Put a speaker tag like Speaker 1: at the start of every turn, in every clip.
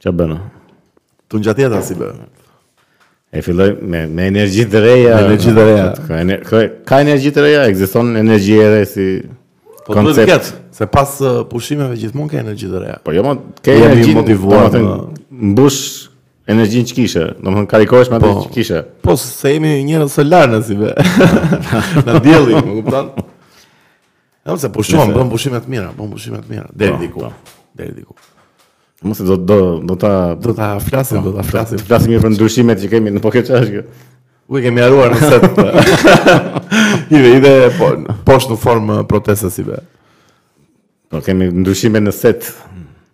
Speaker 1: Qa bëna?
Speaker 2: Tu ngjatë jeta si bë.
Speaker 1: E filloj me, me energji të reja.
Speaker 2: Me energji të reja.
Speaker 1: Ka, ener, ka, ka energji të reja, ekziston energji e re si
Speaker 2: Po duhet të ketë, se pas uh, pushimeve gjithmonë ka energji të reja.
Speaker 1: Po jo, ma, ke
Speaker 2: Jemi
Speaker 1: energji,
Speaker 2: motivuar,
Speaker 1: domethënë,
Speaker 2: ma.
Speaker 1: mbush energjin që kishe, domethënë karikohesh me atë që kishe.
Speaker 2: Po se jemi njerëz solar në si bë. Na dielli, më kupton? Jam se pushon, bën pushime të mira, bën pushime të mira deri
Speaker 1: Po,
Speaker 2: diku.
Speaker 1: po.
Speaker 2: Deri diku.
Speaker 1: Mos do do do ta do
Speaker 2: Do ta flasim, do ta
Speaker 1: të
Speaker 2: flasim.
Speaker 1: flasim mirë për ndryshimet që kemi në po këtë çfarë.
Speaker 2: U e kemi haruar në set. Ive, ive, po, poshtë në formë protesta si be.
Speaker 1: Po kemi ndryshime në set.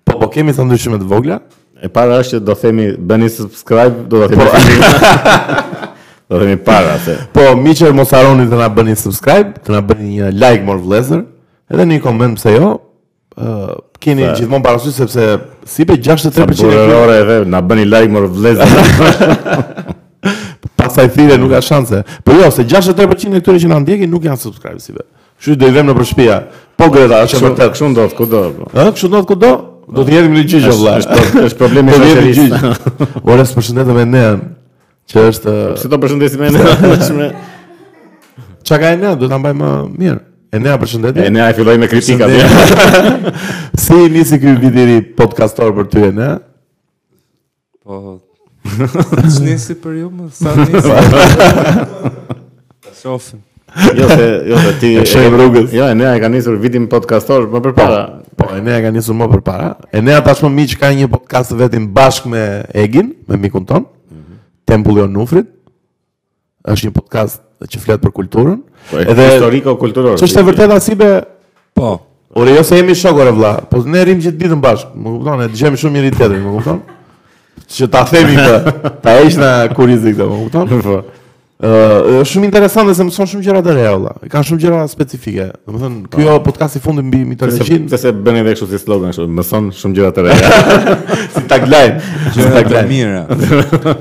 Speaker 2: Po, po kemi të ndryshime të vogla,
Speaker 1: E para është që do themi bëni subscribe, do ta themi. do themi para se.
Speaker 2: po miqër mos harroni të na bëni subscribe, të na bëni një like mor vlezër, edhe një koment pse jo, ë keni gjithmonë parasysh sepse si be 63% e këtyre
Speaker 1: Burrore edhe na bëni like mor vëllezër.
Speaker 2: pasaj thire nuk ka shanse. Po jo, se 63% e këtyre që na ndjekin nuk janë subscribe si be. Kështu që do i vëmë në përshpia. Po Greta, është e
Speaker 1: Kështu
Speaker 2: vërtet.
Speaker 1: kështu ndodh kudo. po.
Speaker 2: Ë, kështu do të kudo, do të jetim në gjyqë vëlla.
Speaker 1: Është është- është problemi i
Speaker 2: Po jemi
Speaker 1: shoqërisë.
Speaker 2: gjyq. Ora së përshëndetëm me Nean, që është
Speaker 1: Si do përshëndesim ne?
Speaker 2: çka ka Enea, do ta mbajmë uh, mirë. Enea
Speaker 1: E
Speaker 2: përshëndetje.
Speaker 1: ne ai filloi me kritika.
Speaker 2: Si nisi ky vit i ri podcastor për ty Enea?
Speaker 3: Po. Çnisi për ju më sa nisi. Shofim.
Speaker 1: Jo se jo se ti
Speaker 2: E shojmë rrugës.
Speaker 1: Jo, e ne ai ka nisur vitin podcastor më përpara.
Speaker 2: Po Enea ka nisur më përpara. Enea tashmë miq ka një podcast vetëm bashkë me Egin, me mikun ton. Tempulli i Onufrit. Është një podcast që flet për kulturën.
Speaker 1: Po, historiko kulturor.
Speaker 2: Ç'është e vërtetë asibe
Speaker 3: Po.
Speaker 2: Ore, jo se jemi shokore vlla, po ne rrim gjithë ditën bashkë, më kupton, e dëgjojmë shumë njëri tjetrin, më kupton? Që ta themi këtë, ta heq na kurrizi këtë, më kupton?
Speaker 1: Po.
Speaker 2: Ë, është shumë interesante se mëson shumë gjëra të reja valla. Ka shumë gjëra specifike. Domethënë, ky jo podcast i fundi mbi mitologjinë,
Speaker 1: Se se bën edhe kështu si slogan kështu, mëson shumë gjëra të reja.
Speaker 2: si tagline, si
Speaker 3: Gjëra të
Speaker 2: tagline.
Speaker 3: mira.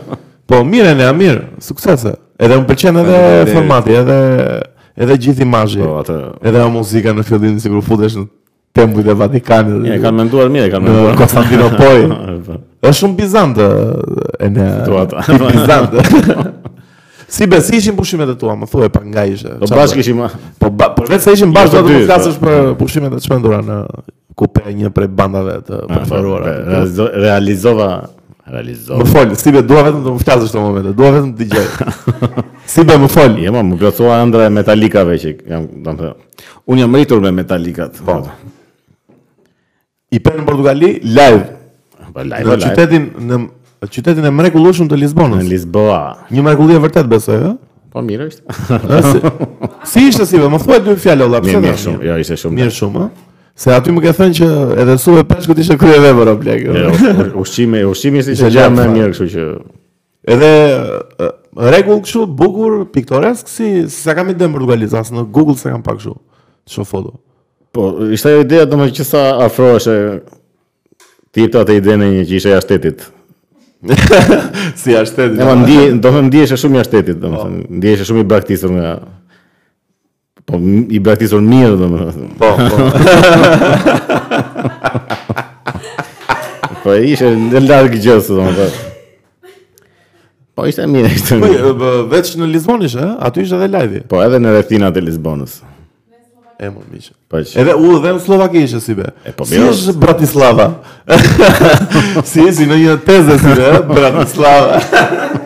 Speaker 2: Po, mirë ne, mirë, suksese. Edhe më pëlqen edhe
Speaker 3: Faleminderit.
Speaker 2: formati, edhe edhe gjithë imazhi.
Speaker 1: Po atë.
Speaker 2: Edhe muzika në fillim sikur futesh në tempull e Vatikanit.
Speaker 1: E kanë menduar mirë, e kanë
Speaker 2: Në
Speaker 1: menduar.
Speaker 2: Konstantinopol.
Speaker 1: Po.
Speaker 2: Është shumë bizantë e në
Speaker 1: Situata.
Speaker 2: i bizantë. si be, si ishin pushimet e tua, më thuaj pak nga ishe.
Speaker 1: Po
Speaker 2: Qa
Speaker 1: bashkë
Speaker 2: bë?
Speaker 1: kishim
Speaker 2: Po ba, por vetë se ishin bashkë
Speaker 1: Jo të
Speaker 2: do të
Speaker 1: dy,
Speaker 2: mos flasësh
Speaker 1: po.
Speaker 2: për pushimet e çmendura në kupe e një prej bandave të
Speaker 1: Ah, po,
Speaker 2: preferuara.
Speaker 1: realizo- realizova realizova.
Speaker 2: Më fol, si be, dua vetëm të më flasësh këto momente, dua vetëm të dëgjoj. si be, më fol.
Speaker 1: Jo, ma, më plotsua ëndra e metalikave që jam, do të thënë. Unë jam rritur me metalikat. Po.
Speaker 2: I për në Portugali live
Speaker 1: Po live,
Speaker 2: në
Speaker 1: live.
Speaker 2: qytetin në qytetin e mrekullueshëm të
Speaker 1: Në
Speaker 2: Lisbonës.
Speaker 1: Lisboa.
Speaker 2: Një mrekulli e vërtet besoj, ë?
Speaker 1: Po mirë është.
Speaker 2: Ë, si- Si ishte si be, më thuaj dy fjalë olla, pse
Speaker 1: Mirë, mirë
Speaker 2: do?
Speaker 1: shumë. Jo, ishte shumë.
Speaker 2: Mirë shumë, ëh. Se aty më ke thënë që edhe su e peshkut ishte krye vepër o plak.
Speaker 1: Jo,
Speaker 2: ëh.
Speaker 1: u- Ushqimi, ushqimi ishte po. që
Speaker 2: Ishte
Speaker 1: gjë
Speaker 2: gjatë,
Speaker 1: më
Speaker 2: fare.
Speaker 1: mirë, kështu që
Speaker 2: Edhe ëh, rregull kështu bukur, piktoresk si si sa kam i dëm Portugalis, as në Google se kam pak kështu. të Shoh foto.
Speaker 1: po ishte ajo ideja domethënë që sa afrohesh e- ti jep atë idenë një që ishte jashtë shtetit.
Speaker 2: Si ashtë
Speaker 1: Ne ma ndije, do të thonë ndihesh shumë jashtë shtetit, domethënë ndihesh shumë i braktisur nga po m- i braktisur mirë domethënë.
Speaker 2: Po, po.
Speaker 1: Po ishte në larg gjës domethënë. Po ishte mirë, ishte
Speaker 2: Po,
Speaker 1: mirë.
Speaker 2: ëh, bë- veç në Lizbon ishte, ëh? aty ishte edhe live.
Speaker 1: Po edhe në rrethinat e Lisbonës.
Speaker 2: E mor miq.
Speaker 1: Po që
Speaker 2: Edhe u dhe në Slovaki ishte si be.
Speaker 1: E, po,
Speaker 2: si
Speaker 1: mirë.
Speaker 2: është Bratislava? si si në një tezë si be, ëh, Bratislava.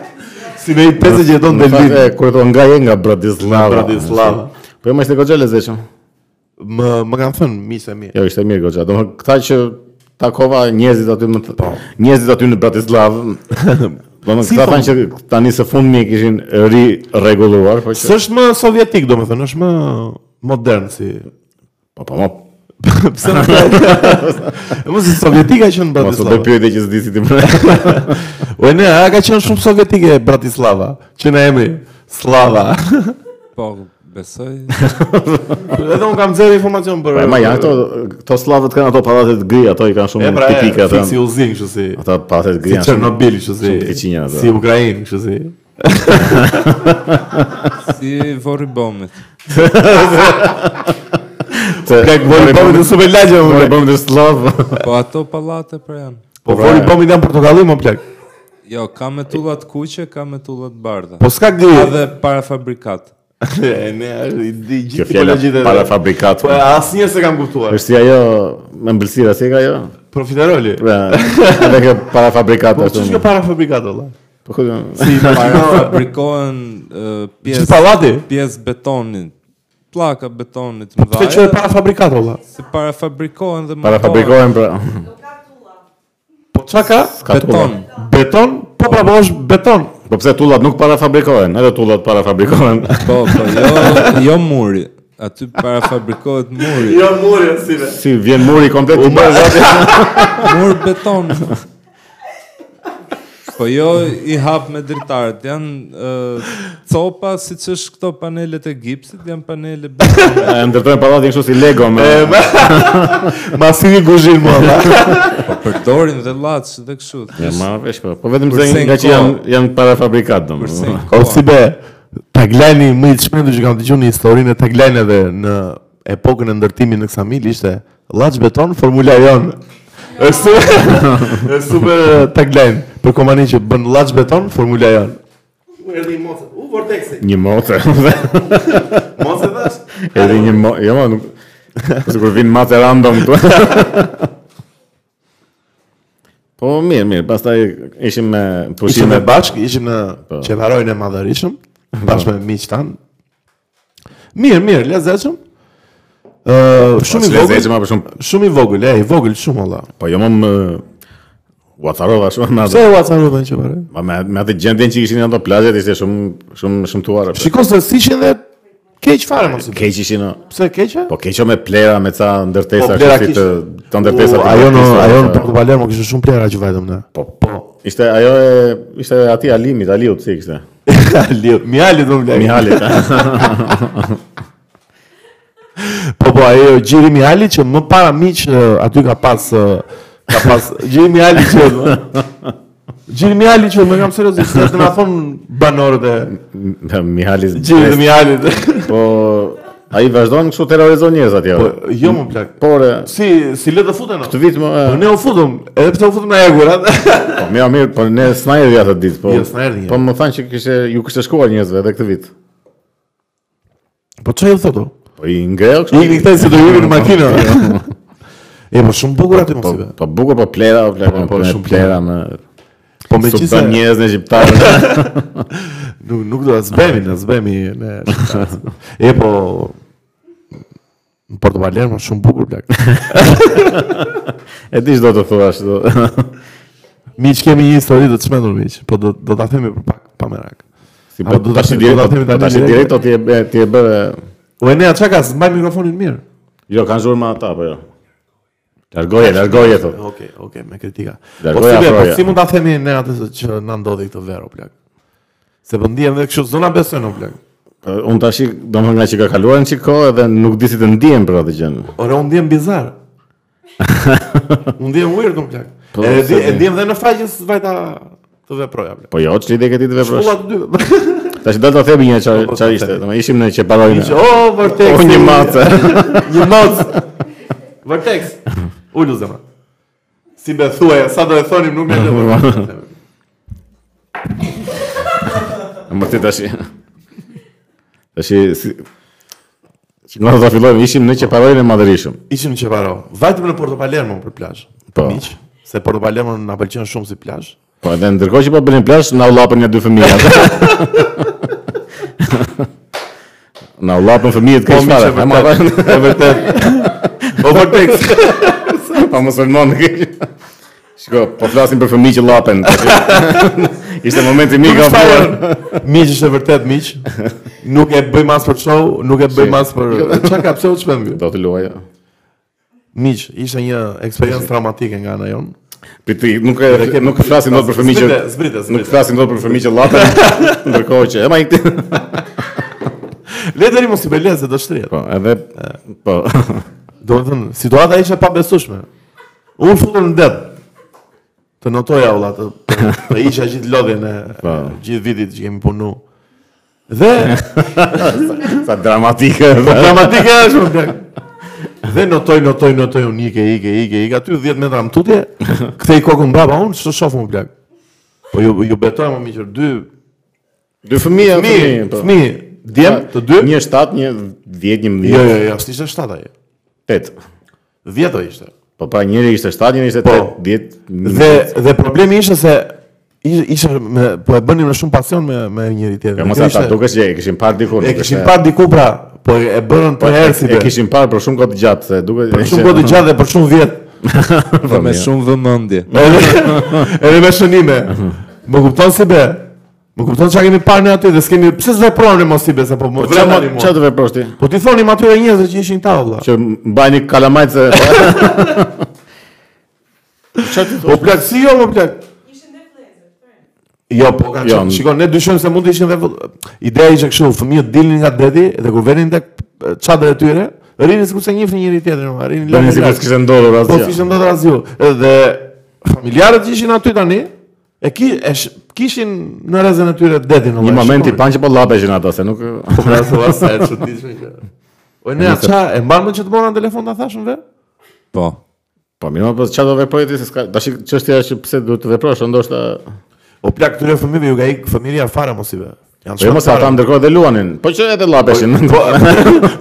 Speaker 2: si me i pezë që jeton
Speaker 1: Në fakt,
Speaker 2: Delvin.
Speaker 1: e, kur thon nga je nga Bratislava.
Speaker 2: Bratislava.
Speaker 1: Po më ishte goxha lezetshëm.
Speaker 2: Më më kanë thënë miqtë e mi.
Speaker 1: Jo, ishte mirë goxha. Domethënë këta që takova njerëzit aty më të, njerëzit aty në Bratislav. Domethënë
Speaker 2: Po. Si
Speaker 1: këta
Speaker 2: po?
Speaker 1: thanë që tani së fundmi e kishin ri rregulluar, po që
Speaker 2: S'është më sovjetik, domethënë, është më modern si.
Speaker 1: po po mo,
Speaker 2: Pse nuk e mos si sovjetika që në
Speaker 1: mos do
Speaker 2: Bratislava.
Speaker 1: pyetje që s'di si ti më.
Speaker 2: O ne, a ka qenë shumë sovjetike Bratislava, që në emri Slava.
Speaker 3: Po, besoj.
Speaker 2: Edhe unë kam zero informacion për.
Speaker 1: Po e ma janë këto këto slavët kanë ato pallate të grija, ato i kanë
Speaker 2: E
Speaker 1: shumë
Speaker 2: pra,
Speaker 1: tipike
Speaker 2: e,
Speaker 1: atë.
Speaker 2: fiksi ullzin, kështu si.
Speaker 1: Ata pallate të
Speaker 2: Si
Speaker 1: grija. janë shumë-
Speaker 2: Çernobil, kështu si.
Speaker 1: shumë të keqinja ato.
Speaker 2: Si Ukrainë, kështu si.
Speaker 3: si vori bomit.
Speaker 1: se-
Speaker 2: Kak voli bombën në super lagje, më
Speaker 1: Voli
Speaker 2: plak.
Speaker 1: bombën e slav.
Speaker 3: Po ato pallate pra janë.
Speaker 2: Po voli bombën janë portokalli, më plak.
Speaker 3: Jo, ka me tullat kuqe, ka me tullat bardha.
Speaker 2: Po s'ka
Speaker 3: Ka
Speaker 2: gri.
Speaker 3: dhe parafabrikat.
Speaker 2: E, ne, i di
Speaker 1: Kjo
Speaker 2: gjithë
Speaker 1: fjala
Speaker 2: tipologjitë.
Speaker 1: para fabrikat.
Speaker 2: Po asnjë se kam kuptuar.
Speaker 1: Është si ajo me ëmbëlsira si e ka ajo?
Speaker 2: Profiteroli.
Speaker 1: Pra, edhe kjo para fabrikat
Speaker 2: Po
Speaker 1: ashtu.
Speaker 2: ç'është kjo para fabrikat olla?
Speaker 1: Po ku
Speaker 2: Si
Speaker 3: Parafabrikohen eh,
Speaker 2: Gjithë
Speaker 3: pjesë
Speaker 2: pallati.
Speaker 3: pjesë betonit. Plaka betonit të
Speaker 2: Këtë që e
Speaker 3: mëdha.
Speaker 2: para fabrikat olla.
Speaker 3: Se parafabrikohen dhe
Speaker 1: para fabrikohen pra.
Speaker 2: Po çka ka?
Speaker 1: Ka
Speaker 3: beton.
Speaker 1: tulla.
Speaker 2: Beton? Po pra, po është beton.
Speaker 1: Po pse tullat nuk para fabrikohen? Edhe tullat para fabrikohen.
Speaker 3: Po, po, jo, jo muri. Aty parafabrikohet muri.
Speaker 2: Jo muri asire.
Speaker 1: Si vjen muri komplet i bërë zoti.
Speaker 3: Mur beton. Po jo i hap me dritarët, janë uh, copa si që është këto panelet e gipsit, janë panele beton.
Speaker 1: E ndërtojnë pallatin kështu si Lego me
Speaker 2: Ma si një guzhin mua. valla.
Speaker 3: Po përdorin dhe llaç dhe kështu.
Speaker 1: Ja marrë vesh po. Po vetëm se
Speaker 3: Përse
Speaker 1: nga që
Speaker 3: në
Speaker 1: janë janë para fabrikat
Speaker 3: Përse
Speaker 1: domethënë.
Speaker 3: në
Speaker 2: O
Speaker 3: kohë?
Speaker 2: si be, taglajni më i të shpendur që kam dëgjuar në historinë e taglajneve në epokën e ndërtimit në Ksamil ishte Llaç beton formula jon. Është super, është super tagline për kompaninë që bën llaç beton formula jon. U erdhi moca. U vortexi.
Speaker 1: Një moce.
Speaker 2: Moca dash.
Speaker 1: Edhe një mo, jo, ma, nuk. Ose kur vin matë random këtu. po mirë, mirë, pastaj ishim me
Speaker 2: Ishim
Speaker 1: pushime
Speaker 2: me bashk, ishim në qevarojnë e madhërishëm, bashkë me miqë tanë. Mirë, mirë, lezeqëm. Uh, shumë i vogël,
Speaker 1: më për shumë.
Speaker 2: shumë i vogël, e, i vogël shumë olla.
Speaker 1: Po jo më më Wacarova shumë me atë.
Speaker 2: Pse e wacaru dhe në qevaroj?
Speaker 1: Ma me, me atë gjendjen që ishin në ato plazhet ishte shumë shumë shëmtuara. po.
Speaker 2: Shiko se si ishin dhe keq fare mos i bë.
Speaker 1: Keq ishin. o.
Speaker 2: Pse keqe?
Speaker 1: Po keqo me plera me ca ndërtesa
Speaker 2: Po, plera
Speaker 1: kështu si të
Speaker 2: kishte.
Speaker 1: të ndërtesa.
Speaker 2: U,
Speaker 1: të po,
Speaker 2: ajo në
Speaker 1: ndërtesa,
Speaker 2: ajo në
Speaker 1: të-
Speaker 2: Porto Palermo kishte shumë plera që vajtëm ne.
Speaker 1: Po, po. Ishte ajo e ishte aty Alimit, Aliut si kishte.
Speaker 2: Aliu, Mjali do më lajë.
Speaker 1: Mihalit. a?
Speaker 2: Po po ajo Gjiri Mjali që më para miq eh, aty ka pas eh, ka pas Gjiri Mjali që Gjiri Mjali që më kam seriozisht se të na thon banorët e
Speaker 1: Mihalis.
Speaker 2: Gjiri dhe Mjalit.
Speaker 1: Po ai vazhdon kështu terrorizon njerëz atje.
Speaker 2: Po
Speaker 1: Po,
Speaker 2: jo më plak.
Speaker 1: por e,
Speaker 2: Si si le të futen ato?
Speaker 1: këtë vit më
Speaker 2: Po
Speaker 1: e,
Speaker 2: Ne u futëm, edhe pse u futëm në Egurat.
Speaker 1: po mirë mirë, po ne s'na erdhi atë ditë, po.
Speaker 2: Jo, s'na erdhi,
Speaker 1: Po më thanë që kishte ju kishte shkuar njerëzve edhe këtë vit.
Speaker 2: Po çfarë thotë?
Speaker 1: Po i ngreu kështu.
Speaker 2: Ikni këta se do hyjnë në makinë. E po shumë bukur aty mos
Speaker 1: Po
Speaker 2: i be.
Speaker 1: po bukur po plera, po plera,
Speaker 2: Po,
Speaker 1: po,
Speaker 2: po,
Speaker 1: me
Speaker 2: shumë
Speaker 1: plera
Speaker 2: plera.
Speaker 1: me
Speaker 2: Po
Speaker 1: me
Speaker 2: megjithëse
Speaker 1: gjithë njerëz në shqiptar.
Speaker 2: nuk nuk do ta zbemi, na zbemi ne. E po në Porto Palermo shumë bukur plak.
Speaker 1: E di çdo të thuash. do-
Speaker 2: Miq kemi një histori të çmendur miq, po do do ta themi për pak pa merak.
Speaker 1: Si
Speaker 2: A,
Speaker 1: po
Speaker 2: do ta
Speaker 1: tash
Speaker 2: themi-
Speaker 1: direkt,
Speaker 2: do ta themi
Speaker 1: po,
Speaker 2: tani
Speaker 1: tash
Speaker 2: direkt?
Speaker 1: direkt o ti e bë- ti e bëre.
Speaker 2: O Enea çka ka mbaj mikrofonin mirë.
Speaker 1: Jo, kanë zhurmë ata apo jo. Largoje, largoje thotë.
Speaker 2: Okej, okej, me kritika. Po
Speaker 1: Largoja
Speaker 2: si be, po
Speaker 1: afroja.
Speaker 2: si mund ta themi ne atë se që na ndodhi këtë verë o plak. Se po ndihem edhe kështu zona besoj o plak.
Speaker 1: Po, Unë tash domethënë nga që ka kaluar një kohë edhe nuk di si të ndihem për atë gjë.
Speaker 2: Ora unë ndjem bizar. unë ndjem weird unë plak.
Speaker 1: Po,
Speaker 2: e di,
Speaker 1: se
Speaker 2: e
Speaker 1: di.
Speaker 2: ndjem dhe në faqen se vajta të veproja plak.
Speaker 1: Po jo, çlidhe këtë të veprosh.
Speaker 2: Ulla të dy.
Speaker 1: Tash do të themi një çfarë
Speaker 2: Po, po,
Speaker 1: çfarë
Speaker 2: po,
Speaker 1: ishte.
Speaker 2: themi.
Speaker 1: Domethënë ishim në Qeparojnë.
Speaker 2: Që o vortex.
Speaker 1: O një mace.
Speaker 2: një mace. Vortex. Ulu zemra. Si be thuaj, sa do e thonim nuk ne do.
Speaker 1: Më ti tash. Tash si Që nga do fillojmë, ishim në Qeparojnë e Madërishëm.
Speaker 2: Ishim në Qevaro. Vajtëm në Porto Palermo për plazh.
Speaker 1: Po.
Speaker 2: Miq, se Porto Palermo na pëlqen shumë si plazh.
Speaker 1: Po edhe ndërkohë që po bënin plazh, na u llapën një dy fëmijë. Na u llapën fëmijët
Speaker 2: Po
Speaker 1: kaq
Speaker 2: miq,
Speaker 1: fare.
Speaker 2: e
Speaker 1: e marrë,
Speaker 2: vërtet. Po, E vërtet. O vortex.
Speaker 1: Pa Po, musulman kaq. Shiko, po flasim për fëmijë që llapen. Ishte momenti mirë ka bërë.
Speaker 2: Miq është e vërtet miq. Nuk e bëjmë as për show, nuk e bëjmë as për çka ka pse u çmend ky.
Speaker 1: Do të luaj.
Speaker 2: Miq, ishte një eksperiencë traumatike nga ana jon.
Speaker 1: Piti, nuk e nuk flasim dot për fëmijë që
Speaker 2: Zbrite, zbrite,
Speaker 1: nuk
Speaker 2: zbrite.
Speaker 1: flasim dot për fëmijë që llapen, ndërkohë që e ma ikti.
Speaker 2: Le tani mos i belez se do shtrihet.
Speaker 1: Po, edhe po.
Speaker 2: Do të thënë, situata ishte pa besueshme. Unë futën në det. Të notoja valla, të, të isha gjithë lodhjen e
Speaker 1: Po.
Speaker 2: gjithë vitit që kemi punu. Dhe
Speaker 1: Sa dramatike.
Speaker 2: dramatike është më blek. Dhe notoj, notoj, notoj, unë ike, ike, ike, ike, aty 10 metra më tutje, kthej kokën brapa, unë ç'të shoh më blek. Po ju ju betoj më miqër dy
Speaker 1: Dy fëmijë,
Speaker 2: fëmijë,
Speaker 1: po.
Speaker 2: fëmijë, djem të dy.
Speaker 1: Një 7, një 10, 11,
Speaker 2: Jo, jo, jo, s'ishte 7 ai.
Speaker 1: 8.
Speaker 2: 10 ai ishte.
Speaker 1: Po pra njëri ishte 7, njëri ishte
Speaker 2: Po.
Speaker 1: 8, 10.
Speaker 2: Dhe dhe problemi ishte se ish- ishte me po e bënim me shumë pasion me me njëri tjetrin.
Speaker 1: Ja mos
Speaker 2: Kjo
Speaker 1: ata
Speaker 2: ishte-
Speaker 1: dukesh që e kishin parë diku.
Speaker 2: E
Speaker 1: nuk
Speaker 2: kishin
Speaker 1: është-
Speaker 2: parë diku pra, po e e bërën
Speaker 1: Po,
Speaker 2: për herë si
Speaker 1: e
Speaker 2: be.
Speaker 1: kishin parë për shumë kohë të gjatë, se duket
Speaker 2: Shumë kohë të gjatë dhe për shumë vjet.
Speaker 3: Dhe me shumë vëmendje.
Speaker 2: Edhe edhe me shënime. Më kupton si be? Më kupton çka kemi parë ne aty dhe s'kemi pse s'veprojmë ne mos si be se po më
Speaker 1: Çfarë
Speaker 2: vremani
Speaker 1: çfarë
Speaker 2: mua.
Speaker 1: të veprosh ti?
Speaker 2: Po ti thonim atyre njerëzve që ishin këta valla.
Speaker 1: Që mbajni kalamajt se
Speaker 2: Po plak si jo, po plak.
Speaker 4: Ishin dhe vlezër, për e.
Speaker 2: Jo, po ka
Speaker 1: Jo,
Speaker 2: qenë. Shikon, ne dyshojmë se mund të ishin dhe vëll- ideja ishte kështu, fëmijët dilnin nga deti dhe kur venin tek e, çadrat e tyre, rinin sikur se njihnin njëri tjetrin, ma, rinin
Speaker 1: bëni
Speaker 2: lart.
Speaker 1: sikur
Speaker 2: lart.
Speaker 1: s'kishte ndodhur
Speaker 2: Po
Speaker 1: asgjë.
Speaker 2: kishën ndodhur asgjë. Dhe familjarët që ishin aty tani, e ki e sh, kishin në rrezën e tyre detin.
Speaker 1: Një
Speaker 2: valla,
Speaker 1: moment i
Speaker 2: shikoni.
Speaker 1: pan që po llapeshin ata se nuk
Speaker 2: Po pra, se vasa e çuditshme që. O ne atë e mban më që të mora në telefon ta thashën ve?
Speaker 3: Po.
Speaker 1: po mirë, po çfarë do veproj ti se s'ka tash çështja është që pse duhet të veprosh, o, ndoshta
Speaker 2: O Po, plak këtyre fëmijëve ju ka ik familja fare mos i ve. Janë
Speaker 1: po jo, mos
Speaker 2: shkaktarë.
Speaker 1: ata ndërkohë dhe luanin. Po që edhe llapeshin.
Speaker 2: Po,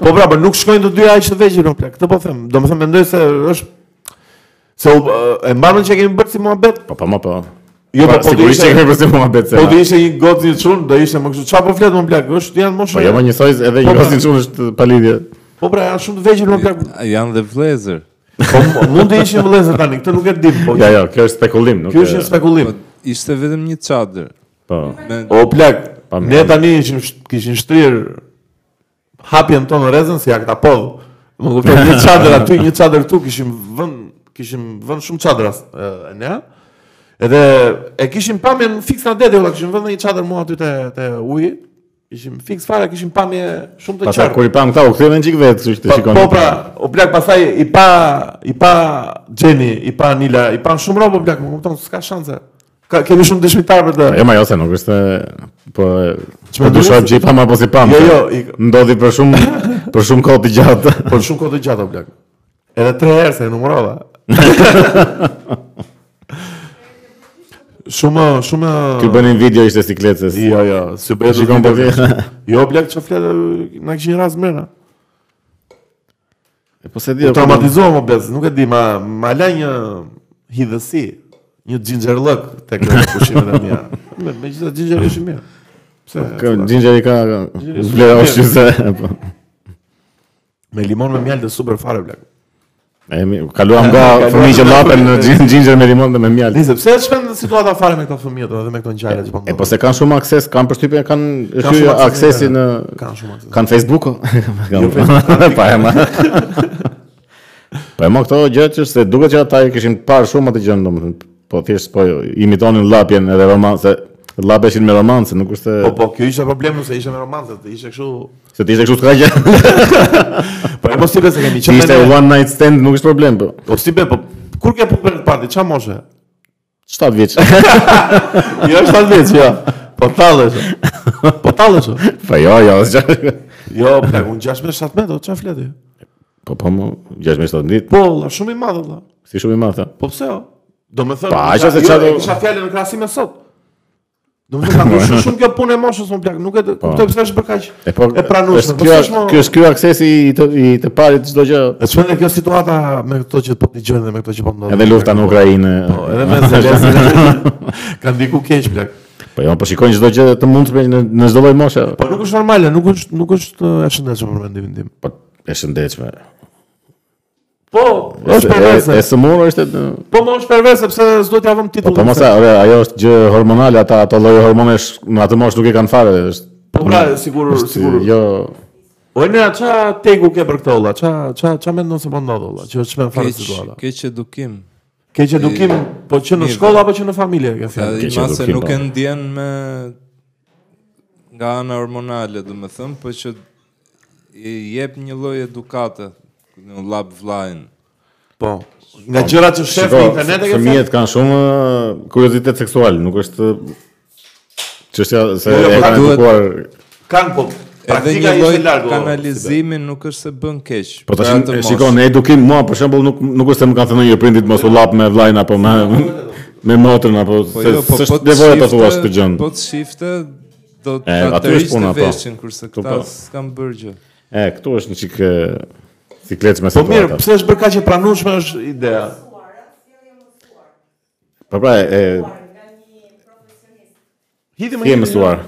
Speaker 2: po pra, po nuk shkojnë të dyja aq të vegjël në plak. Këtë po them. Domethënë mendoj se është se u, e mbanën që kemi bërë si muhabet.
Speaker 1: Po po ma po.
Speaker 2: Jo, po
Speaker 1: Po
Speaker 2: po do
Speaker 1: sigurisht që kemi
Speaker 2: ishte
Speaker 1: përse muhabet se.
Speaker 2: po do ishte një gocë një çun, do ishte më kështu. Çfarë po flet më plak? Është janë më
Speaker 1: Po jo,
Speaker 2: shumë.
Speaker 1: më njësoj edhe një
Speaker 2: Po,
Speaker 1: gocin çun është pa lidhje.
Speaker 2: Po pra, janë shumë të vegjël më plak.
Speaker 3: Janë dhe vlezër.
Speaker 2: Po mu- mund të ishin vëllezër tani, këtë nuk e dim, po.
Speaker 1: Ja, ja, kjo është spekulim, nuk.
Speaker 2: Ky është një
Speaker 1: e-
Speaker 2: spekulim.
Speaker 3: Po ishte vetëm një çadër.
Speaker 1: Po.
Speaker 3: Me
Speaker 2: O plak,
Speaker 1: Pa
Speaker 2: ne tani ishim sh- kishin shtrirë hapjen tonë rrezën si akta po. Më kupton një çadër aty, një çadër këtu kishim vënë kishim vënë shumë çadras e ne. Edhe e kishim pamjen fiks na deti, valla kishim vënë një çadër mua aty te te uji. Ishim fiks fare, kishim pamje shumë të
Speaker 1: Pastaj
Speaker 2: qartë.
Speaker 1: kur i pam këta u kthyen çik vetë, kështu që
Speaker 2: Po,
Speaker 1: shikon.
Speaker 2: po pra, o plak pasaj i pa i pa Gjeni, i pa Nila, i pa shumë robo plak, më kupton, s'ka shanse. Ka kemi shumë dëshmitar për të.
Speaker 1: Jo, ma jo se nuk është po
Speaker 2: Çfarë
Speaker 1: çfarë dyshoj
Speaker 2: ndodhi?
Speaker 1: që i pam apo po si pam.
Speaker 2: Jo,
Speaker 1: se
Speaker 2: jo, i-
Speaker 1: ndodhi për shumë për shumë kohë të gjatë.
Speaker 2: Po shumë kohë të gjatë o plak. Edhe tre herë se e numërova. shumë shumë
Speaker 1: Ky bënin video ishte siklet se.
Speaker 2: Jo, jo, si bëhet.
Speaker 1: Shikon po ti.
Speaker 2: Jo plak çfarë flet na kishin rast mërna.
Speaker 1: Po se
Speaker 2: jo,
Speaker 1: di.
Speaker 2: Traumatizova më bez, nuk e di, ma ma la një hidhësi, një xhinxherllëk tek pushimet e mia. Me megjithatë xhinxherri është i mirë. Pse?
Speaker 1: Gjinxheri ka vlera ushqy se. po.
Speaker 2: Me limon me mjalë të super fare plak.
Speaker 1: E mi, kaluam nga fëmijë që llapen në gjin- gjinxher me limon dhe me mjalë.
Speaker 2: Nice, pse shkon situata fare me këto fëmijët edhe me këto ngjarje që
Speaker 1: E
Speaker 2: po
Speaker 1: po
Speaker 2: ndodhin?
Speaker 1: se kanë shumë akses, kanë përshtypje, kanë
Speaker 2: Kanë
Speaker 1: ky
Speaker 2: shumë akses Jo,
Speaker 1: aksesi në
Speaker 2: kanë shumë akses.
Speaker 1: kanë Facebook. Kanë pa e ma. Po e ma këto gjë që se duket që ata e kishin parë shumë atë gjën domethënë. Po thjesht po imitonin llapjen edhe romanse, llapeshin me romanse, nuk është se-
Speaker 2: Po po, kjo ishte problemi se ishte me romanset, ishte kështu
Speaker 1: se ti ishte kështu s'ka gjë.
Speaker 2: Po e mos ti besë kemi
Speaker 1: Ti
Speaker 2: qenë.
Speaker 1: ishte
Speaker 2: Ishte
Speaker 1: one night stand, nuk është problem po.
Speaker 2: Po si be, po kur ke punë për parti, ç'a moshe?
Speaker 1: 7 vjeç.
Speaker 2: Jo është atë vetë, jo. Po tallesh. Po tallesh.
Speaker 1: Po jo, jo, s'gja-
Speaker 2: Jo, plak, unë 16 17, o ç'a flet ti?
Speaker 1: Po po mo, 16 ditë,
Speaker 2: Po, valla, shumë i madh valla.
Speaker 1: si shumë i madh. a?
Speaker 2: Po pse o? Do më thënë,
Speaker 1: Pa,
Speaker 2: nuk
Speaker 1: aqo se
Speaker 2: ka-
Speaker 1: ç'a
Speaker 2: jo,
Speaker 1: do-
Speaker 2: e Kisha fjalën në krahasim me sot. Do më thënë, ka ndryshuar shumë kjo punë e moshës, unë plak, nuk e kuptoj pse është bërë kaq.
Speaker 1: Po. E po,
Speaker 2: e pranueshme.
Speaker 1: është
Speaker 2: Po
Speaker 1: Kjo
Speaker 2: s'është mo-
Speaker 1: kjo është ky aksesi i të, i të parit çdo gjë.
Speaker 2: E çfarë kjo situata me këto që po dëgjojnë dhe me këto që po ndodhin?
Speaker 1: Edhe lufta në Ukrainë.
Speaker 2: Po, edhe me Zelensky. Ka ndiku keq plak.
Speaker 1: Po jo, po shikojnë çdo gjë të mundshme në në çdo lloj moshe.
Speaker 2: Po nuk është normale, nuk është nuk është e shëndetshme për mendimin tim.
Speaker 1: Po e shëndetshme.
Speaker 2: Po, është
Speaker 1: E- E,
Speaker 2: perverse.
Speaker 1: e sëmurë është e-
Speaker 2: Po më është perverse pse s'do t'ja vëm
Speaker 1: Po
Speaker 2: titullin.
Speaker 1: po mos e, ore, ajo është gjë hormonale, ata ato lloje hormonesh në atë moshë nuk e kanë fare, është
Speaker 2: Po pra, sigur sigur.
Speaker 1: jo
Speaker 2: O ne ça tegu ke për këto olla? Ça ça ça mendon se po ndodh olla? Që është çfarë fare
Speaker 3: keq,
Speaker 2: situata?
Speaker 3: keq edukim.
Speaker 2: Keq edukim, po që në
Speaker 3: mirë,
Speaker 2: shkollë apo që në familje kjo
Speaker 3: Ja,
Speaker 2: fjalë?
Speaker 1: keq
Speaker 3: ima se
Speaker 1: edukim,
Speaker 3: nuk
Speaker 1: po.
Speaker 3: e ndjen me nga ana hormonale, do të them, po që i jep një lloj edukate në llap vllajin.
Speaker 2: Po. Nga gjërat që shef në internet e ke thënë?
Speaker 1: fëmijët kanë shumë uh, kuriozitet seksual, nuk është çështja se
Speaker 2: Jo, jo,
Speaker 1: e
Speaker 2: po
Speaker 1: kanë
Speaker 3: duhet-
Speaker 1: edukuar
Speaker 2: Kanë po.
Speaker 3: Edhe
Speaker 2: Praktika
Speaker 3: një lloj
Speaker 2: ishte largo.
Speaker 3: kanalizimi nuk është se bën keq. Pra
Speaker 1: Po tash
Speaker 3: për atë
Speaker 1: e
Speaker 3: moshë.
Speaker 1: shikon, në edukim mua për shembull nuk nuk është se më kanë thënë një prindit mos u lap me vllajin apo me me motrën apo
Speaker 3: jo, Po
Speaker 1: se
Speaker 3: jo, po po
Speaker 1: s'është
Speaker 3: të
Speaker 1: nevojë ta
Speaker 3: shifte-
Speaker 1: thuash këtë gjë.
Speaker 3: Po të shifte do të
Speaker 1: E, aty është
Speaker 3: atërish
Speaker 1: puna,
Speaker 3: të
Speaker 1: po.
Speaker 3: veshin kurse
Speaker 1: Po,
Speaker 3: këta
Speaker 1: po.
Speaker 3: s'kan bërë gjë.
Speaker 1: E, këtu është një çik siklet me
Speaker 2: Po mirë,
Speaker 1: situata.
Speaker 2: pse është bërë kaq e pranueshme është ideja.
Speaker 1: Po pra, e
Speaker 4: nga një profesionist.
Speaker 2: Hidhi
Speaker 1: je mësuar.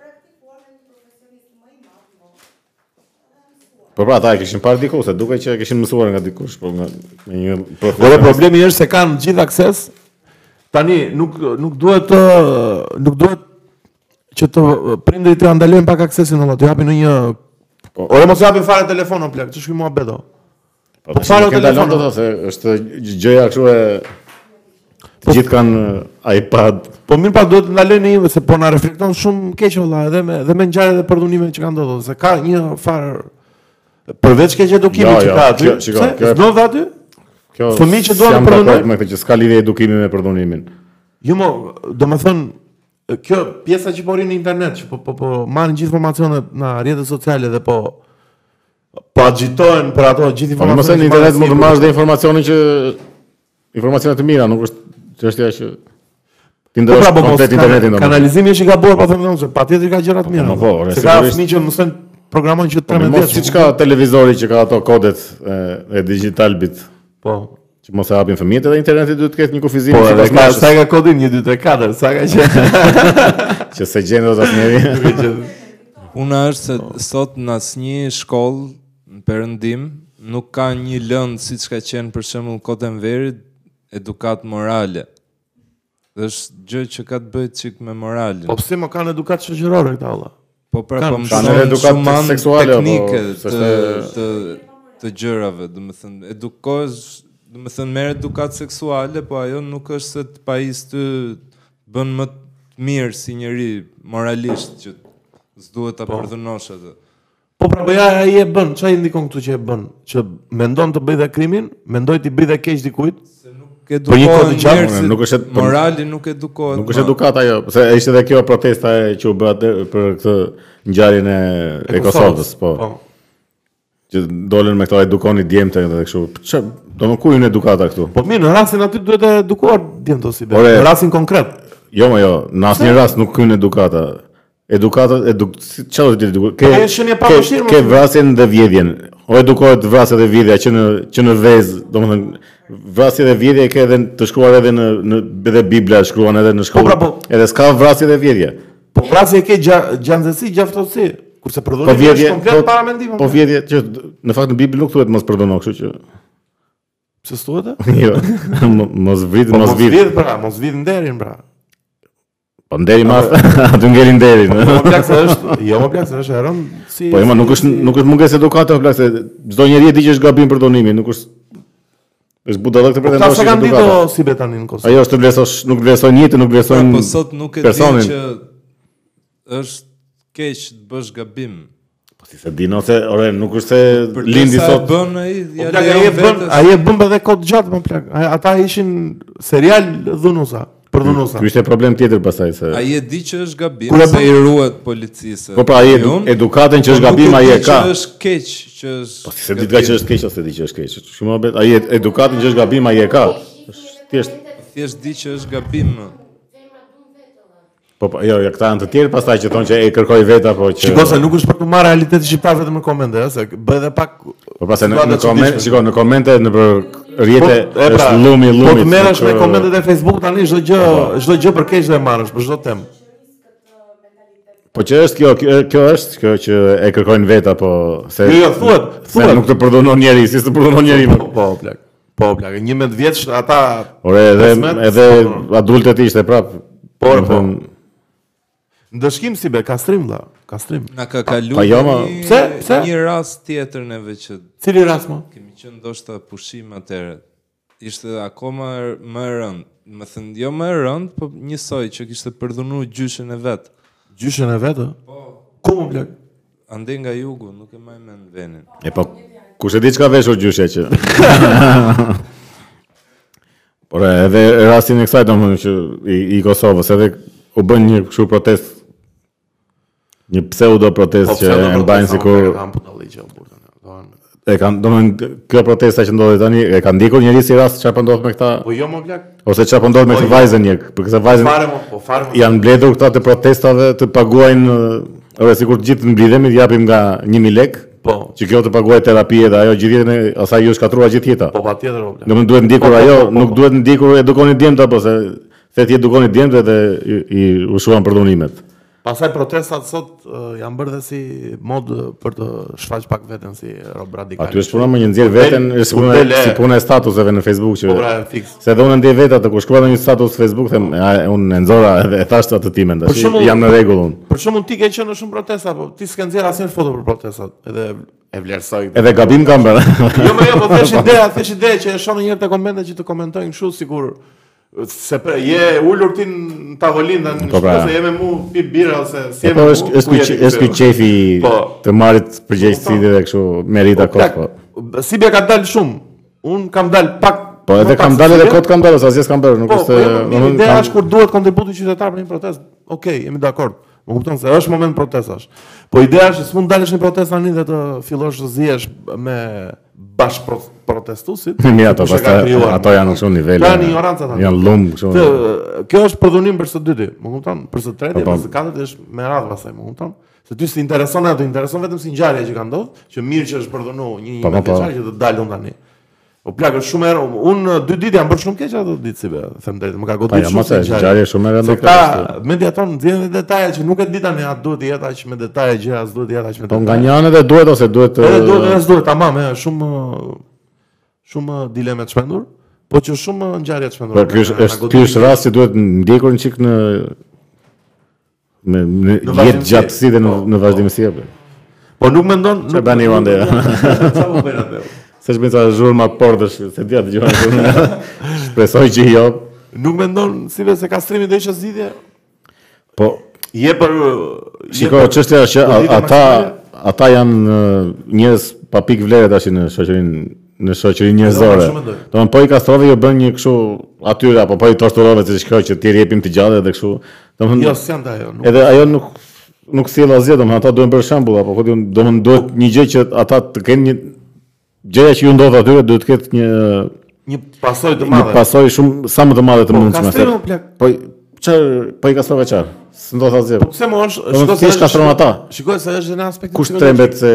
Speaker 4: Praktikuar nga një profesionist më i madh më.
Speaker 1: Po pra, ata e kishin parë diku, se duke që e kishin mësuar nga dikush, po nga me një
Speaker 2: Ore
Speaker 1: profesor.
Speaker 2: problemi është se kanë gjithë akses. Tani nuk nuk duhet të nuk duhet që të prindërit të ndalojnë pak aksesin olla, të japin në një
Speaker 1: Po.
Speaker 2: Ore mos japin fare telefonon plak, ç'është ky muhabet o.
Speaker 1: Po tash
Speaker 2: falo
Speaker 1: nuk e ndalon
Speaker 2: telefonin.
Speaker 1: dot se është gj- gjëja kështu e të gjithë kanë e, iPad.
Speaker 2: Po mirë pa duhet të ndalojnë në një se po na reflekton shumë keq olla edhe me edhe me ngjarjet dhe përdhunimet që kanë ndodhur, se ka një farë përveç keq edukimit
Speaker 1: Jo,
Speaker 2: që
Speaker 1: jo,
Speaker 2: ka aty.
Speaker 1: kjo- shiko,
Speaker 2: pse?
Speaker 1: kjo-
Speaker 2: S'do dhe aty?
Speaker 1: Kjo
Speaker 2: Fëmijë që duan
Speaker 1: jam
Speaker 2: të përdorin-
Speaker 1: dakord me këtë që s'ka lidhje edukimi me përdhunimin.
Speaker 2: Jo, mo, do më thënë, kjo pjesa që po rinë në internet, që po, po, po marrin gjithë informacionet në rrjetet sociale dhe po po agitohen për ato gjithë
Speaker 1: Po mos e në
Speaker 2: informacionet. që marrin
Speaker 1: internet mund të
Speaker 2: sipër.
Speaker 1: marrësh dhe informacionin që informacione të mira, nuk është çështja që ti
Speaker 2: Po
Speaker 1: ndrosh
Speaker 2: pra, po, po,
Speaker 1: komplet
Speaker 2: s'ka-
Speaker 1: internetin domethënë.
Speaker 2: Kanalizimi është i gabuar, po them se patjetër ka gjëra të mira.
Speaker 1: po, po, re,
Speaker 2: se ka
Speaker 1: sigurisht. Po,
Speaker 2: fëmijë që mësojnë programon që 13
Speaker 1: Mos siç ka televizori që ka ato kodet e, e digital bit
Speaker 2: Po.
Speaker 1: që mos e hapin fëmijët edhe interneti duhet të ketë një kufizim
Speaker 2: Po,
Speaker 1: sipas
Speaker 2: edhe ka
Speaker 1: mashës,
Speaker 2: sa ka kodin 1 2 3 4, sa ka që.
Speaker 1: që se gjen dot asnjëri.
Speaker 3: Puna është se sot në asnjë shkollë në perëndim nuk ka një lëndë siç ka qenë për shembull Kotën Verit edukat morale. Dhe është gjë që ka të bëjë çik me moralin.
Speaker 2: Po
Speaker 3: Po,
Speaker 2: pse më kanë edukat shoqërore këta valla?
Speaker 3: pra
Speaker 2: kanë-
Speaker 3: po
Speaker 1: kanë
Speaker 3: mëson
Speaker 1: edhe edukat
Speaker 3: shumë anë
Speaker 1: seksuale, apo
Speaker 3: teknike të,
Speaker 1: s'është-
Speaker 3: të të gjërave, do të thënë edukohesh, do të thënë merr edukat seksuale, po ajo nuk është se të pajis ty bën më të mirë si njeri moralisht që s'duhet ta përdhunosh atë.
Speaker 2: Po pra bëja ai e bën, çai ndikon këtu që e bën, që mendon të bëj dhe krimin, mendoj të bëj dhe keq dikujt.
Speaker 3: Se nuk edukohen
Speaker 2: kohë të gjatë,
Speaker 3: njerëzit,
Speaker 1: nuk është- po-
Speaker 3: morali nuk edukohet. po-
Speaker 1: Nuk
Speaker 2: po.
Speaker 1: është
Speaker 3: ma.
Speaker 1: edukat ajo, se ishte edhe kjo protesta e që u bë atë për këtë ngjarjen e, e Kosovës, po. Që dolën me këto edukoni djemtë edhe kështu. Çë, do më ku jun edukata këtu?
Speaker 2: Po mirë, në rastin aty duhet të edukuar djemë si be.
Speaker 1: Ore.
Speaker 2: Në rastin konkret.
Speaker 1: Jo, ma jo, në asnjë rast nuk hyn edukata. Edukata, eduk, si- çfarë është edukata? Ke
Speaker 2: Ajo është shënje pa vështirë, më
Speaker 1: Ke
Speaker 2: thua.
Speaker 1: vrasjen dhe vjedhjen. O edukohet vrasja dhe vjedhja që në që në vezë, domethënë vrasja dhe vjedhja e ke edhe në- të shkruar edhe në në edhe Bibla e shkruan edhe në shkollë.
Speaker 2: pra, po.
Speaker 1: Edhe s'ka vrasje dhe vjedhje.
Speaker 2: Po vrasje e ke gja, gjanzësi, gjaftotësi. Kurse
Speaker 1: Po
Speaker 2: prodhurimi
Speaker 1: vjedhje,
Speaker 2: është komplet
Speaker 1: po-
Speaker 2: para mendimit.
Speaker 1: po vjedhje që d- në fakt në Bibël nuk thuhet mos përdono, kështu që
Speaker 2: pse thuhet? e?
Speaker 1: jo, mo- mos vrit,
Speaker 2: Po
Speaker 1: mos vrit.
Speaker 2: pra, mos vidh nderin pra.
Speaker 1: Po nderi mas, aty ngelin derin.
Speaker 2: Po më plak se është, jo më plak se është e rënd si
Speaker 1: Po ema nuk është nuk është mungesë edukate, plak se çdo njeri e di që është gabim për donimin, nuk është është budallë këtë
Speaker 2: Po, Ta
Speaker 1: pretendon
Speaker 2: se
Speaker 1: që
Speaker 2: kanë
Speaker 1: është
Speaker 2: ditë
Speaker 1: edukata.
Speaker 2: o si be tani në Kosovë.
Speaker 1: Ajo është të vlesosh, nuk vlesojnë jetën, nuk
Speaker 3: Pra,
Speaker 1: vlesojnë
Speaker 3: po sot nuk e di
Speaker 1: personin.
Speaker 3: që është keq të bësh gabim.
Speaker 1: Po si se din ose ore, nuk është se
Speaker 3: Për
Speaker 1: lindi
Speaker 3: sa e
Speaker 1: sot.
Speaker 3: bën ai,
Speaker 2: Po
Speaker 3: ja
Speaker 2: plak, ai e bën, ai e bën edhe kod gjatë më plak. Ai- Ata ishin serial dhunusa, për dhunusa.
Speaker 1: Ky ishte problem tjetër pastaj se.
Speaker 3: Ai e di që është gabim,
Speaker 2: Kur e
Speaker 3: se
Speaker 2: bën-
Speaker 3: i ruhet policisë.
Speaker 1: Po pra ai edu-
Speaker 3: Unë,
Speaker 1: edukatën që
Speaker 3: po
Speaker 1: është
Speaker 3: nuk
Speaker 1: gabim
Speaker 3: e
Speaker 1: ai
Speaker 3: di
Speaker 1: e ka.
Speaker 3: Që është keq, që është.
Speaker 1: Po si se ditë ka që është keq ose di që është keq. Shumë mohabet, ai e- edukatën që është gabim ai e ka. Është Thjesht
Speaker 3: thjesht di që është gabim. më.
Speaker 1: po po, jo, ja këta janë të tjerë pastaj që thonë që e kërkoj vetë apo që
Speaker 2: Shiko se nuk është për të marrë realitetin shqiptar vetëm në komente, ëh, se bëhet edhe pak
Speaker 1: Po pastaj në,
Speaker 2: situata
Speaker 1: në
Speaker 2: që
Speaker 1: komente,
Speaker 2: dishme.
Speaker 1: shiko, në komente në për
Speaker 2: Po,
Speaker 1: rrjete
Speaker 2: e pra,
Speaker 1: është lumi lumi.
Speaker 2: Po të merresh me komentet e Facebook tani çdo gjë, çdo gjë për keq dhe e marrësh për çdo temë.
Speaker 1: Po që është kjo, kjo, kjo është kjo që e kërkojnë vetë apo se
Speaker 2: Jo, jo, thuhet,
Speaker 1: se
Speaker 2: thuhet.
Speaker 1: nuk të përdonon njeri, si të përdonon njeri.
Speaker 2: Po, po, plak. Po, plak, 11 vjeç ata
Speaker 1: Ore, edhe
Speaker 2: Pesmet, po.
Speaker 1: edhe adultët ishte prap.
Speaker 2: Por,
Speaker 1: do të
Speaker 2: po.
Speaker 1: thënë,
Speaker 2: ndëshkim si be kastrim vlla, kastrim.
Speaker 3: Na ka kaluar
Speaker 1: pa jo, ma,
Speaker 3: një-
Speaker 2: pse, pse?
Speaker 3: një rast tjetër neve që
Speaker 2: Cili rast më?
Speaker 3: Kemi qenë ndoshta pushim atëherë. Ishte akoma r- më e rënd. Më thënë, jo më e rënd, po njësoj që kishte përdhunu gjyshin e vet.
Speaker 2: Gjyshin e vetë? Po. Ku më plak?
Speaker 3: ande nga jugu, nuk e maj mend venin.
Speaker 1: E po, kush e di çka veshur gjyshja që. Por e, edhe rastin e kësaj domethënë që i, i Kosovës edhe u bën një kështu protestë një pseudo protestë
Speaker 2: Po,
Speaker 1: që e po, mbajnë sikur
Speaker 2: Kam punë dalli që burtën. domethënë.
Speaker 1: e kanë domethënë kjo protesta që ndodhi tani e kanë ndikur njerëz si rast çfarë po ndodh me këta
Speaker 2: Po jo më blak.
Speaker 1: ose çfarë po ndodh me
Speaker 2: Po,
Speaker 1: këtë
Speaker 2: jo.
Speaker 1: vajzën një, për këtë vajzën
Speaker 2: Fare më, po fare më.
Speaker 1: janë mbledhur këta të protestave të paguajnë ë, ore sikur të gjithë mbledhemi të japim nga 1000 lekë,
Speaker 2: Po.
Speaker 1: që kjo të paguaj terapi edhe ajo gjithë jetën e asaj ju shkatrua gjithë jeta.
Speaker 2: Po patjetër më blak.
Speaker 1: Do më duhet ndikur
Speaker 2: Po, po,
Speaker 1: ajo,
Speaker 2: po, po,
Speaker 1: nuk
Speaker 2: po.
Speaker 1: duhet ndikur edukoni djemt apo se se ti edukoni djemt dhe i, i ushuan për dhunimet.
Speaker 2: Pastaj protestat sot ë, janë bërë dhe si mod ë, për të shfaq pak veten si rob radikal.
Speaker 1: Aty është puna më një nxjerr veten,
Speaker 2: Del-
Speaker 1: është puna
Speaker 2: del e-
Speaker 1: si puna e statuseve në Facebook që
Speaker 2: Po pra e fiks.
Speaker 1: se edhe unë ndjej vetë atë kur shkruaj në një status Facebook them "A, unë e nxora edhe e thash atë timen tash.
Speaker 2: Për shembull-
Speaker 1: Jam në rregull unë.
Speaker 2: Për shembull ti ke qenë në shumë protesta, po ti s'ke nxjerr asnjë foto për protestat. Edhe e vlerësoj.
Speaker 1: Edhe gabim kam bërë.
Speaker 2: Jo, më jo, po thësh ideja, thësh ide që e shoh një herë te komente që të komentojnë kështu sikur se pre, je ulur ti në tavolinë tani
Speaker 1: Po, pra.
Speaker 2: shiko se je me mu pi birë ose si
Speaker 1: E
Speaker 2: je
Speaker 1: po
Speaker 2: me mu.
Speaker 1: është është ky qe- është ky qefi
Speaker 2: jo, Po.
Speaker 1: të marrit përgjegjësi dhe kështu merita kot po.
Speaker 2: Sibia ka dalë shumë. Un kam dalë pak
Speaker 1: Po edhe
Speaker 2: më pak
Speaker 1: kam
Speaker 2: se
Speaker 1: dalë edhe
Speaker 2: Sibia.
Speaker 1: kot kam dalë, se asgjë s'kam bërë, nuk
Speaker 2: Po,
Speaker 1: është
Speaker 2: po, jo, po,
Speaker 1: domethënë,
Speaker 2: ideja
Speaker 1: kam-
Speaker 2: është kur duhet kontributi qytetar për një protestë. Okej, jemi dakord. Më kupton se është moment protestash. Po ideja është s'mund dalësh në protestë tani dhe të fillosh të zihesh me bash protestuesit.
Speaker 1: Mirë ato,
Speaker 2: Kush e ka
Speaker 1: pastaj
Speaker 2: krijuar,
Speaker 1: ato
Speaker 2: më
Speaker 1: janë në shumë nivele.
Speaker 2: Kanë ignorancë ata.
Speaker 1: Janë lumë kështu.
Speaker 2: Të, kjo është përdhunim për së dyti, më kupton? Për së treti,
Speaker 1: Po, po.
Speaker 2: për së katërt është me radhë pastaj, më kupton? Se ty si intereson ato, intereson vetëm si ngjarja që ka ndodhur, që mirë që është përdhunu një
Speaker 1: Po, po,
Speaker 2: një
Speaker 1: po.
Speaker 2: mesaçar që të dalë unë tani. Po plak është shumë erë, unë uh, dy ditë jam bërë shumë keq ato ditë si be, them drejtë, më ka
Speaker 1: Pa
Speaker 2: godit
Speaker 1: Po, ja,
Speaker 2: shumë
Speaker 1: mos e
Speaker 2: si ngjarje.
Speaker 1: ngjarje shumë e
Speaker 2: Se
Speaker 1: rëndë.
Speaker 2: këta media tonë nxjerrin dhe detaje që nuk e di tani, a duhet të jetë aq me detaje gjëra, as duhet të jetë aq me
Speaker 1: Po
Speaker 2: detaje.
Speaker 1: nga një anë edhe duhet ose duhet të
Speaker 2: Edhe duhet edhe s'duhet, tamam, e, shumë shumë uh, dileme të shpendur, po që shumë ngjarje të shpendur.
Speaker 1: Po ky është- është ky është rasti duhet ndjekur një çik në në, në jetë
Speaker 2: vazhdimsi.
Speaker 1: gjatësi dhe në,
Speaker 2: Po,
Speaker 1: në vazhdimësi apo.
Speaker 2: Po nuk mendon
Speaker 1: Çe
Speaker 2: nuk
Speaker 1: bani vande.
Speaker 2: Çfarë po bën atë?
Speaker 1: Se shpënë sa zhurmë ma portësh, se dia dëgjoj. Shpresoj që jo.
Speaker 2: Nuk mendon si vetë se kastrimi do ishte zgjidhje?
Speaker 1: Po
Speaker 2: Je për
Speaker 1: shiko
Speaker 2: po,
Speaker 1: çështja është që a-
Speaker 2: Politika
Speaker 1: ata
Speaker 2: maksimale.
Speaker 1: ata janë ë, njerëz pa pikë vlere tash në shoqërinë në shoqërinë njerëzore.
Speaker 2: shumë mendoj.
Speaker 1: Domthon po i kastrove jo bën një kështu atyre apo po i torturove se shkoj që ti rjepim të gjallë dhe kështu. Domthon
Speaker 2: jo s'jan ajo. Nuk
Speaker 1: Edhe ajo nuk nuk sjell asgjë, domethënë ata duhen për shembull apo ku diun, domethënë duhet një gjë që ata të kenë një gjëja që ju ndodh atyre duhet të ketë një
Speaker 2: një pasojë të
Speaker 1: një
Speaker 2: madhe.
Speaker 1: pasojë shumë sa më të madhe të
Speaker 2: Po,
Speaker 1: mundshme.
Speaker 2: kastrimi
Speaker 1: se-
Speaker 2: o plak.
Speaker 1: Po çfarë po i kastrove çfarë? S'ndodh asgjë.
Speaker 2: Po pse më është? shiko se
Speaker 1: thjesht
Speaker 2: është-
Speaker 1: kastron ata.
Speaker 2: Shikoj se është në aspekt
Speaker 1: Kush trembet se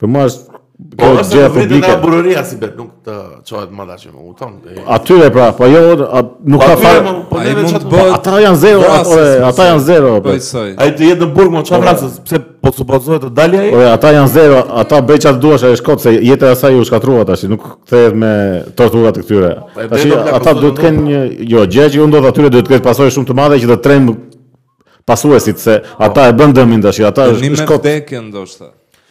Speaker 1: për mua është
Speaker 2: Po
Speaker 1: kjo
Speaker 2: është
Speaker 1: gjë
Speaker 2: gjë publike.
Speaker 1: publike.
Speaker 2: Nga bururia si bet nuk të çohet më dashje, më kupton? E-
Speaker 1: Atyre pra, po jo a- nuk
Speaker 2: Po
Speaker 1: ka
Speaker 2: atyre,
Speaker 1: fare.
Speaker 2: më, po
Speaker 3: Ai
Speaker 2: neve
Speaker 3: mund
Speaker 2: çat
Speaker 3: të
Speaker 2: po
Speaker 3: bëhet-
Speaker 1: Ata janë zero,
Speaker 3: Vrasës,
Speaker 1: ore,
Speaker 3: më
Speaker 1: ata
Speaker 3: thënë.
Speaker 1: janë zero.
Speaker 3: Po
Speaker 1: po.
Speaker 3: i soj.
Speaker 2: Ai të jetë në burg më çfarë vrasës, pse po supozohet të dalë ai?
Speaker 1: Ore, ata janë zero, ata bëj çfarë duash e shkop se jeta e asaj u shkatrua tash, nuk kthehet me tortura të këtyre.
Speaker 2: Po, e
Speaker 1: Tash
Speaker 2: drejtë, bla,
Speaker 1: ata
Speaker 2: po,
Speaker 1: duhet të kenë një jo, gjë që u ndodh atyre duhet të ketë pasojë shumë të madhe që të tremb pasuesit se ata e bën dëmin tash, ata
Speaker 3: Një me
Speaker 1: shkop.
Speaker 3: vdekje ndoshta.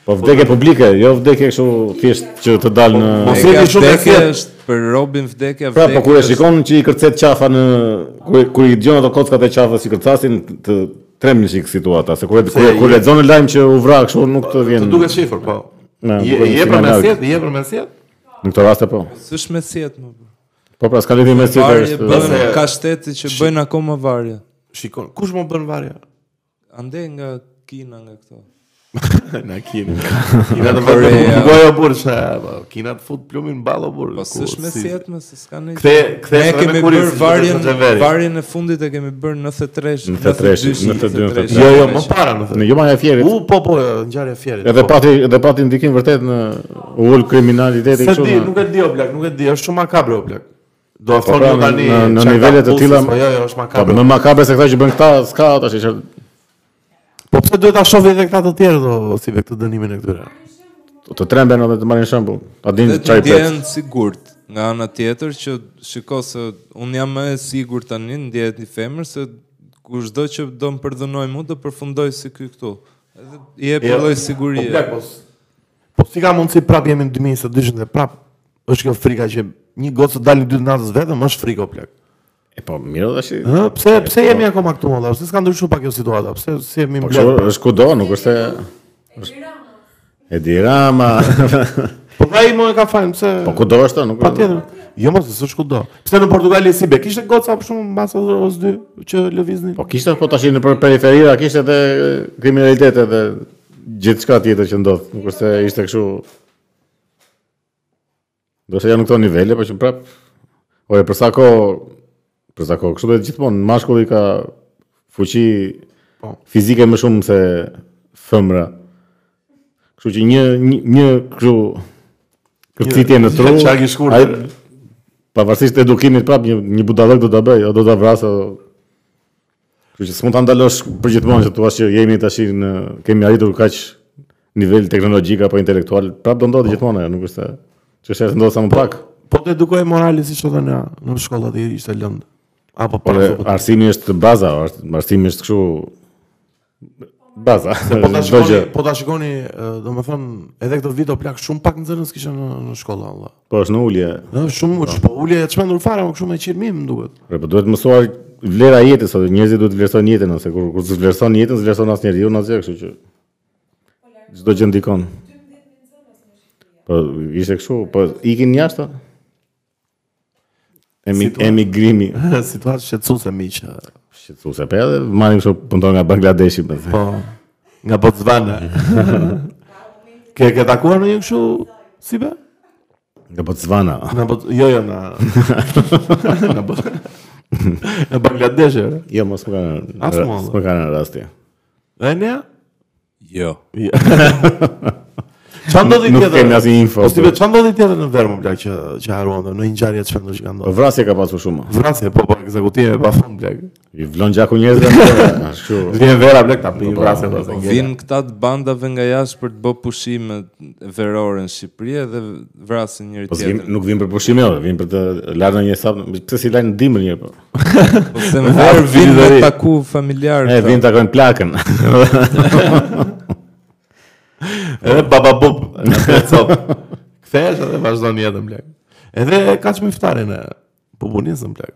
Speaker 1: Po vdekje publike, jo vdekje kështu thjesht që të dalë në
Speaker 2: Po,
Speaker 3: E
Speaker 2: se di
Speaker 3: ka
Speaker 2: shumë e
Speaker 3: vdekje
Speaker 2: thjeshtë.
Speaker 3: është për Robin vdekja
Speaker 1: Pra,
Speaker 3: vdekje.
Speaker 1: po kur e
Speaker 3: është-
Speaker 1: shikon që i kërcet qafa në kur kur i dëgjon ato kockat e qafës që kërcasin të tremb një çik situata, se kur e- kur e- kur lexon në lajm që u vra kështu nuk të vjen.
Speaker 2: Të duket shifër, po.
Speaker 1: Na,
Speaker 2: Je
Speaker 1: duket
Speaker 2: je
Speaker 1: shumë
Speaker 2: për
Speaker 1: larg.
Speaker 2: mesjet, je për mesjet?
Speaker 1: Në këtë rast po.
Speaker 3: S'është me sjetë më. bro.
Speaker 1: Po pra, s'ka lidhje me tjetër.
Speaker 3: Varje
Speaker 1: është-
Speaker 3: bëhen
Speaker 2: Nëse-
Speaker 3: ka shteti që bëjnë akoma varje.
Speaker 2: Shikon, kush më bën varje?
Speaker 3: Ande nga Kina nga këto.
Speaker 2: Na Kinë. Kina të vërë
Speaker 3: Korea.
Speaker 2: gojo burë që po, Kina të fut plumin ballo burë.
Speaker 3: Po s'është me sjetë më, se s'ka ne.
Speaker 2: Kthe kthe
Speaker 3: Ne
Speaker 2: se
Speaker 3: kemi
Speaker 2: kurin,
Speaker 3: bërë
Speaker 2: si
Speaker 3: varjen,
Speaker 2: qytetarët e Xheverit.
Speaker 3: varjen e fundit e kemi bërë 93,
Speaker 1: 93, 92,
Speaker 3: 93.
Speaker 2: Jo, jo, më para në
Speaker 1: Në
Speaker 2: thënë.
Speaker 1: Jumaja e Fjerit.
Speaker 2: U po po ngjarja e fjerit.
Speaker 1: jo. Edhe
Speaker 2: po.
Speaker 1: pati edhe pati ndikim vërtet në u ul kriminaliteti
Speaker 2: se
Speaker 1: kështu.
Speaker 2: di,
Speaker 1: në-
Speaker 2: nuk e di o blak, nuk e di, është shumë makabre o blak. Do të
Speaker 1: pra,
Speaker 2: thonë jo
Speaker 1: në-
Speaker 2: tani
Speaker 1: në- në
Speaker 2: çka
Speaker 1: nivele të
Speaker 2: ka
Speaker 1: tilla-
Speaker 2: pulsis, Po jo, jo, është
Speaker 1: Po
Speaker 2: makabre.
Speaker 1: më makabre se këta që bën këta, s'ka tash që
Speaker 2: Po pse duhet ta shohë edhe këta të tjerë do si me këtë dënimin e këtyre?
Speaker 1: të tremben edhe të marrin shembull. A din
Speaker 3: Dhe të
Speaker 1: çaj pret.
Speaker 3: ndjenë sigurt nga ana tjetër që shiko se unë jam më e sigurt tani ndjehet një femër se kushdo që do më përdhënoj mua do përfundoj si ky këtu. Edhe i jep një lloj sigurie.
Speaker 2: Po blak, po. s- Po si ka mundsi prap jemi në 2022 dhe prap është kjo frika që një gocë të dalë në dy të natës vetëm është frikë o plak.
Speaker 1: E po, mirë tash.
Speaker 2: Ë, pse pse jemi akoma këtu më Pse s'ka ndryshuar pak kjo situata? Pse si jemi
Speaker 1: Po,
Speaker 2: mbledhur?
Speaker 1: kështu është kudo, nuk është e Edi Rama.
Speaker 2: Po pra i më e ka fajin, pse?
Speaker 1: po kudo është, nuk
Speaker 2: Patjetër. Jo mos s'është kudo. Pse në Portugali si be? Kishte goca për shumë mbas orës 2 që lëviznin.
Speaker 1: Po kishte po tash në për periferira kishte edhe kriminalitet edhe gjithçka tjetër që ndodh. Nuk është se ishte kështu. Do të janë në këto nivele, po që prap. Ore, për sa kohë, për sa kohë, kështu dhe gjithmonë mashkulli ka fuqi
Speaker 2: Po.
Speaker 1: fizike më shumë se femra. Kështu që një një, një kështu kërcitje në tru,
Speaker 2: Çfarë ke shkurtë?
Speaker 1: ai pavarësisht edukimit prap një një budallëk do ta bëj, o do ta vrasë. o- Kështu që s'mund ta ndalosh për gjithmonë që thua që jemi tash në kemi arritur kaq nivel teknologjik apo intelektual, prap do ndodhi gjithmonë, ajo, nuk është se çështja është ndodh sa më pak.
Speaker 2: Po të edukoj moralin siç thonë na në shkolla dhe ishte lënd. Apo po.
Speaker 1: Por arsimi është baza, o, është arsimi është kështu baza.
Speaker 2: Po ta
Speaker 1: çdo gjë.
Speaker 2: shikoni, po ta shikoni, ë, domethënë, edhe këtë video plak shumë pak nxënës kisha në, në shkolla valla.
Speaker 1: Po është në ulje.
Speaker 2: Ë, shumë po ulje e çmendur fare, më shumë me qirmim më duket.
Speaker 1: Re, po duhet mësuar vlera e jetës, ose njerëzit duhet të vlerësojnë jetën, ose kur kur vlerëson jetën, vlerëson as njeriu, as gjë, kështu që çdo gjë ndikon. Po ishte kështu, po ikin jashtë. Emi, emigrimi.
Speaker 2: Situatë shqetësuese miq. ë.
Speaker 1: Shqetësuese pe edhe marrin kështu punton nga Bangladeshi me thënë.
Speaker 2: Po. Nga Botswana. ke ke takuar në një kështu si be?
Speaker 1: Nga Botswana.
Speaker 2: Në Bot jo jo në në Bot në Bangladesh. e,
Speaker 1: Jo, mos më kanë.
Speaker 2: As mua,
Speaker 1: As më kanë rasti.
Speaker 2: E ne?
Speaker 3: Jo.
Speaker 2: Çfarë ndodhi
Speaker 1: Nuk
Speaker 2: tjetër?
Speaker 1: kemi asnjë info.
Speaker 2: Po si be çfarë ndodhi tjetër në verë më plak që që haruam dhe në një ngjarje të çfarë që ka
Speaker 1: Po
Speaker 2: ndodhur.
Speaker 1: vrasje ka pasur shumë.
Speaker 2: Vrasje po po ekzekutime pa fund plak.
Speaker 1: I vlon gjaku njerëzve. po, Kështu.
Speaker 2: Vjen vera plak ta pini vrasje pas.
Speaker 3: Vinë këta të bandave nga jashtë për të bë pushime verore në Shqipëri dhe vrasin njëri
Speaker 1: Po s'vim,
Speaker 3: tjetrin.
Speaker 1: nuk vim për pushime, ore, vim për të larë në një sap, pse si lajnë dimër një po.
Speaker 3: Po se më verë vinë me
Speaker 1: Vindëri.
Speaker 3: taku familjar.
Speaker 1: E
Speaker 3: këta.
Speaker 1: vim takojnë plakën.
Speaker 2: Edhe baba bob. Cop. Kthehesh edhe vazhdon jetën plak. Edhe kaç më ftare në po bunisëm plak.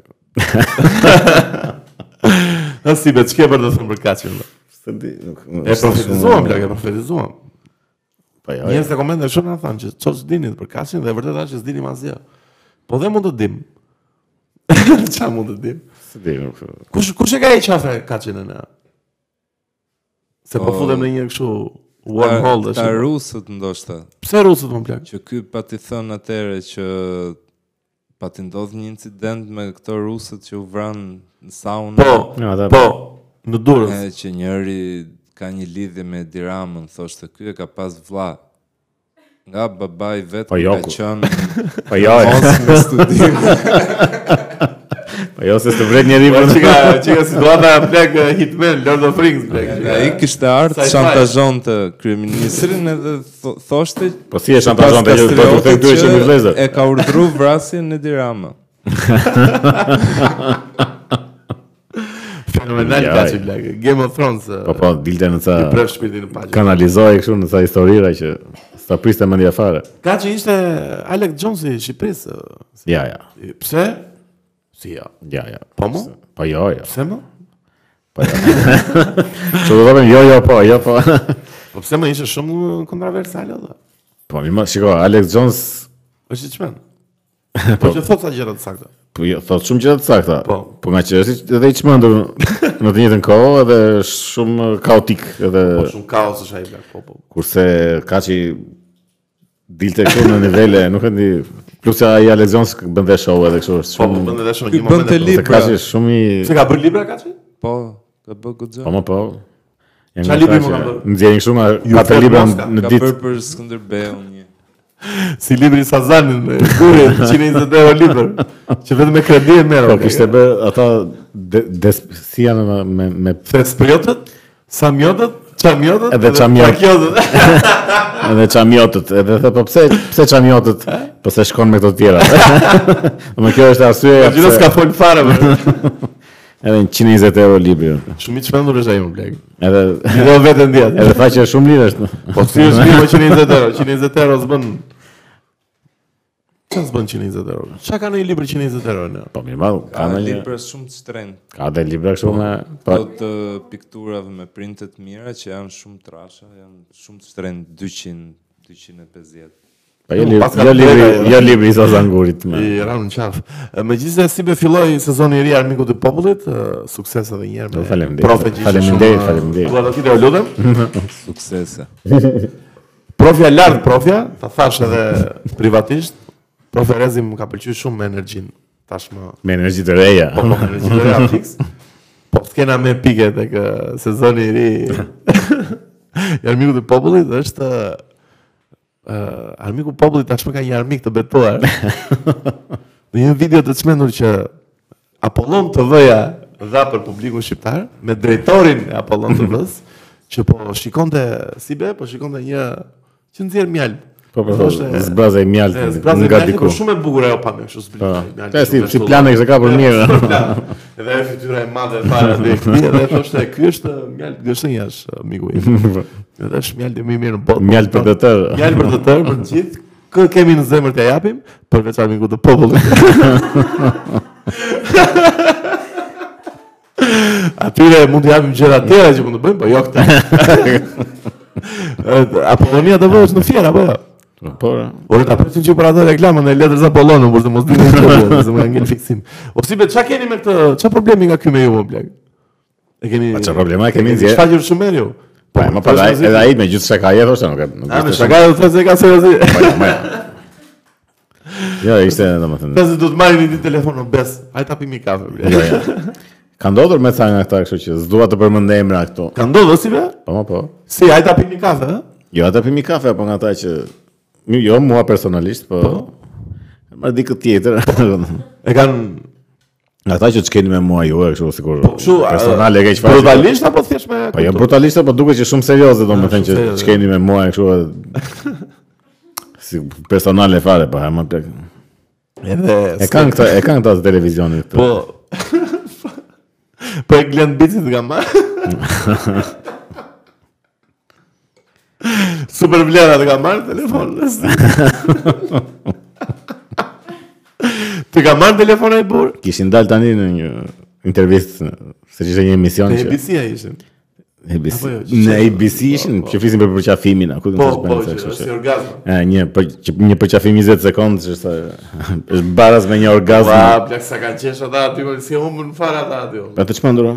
Speaker 2: Ha si be çke për të thënë për kaçin. be?
Speaker 1: Se di, nuk.
Speaker 2: E profetizuam plak, e profetizuam.
Speaker 1: Po jo.
Speaker 2: Njerëz të komente shumë na thanë që ços dini për kaçin dhe vërtet as që s'dini asgjë. Po dhe mund të dim. Çfarë mund të dim?
Speaker 1: Se di, nuk.
Speaker 2: Kush kush e ka e qafre kaçin në? Se po
Speaker 3: O,
Speaker 2: futem në një kështu
Speaker 3: Ta-
Speaker 2: wormhole
Speaker 3: Ta
Speaker 2: tash.
Speaker 3: rusët ndoshta.
Speaker 2: Pse rusët po, më plak?
Speaker 3: Që ky pati thënë atëre që pati ndodh një incident me këto rusët që u vranë në sauna.
Speaker 2: Po,
Speaker 1: Ja, ata-
Speaker 2: po, në Durrës.
Speaker 3: E që njëri ka një lidhje me Diramën, thoshte ky e ka pas vlla. Nga babai vetë
Speaker 1: Po jo,
Speaker 3: ka
Speaker 1: ku-
Speaker 3: qenë
Speaker 1: Po jo. e.
Speaker 3: mos me studim.
Speaker 1: Po jo se të vret njeriu.
Speaker 2: Po çka, çka situata plak eh, Hitman Lord of Rings plak.
Speaker 3: Nga i kishte ardhë,
Speaker 2: Sci-fi.
Speaker 3: shantazhon të kryeministrin edhe tho- thoshte
Speaker 1: Po si e shantazhon të gjithë
Speaker 3: Kastrioti
Speaker 1: do të këtyre që mi vlezër.
Speaker 3: E ka urdhru vrasjen në Dirama.
Speaker 2: Fenomenal
Speaker 1: Ja,
Speaker 2: kaçi
Speaker 1: ja.
Speaker 2: plak. Game of Thrones. eh,
Speaker 1: Po po, dilte në ca
Speaker 2: I pref shpirtin në paqe.
Speaker 1: kanalizoi kështu në ca historira që sa priste mendja fare.
Speaker 2: Kaçi ishte Alex Jonesi i Shqipërisë. eh,
Speaker 1: Ja, ja.
Speaker 2: si- Pse? Si ja.
Speaker 1: Ja, ja.
Speaker 2: Po mo?
Speaker 1: Po jo, jo.
Speaker 2: Pse më?
Speaker 1: Ço do të them jo, jo, po, jo, po.
Speaker 2: Po pse më ishte shumë kontroversale dhe.
Speaker 1: Po mi më shiko, Alex Jones
Speaker 2: Është i çmen. Po që thot sa gjëra të sakta.
Speaker 1: Po jo, thot shumë gjëra të sakta.
Speaker 2: Po.
Speaker 1: po nga që është edhe i çmendur në të njëjtën kohë edhe shumë kaotik edhe
Speaker 2: Po, Shumë kaos është ai plak. Po po.
Speaker 1: kurse kaçi dilte këtu në nivele, nuk e di, plus ja i Alexion bën dhe show edhe kështu është
Speaker 2: Po po
Speaker 1: shumë.
Speaker 2: bën edhe shumë
Speaker 3: Ky
Speaker 2: një
Speaker 3: bën të
Speaker 2: moment.
Speaker 1: Se
Speaker 3: libra.
Speaker 1: kaçi është shumë i
Speaker 2: Pse ka bërë libra kaçi?
Speaker 3: Po, ka bë goxha.
Speaker 1: po më po. Jemi
Speaker 2: Qa libri
Speaker 1: ata që
Speaker 2: më ka bërë?
Speaker 1: Nxjerrin kështu nga
Speaker 2: Ju
Speaker 1: katër
Speaker 2: flet
Speaker 1: libra
Speaker 2: Moska.
Speaker 1: Po, në
Speaker 3: Ka
Speaker 1: ditë.
Speaker 3: bërë për Skënderbeun një.
Speaker 2: Si libri Sazanin, e, Guri, 120 euro libër, që vetëm me kredi e merr.
Speaker 1: Po
Speaker 2: plak.
Speaker 1: kishte bë ata de- des si janë me me, me
Speaker 2: Thespriotët, Samjotët, Çamjotët
Speaker 1: Edhe Çamjotët.
Speaker 2: Trakiotët.
Speaker 1: edhe çamiotët, edhe the po pse pse çamiotët? Po se shkon me këto të tjera. Më kjo është arsyeja.
Speaker 2: Gjithë
Speaker 1: pse-
Speaker 2: Po, s'ka fol fare më.
Speaker 1: Edhe në 120 euro libri.
Speaker 2: Shumë i çmendur është ai më blek.
Speaker 1: Edhe
Speaker 2: Do vetën diet.
Speaker 1: edhe tha që është shumë lirë është.
Speaker 2: Po si është libri 120 euro, 120 euro s'bën. Çfarë s'bën 120 euro? Çka ka në një libër 120 euro? në?
Speaker 1: Po mirë, madhu,
Speaker 3: Ka
Speaker 1: ka në një...
Speaker 3: libra shumë të shtrenjtë,
Speaker 1: Ka dhe libra kështu me... Po,
Speaker 3: plot të pikturave me printet mira që janë shumë trasha, janë shumë të shtrenjtë, 200, 250.
Speaker 1: po jo libri,
Speaker 2: pas ka
Speaker 1: jo libri,
Speaker 2: libra-
Speaker 1: jo libri i Sazangurit me...
Speaker 2: I ranë në qafë. E, Me gjithse si be filloj sezoni i ri armiku të popullit, e, sukses edhe njerë me
Speaker 1: Po, faleminderit.
Speaker 2: profe gjithë
Speaker 1: Faleminderit, faleminderit.
Speaker 2: Dua të kite o lutëm.
Speaker 3: Suksese.
Speaker 2: Profja lartë profja, ta thash edhe privatisht. Profe Rezi më ka pëlqy shumë me energjinë. Tash më
Speaker 1: Me energji të reja.
Speaker 2: po me energjinë reja fix. Po s'kena me pike tek e, sezoni i ri. I armiku të popullit është uh, armiku i popullit tashmë ka një armik të betuar. Në një video të çmendur që Apollon TV-ja dha për publikun shqiptar me drejtorin e Apollon TV-s që po shikonte si be, po shikonte një që nxjerr mjalë.
Speaker 1: Po, po, po, zbrazaj mjaltë
Speaker 2: E, zbrazë
Speaker 1: nga
Speaker 2: nga
Speaker 1: diku.
Speaker 2: Po shumë e bukur ajo pa me kështu zbrazë. mjalë,
Speaker 1: Ka si,
Speaker 2: shumë
Speaker 1: si
Speaker 2: ashtu.
Speaker 1: plane kështë ka për mirë.
Speaker 2: Edhe e fytyra e madhe e fare aty e këtij edhe thoshte ky është mjalë gëshinjash miku im. Edhe është mjalë më i mirë në botë.
Speaker 1: Mjalë për të tërë.
Speaker 2: Mjalë për të tërë për të gjithë. Kë kemi në zemër t'ja japim përveç armikut të popullit. Atyre mund të japim gjëra tjera që mund të bëjmë, po jo këtë. Apollonia do vësh në fjerë apo jo?
Speaker 1: Po,
Speaker 2: Ore ta presim që para reklamën e letrës Apollonën, por të mos dinë çfarë, se më kanë ngel fiksim. O si be çka keni me këtë? Çfarë problemi nga ky me ju më blaq? E keni
Speaker 1: Pa, çfarë problema e keni nxjerr?
Speaker 2: Shfaqur shumë herë ju.
Speaker 1: po, e më pa ai- edhe ai me gjithë se ka jetë, thoshte, nuk e... nuk
Speaker 2: A me
Speaker 1: ishte
Speaker 2: shaka do të thënë se ka seriozi.
Speaker 1: Po, jo, më- Jo, ishte, domethënë.
Speaker 2: Pse do të marrin një ditë telefon obes. Hajde ta pimi kafe
Speaker 1: Jo,
Speaker 2: blaq.
Speaker 1: jo. Ka ndodhur me ca nga këta, kështu që s'dua të përmend emra këtu.
Speaker 2: Ka ndodhur si be?
Speaker 1: Po, ma, po.
Speaker 2: Si hajde ta pimi kafe, ë?
Speaker 1: Jo, ata pimi kafe apo nga ata që Mi- jo mua personalisht, po marr dikë tjetër.
Speaker 2: E kanë
Speaker 1: Nga ata që çkeni me mua ju, e kështu sikur.
Speaker 2: Po, kështu a-
Speaker 1: personale e ke çfarë?
Speaker 2: brutalisht apo thjesht me
Speaker 1: Po jo brutaliste, po duket që shumë serioze domethënë që
Speaker 2: shumë serioze.
Speaker 1: çkeni me mua e kështu e- si personale fare, po ha më plak.
Speaker 2: Edhe
Speaker 1: E kanë këta, e kanë këta të televizionit. këtu.
Speaker 2: po Po e glen bicit nga ma Super vlera të ka marrë telefon Të ka marrë telefon e i burë
Speaker 1: Kishin dalë tani në një intervistë, në- se që ishte një emision
Speaker 2: Në
Speaker 1: që...
Speaker 2: ABC-a ishin
Speaker 1: ABC.
Speaker 2: Apo jo, që
Speaker 1: Në
Speaker 2: që-
Speaker 1: ABC ishin,
Speaker 2: po, po.
Speaker 1: që flisin për përqafimin, a ku do të
Speaker 2: Po,
Speaker 1: thosh
Speaker 2: po,
Speaker 1: bërë
Speaker 2: që
Speaker 1: kështu
Speaker 2: është
Speaker 1: që.
Speaker 2: orgazm
Speaker 1: E, një, për, që, një përqafim 20 sekundë, që është, është baras me një orgazm.
Speaker 2: Ua, plak sa kanë qesh ata aty, më si humbën fara ata aty.
Speaker 1: Pa të çmendura.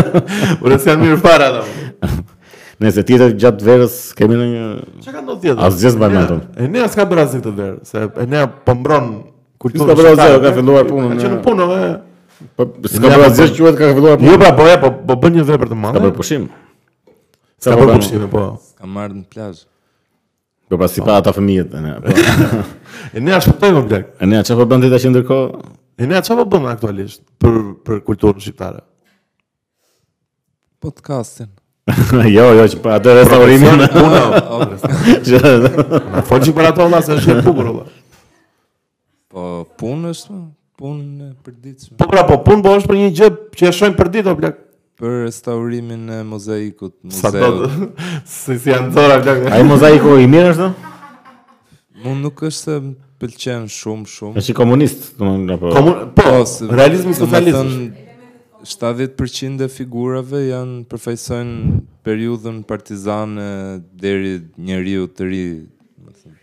Speaker 2: Ure si janë mirë fara ata. po.
Speaker 1: Nëse tjetër gjatë verës kemi në një
Speaker 2: Çka ka ndodhur tjetër?
Speaker 1: Asgjë s'baj mend unë.
Speaker 2: E ne s'ka bërë asgjë këtë derë, se e ne po mbron kulturën.
Speaker 1: S'ka bërë asgjë,
Speaker 2: shqiptare.
Speaker 1: ka filluar punën,
Speaker 2: Ka qenë
Speaker 1: e.
Speaker 2: punë, e.
Speaker 1: po s'ka bërë asgjë që quhet ka filluar
Speaker 2: Jo,
Speaker 1: punë.
Speaker 2: pra, po, e, po, po bën një vepër të
Speaker 1: Ka
Speaker 2: madhe.
Speaker 1: bërë pushim.
Speaker 2: Ka bërë pushime, po.
Speaker 3: Ka marrë në plazh.
Speaker 1: Po pra si pa ata fëmijët. e ne, po.
Speaker 2: E ne ashtu shpëtojmë blek.
Speaker 1: E ne çfarë po bën dita që ndërkohë
Speaker 2: E ne çfarë po bën aktualisht për për kulturën shqiptare?
Speaker 3: Podcastin.
Speaker 1: Jo, jo, që pa atë
Speaker 3: Pra, po,
Speaker 1: restaurimin.
Speaker 2: Puna.
Speaker 1: që-
Speaker 2: Na fol po, që për ato valla se është e bukur valla.
Speaker 3: Po punë është, mo, punë e përditshme.
Speaker 2: Po pra, po punë po është për një gjë që e shohim për ditë o blek.
Speaker 3: Për restaurimin e mozaikut,
Speaker 2: Sa do të
Speaker 3: muzeut.
Speaker 2: si si janë zora blek.
Speaker 1: Ai mozaiku i mirë është?
Speaker 3: Mu nuk është se më pëlqen shumë shumë.
Speaker 1: Është i komunist, domethënë apo.
Speaker 2: Komun, po,
Speaker 3: se-
Speaker 2: realizmi
Speaker 3: se me
Speaker 2: socialist.
Speaker 3: thënë, 70% e figurave janë përfaqësojnë periudhën partizane deri njeriu të ri, më thënë.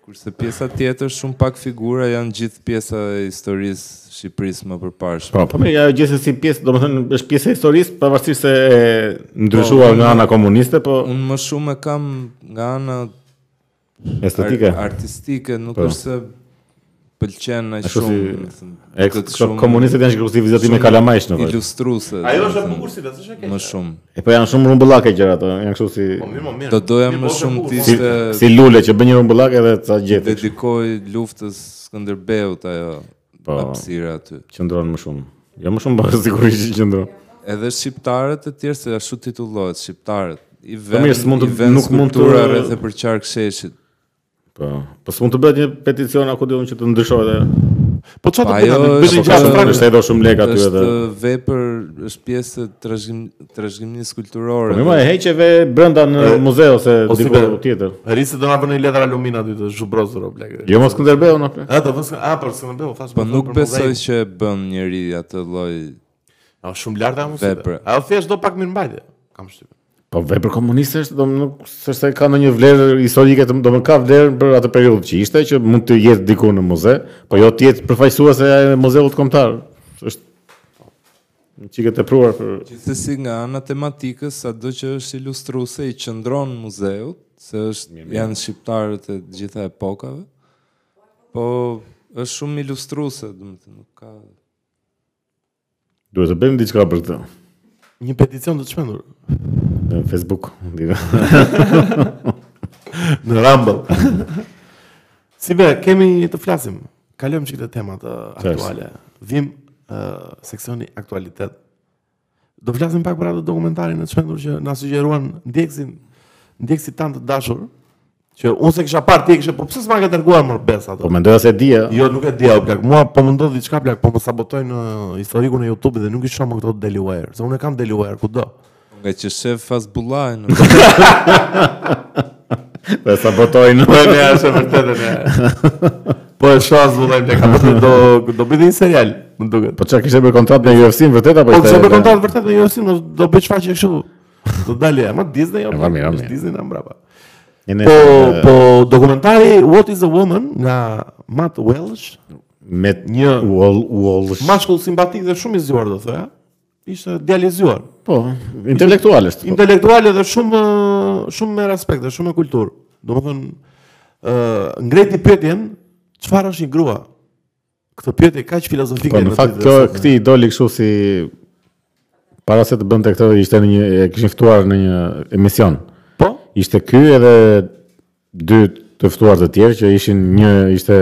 Speaker 3: Kurse pjesa tjetër shumë pak figura janë gjithë pjesa e historisë Shqipërisë më përparshme.
Speaker 1: Po, po mirë, ajo gjithsesi pjesë, domethënë është pjesë e historisë, pavarësisht se e ndryshuar
Speaker 3: Po,
Speaker 1: nga ana komuniste, po
Speaker 3: Unë më shumë e kam nga ana
Speaker 1: estetike.
Speaker 3: ar- artistike, nuk
Speaker 1: Po.
Speaker 3: është se pëlqen aq
Speaker 1: Ashtu si-
Speaker 3: shumë, më thënë.
Speaker 1: E
Speaker 3: Këtë
Speaker 1: këto komunistët janë shkruar si vizatim me kalamajsh në fakt.
Speaker 3: Ilustruese.
Speaker 2: Ajo
Speaker 3: më
Speaker 2: është e
Speaker 3: thënë,
Speaker 2: bukur si vetë, është e keq.
Speaker 3: Më shumë.
Speaker 1: E po janë shumë rumbullake gjëra ato, janë kështu si
Speaker 2: Po mirë, po mirë.
Speaker 3: Do doja
Speaker 2: Mirë,
Speaker 3: më
Speaker 2: po, është e
Speaker 3: shumë
Speaker 2: bukur,
Speaker 3: të
Speaker 2: po.
Speaker 1: si,
Speaker 3: ishte
Speaker 1: si lule që bën një rumbullak edhe ca gjeti
Speaker 3: dedikoj luftës Skënderbeut ajo
Speaker 1: Po.
Speaker 3: hapësira aty.
Speaker 1: qëndron më shumë. Jo më shumë, por sigurisht që qëndron.
Speaker 3: Edhe shqiptarët e tjerë se ashtu titullohet shqiptarët. I
Speaker 1: Po
Speaker 3: vend,
Speaker 1: mirë, s'mund
Speaker 3: i
Speaker 1: të-
Speaker 3: vend
Speaker 1: nuk mund të-
Speaker 3: skulptura rreth e përqark sheshit.
Speaker 1: Po, po s'mund të bëhet një peticion apo diun që të ndryshohet. e-
Speaker 2: Po çfarë
Speaker 3: Pa,
Speaker 2: të bëjë? Bëj
Speaker 3: ajo
Speaker 2: një gjashtë
Speaker 3: është-
Speaker 1: Pra
Speaker 3: Pra,
Speaker 1: në
Speaker 2: frankë.
Speaker 1: shtetë do shumë lek aty
Speaker 3: është
Speaker 1: edhe.
Speaker 3: vepër, është pjesë e trashëgim- trashëgimisë kulturore.
Speaker 1: Po mirë, e heqeve brenda në muze ose
Speaker 2: ose
Speaker 1: diku
Speaker 2: be-
Speaker 1: tjetër.
Speaker 2: Risi do na vënë një letër alumina aty të zhubrozur o blek.
Speaker 1: Jo mos Skënderbeu na plak.
Speaker 2: A do vënë a për Skënderbeu thash.
Speaker 3: Po
Speaker 2: më
Speaker 3: nuk
Speaker 2: thonë për
Speaker 3: besoj
Speaker 2: muzein.
Speaker 3: që e bën njëri atë lloj.
Speaker 2: A shumë lart apo
Speaker 3: Vepre.
Speaker 2: mos? A o thjesht do pak mirëmbajtje. Kam shtypën.
Speaker 1: Po vepër komuniste është, do më nuk s'është se ka ndonjë vlerë historike, të- do më ka vlerë për atë periudhë që ishte, që mund të jetë diku në muze, po jo të jetë përfaqësuese e muzeut kombëtar. Është një çike tepruar për
Speaker 3: Gjithsesi nga ana tematikës, sado që është ilustruese i qëndron muzeut, se është janë shqiptarët e të gjitha epokave. Po është shumë ilustruese, domethënë nuk ka
Speaker 1: duhet të bëjmë diçka për këtë
Speaker 2: Një peticion do të shpendur
Speaker 1: në Facebook.
Speaker 2: në Rumble. si be, kemi të flasim. Kalojmë çikë të temat ë, aktuale. Vim ë, seksioni aktualitet. Do flasim pak për atë dokumentarin e çmendur që na sugjeruan ndjeksin, ndjekësit tan të dashur, që unë se kisha parë ti e kishe, po pse s'ma ka dërguar më bes atë?
Speaker 1: po mendoja se dia.
Speaker 2: Jo, nuk e dia o plak. Mua po më ndodh diçka plak, po më sabotoj në historikun e YouTube-it dhe nuk i shoh më këto Delaware, se unë e kam Delaware kudo.
Speaker 3: nga që shef Fazbullaj në
Speaker 1: Dhe sabotojnë.
Speaker 2: Po ne është e vërtetë ne. Po e shoh zbullojmë tek apo do do bëj një serial, më duket.
Speaker 1: Po çka kishte për kontratë me UFC-n vërtet apo
Speaker 2: Po
Speaker 1: ishte?
Speaker 2: pse me kontat vërtet në UFC do- do bëj çfarë kështu. Do dalë, ama Disney apo
Speaker 1: E, mirë, mirë.
Speaker 2: Disney na mbrapa.
Speaker 1: Jene-
Speaker 2: Po po dokumentari What is a Woman nga Matt Welsh,
Speaker 1: me një
Speaker 2: një-
Speaker 1: wall wall.
Speaker 2: mashkull simpatik dhe shumë i zgjuar do thoya. Ishte djalë i zgjuar.
Speaker 1: Po, intelektual është. po.
Speaker 2: intelektuale dhe shumë shumë me respekt dhe shumë me kulturë. Domethënë ë ngreti pyetjen çfarë është një grua? Këtë pyetje kaq filozofike
Speaker 1: Po në
Speaker 2: në
Speaker 1: fakt
Speaker 2: ditët e
Speaker 1: kjo
Speaker 2: sotme.
Speaker 1: këti doli kështu si para se të bënte këtë ishte në një e kishin ftuar në një emision.
Speaker 2: po
Speaker 1: Ishte ky edhe dy të ftuar të tjerë që ishin një ishte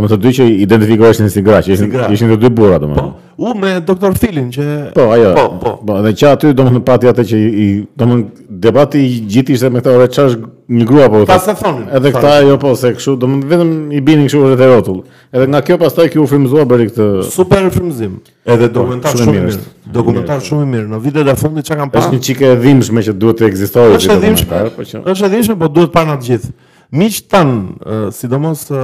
Speaker 1: domethënë të dy që identifikoheshin si gra, që
Speaker 2: Si
Speaker 1: ishin
Speaker 2: gra.
Speaker 1: ishin të dy burra
Speaker 2: po
Speaker 1: domethënë.
Speaker 2: u me doktor Filin që
Speaker 1: Po, ajo.
Speaker 2: Po, po.
Speaker 1: Dhe që aty domethënë pati atë që i i- domethënë debati i gjithë ishte me këtë orë ç'është një grua po.
Speaker 2: Ta se thonin.
Speaker 1: Edhe këta jo po se kështu domethënë vetëm i binin kështu rreth e rrotull. Edhe nga kjo pastaj kjo u frymëzuar bëri këtë
Speaker 2: super frymëzim. Edhe dokumentar
Speaker 1: Po, shumë e
Speaker 2: shumë i
Speaker 1: mirë
Speaker 2: mirë.
Speaker 1: është.
Speaker 2: Dokumentar shumë i mirë. Në vitet e fundit çka kam
Speaker 1: Po, është
Speaker 2: parë.
Speaker 1: një çike e dhimbshme që duhet të ekzistojë
Speaker 2: Është
Speaker 1: si
Speaker 2: edhimshme,
Speaker 1: dokumentar, po që
Speaker 2: është edhimshme, po duhet parë na të gjithë. Miqtë tan, ë, sidomos ë,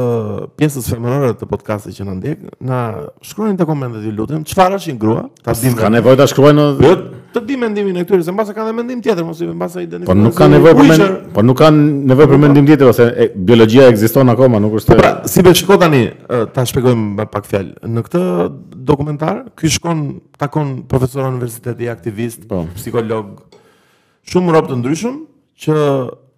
Speaker 2: pjesës femërore të podcastit që na ndjek, na shkruani të komentet ju lutem, çfarë është një grua? Ta dimë.
Speaker 1: ka nevojë ta shkruajnë
Speaker 2: Jo, të di mendimin e këtyre, se mbase kanë dhe mendim tjetër, mos i mbase identifikojnë.
Speaker 1: po nuk
Speaker 2: si
Speaker 1: ka nevojë për
Speaker 2: Witcher.
Speaker 1: mend, po nuk ka nevojë për mendim tjetër ose e, biologjia ekziston akoma, nuk është po,
Speaker 2: Pra, si be shiko tani, ë, ta shpjegojmë me pak fjalë. Në këtë dokumentar, ky shkon takon profesor universiteti, aktivist,
Speaker 1: Po.
Speaker 2: psikolog, shumë rob të ndryshëm që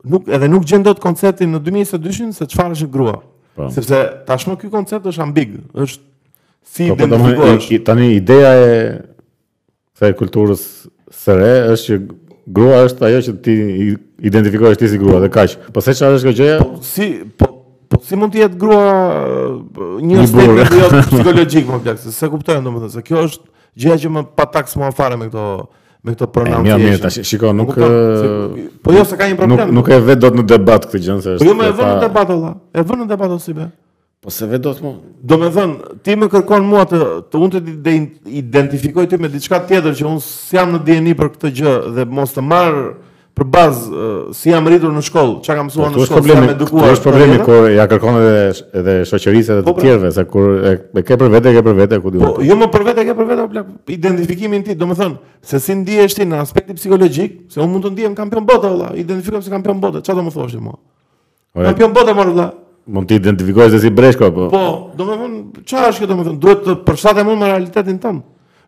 Speaker 2: nuk edhe nuk gjen dot konceptin në 2022-shin se çfarë është grua.
Speaker 1: Po.
Speaker 2: Sepse tashmë ky koncept është ambig, është si
Speaker 1: po, po, do më-
Speaker 2: identifikohesh.
Speaker 1: i- i- tani ideja e kësaj kulturës së re është që grua është ajo që ti i- identifikohesh ti si grua dhe kaq. Po se çfarë është kjo gjëja?
Speaker 2: Si po po si mund të jetë grua ë, një
Speaker 1: Një burr.
Speaker 2: statement jo psikologjik më plak, se se kuptojnë domethënë se kjo është gjëja që më pa taks më fare me këto me këto pronoun.
Speaker 1: Mirë, mirë,
Speaker 2: creation.
Speaker 1: tash shiko, nuk eh,
Speaker 2: kupton,
Speaker 1: e,
Speaker 2: Po, se- po jo se ka një
Speaker 1: nuk
Speaker 2: problem.
Speaker 1: nuk e vet dot në debat këtë gjë se është.
Speaker 2: po jo më e
Speaker 1: e
Speaker 2: vënë në
Speaker 1: pa-
Speaker 2: debat olla. E vënë në debat ose be.
Speaker 1: Po se vet dot mo.
Speaker 2: Do me thënë, ti më kërkon mua të, të unë të ti de- identifikoj ty me diçka tjetër që unë s'jam në DNI për këtë gjë dhe mos të marë për bazë ë, si jam rritur në shkollë, çka kam mësuar
Speaker 1: Kjo
Speaker 2: Po, në
Speaker 1: Po, është
Speaker 2: shkollë, si
Speaker 1: problemi,
Speaker 2: jam edukuar.
Speaker 1: kjo është problemi
Speaker 2: për
Speaker 1: kur ja kërkon edhe edhe shoqërisë edhe
Speaker 2: Po,
Speaker 1: të
Speaker 2: pra.
Speaker 1: tjerëve, se kur e, e ke për vete, e ke për vete, ku diun.
Speaker 2: Po, jo më për vete, ke për vete, o plak, identifikimin ti, do me thënë, se si ndihesh ti në aspekti psikologjik, se unë mund të ndihem kampion bote, valla, identifikohem si kampion bote, çfarë do më thosh ti mua?
Speaker 1: Ore,
Speaker 2: Kampion bote, mor valla.
Speaker 1: mund të identifikohesh dhe si breshko, po.
Speaker 2: Po, do me thënë, qa është këtë do me thënë, duhet të përshtatem unë me realitetin tëmë.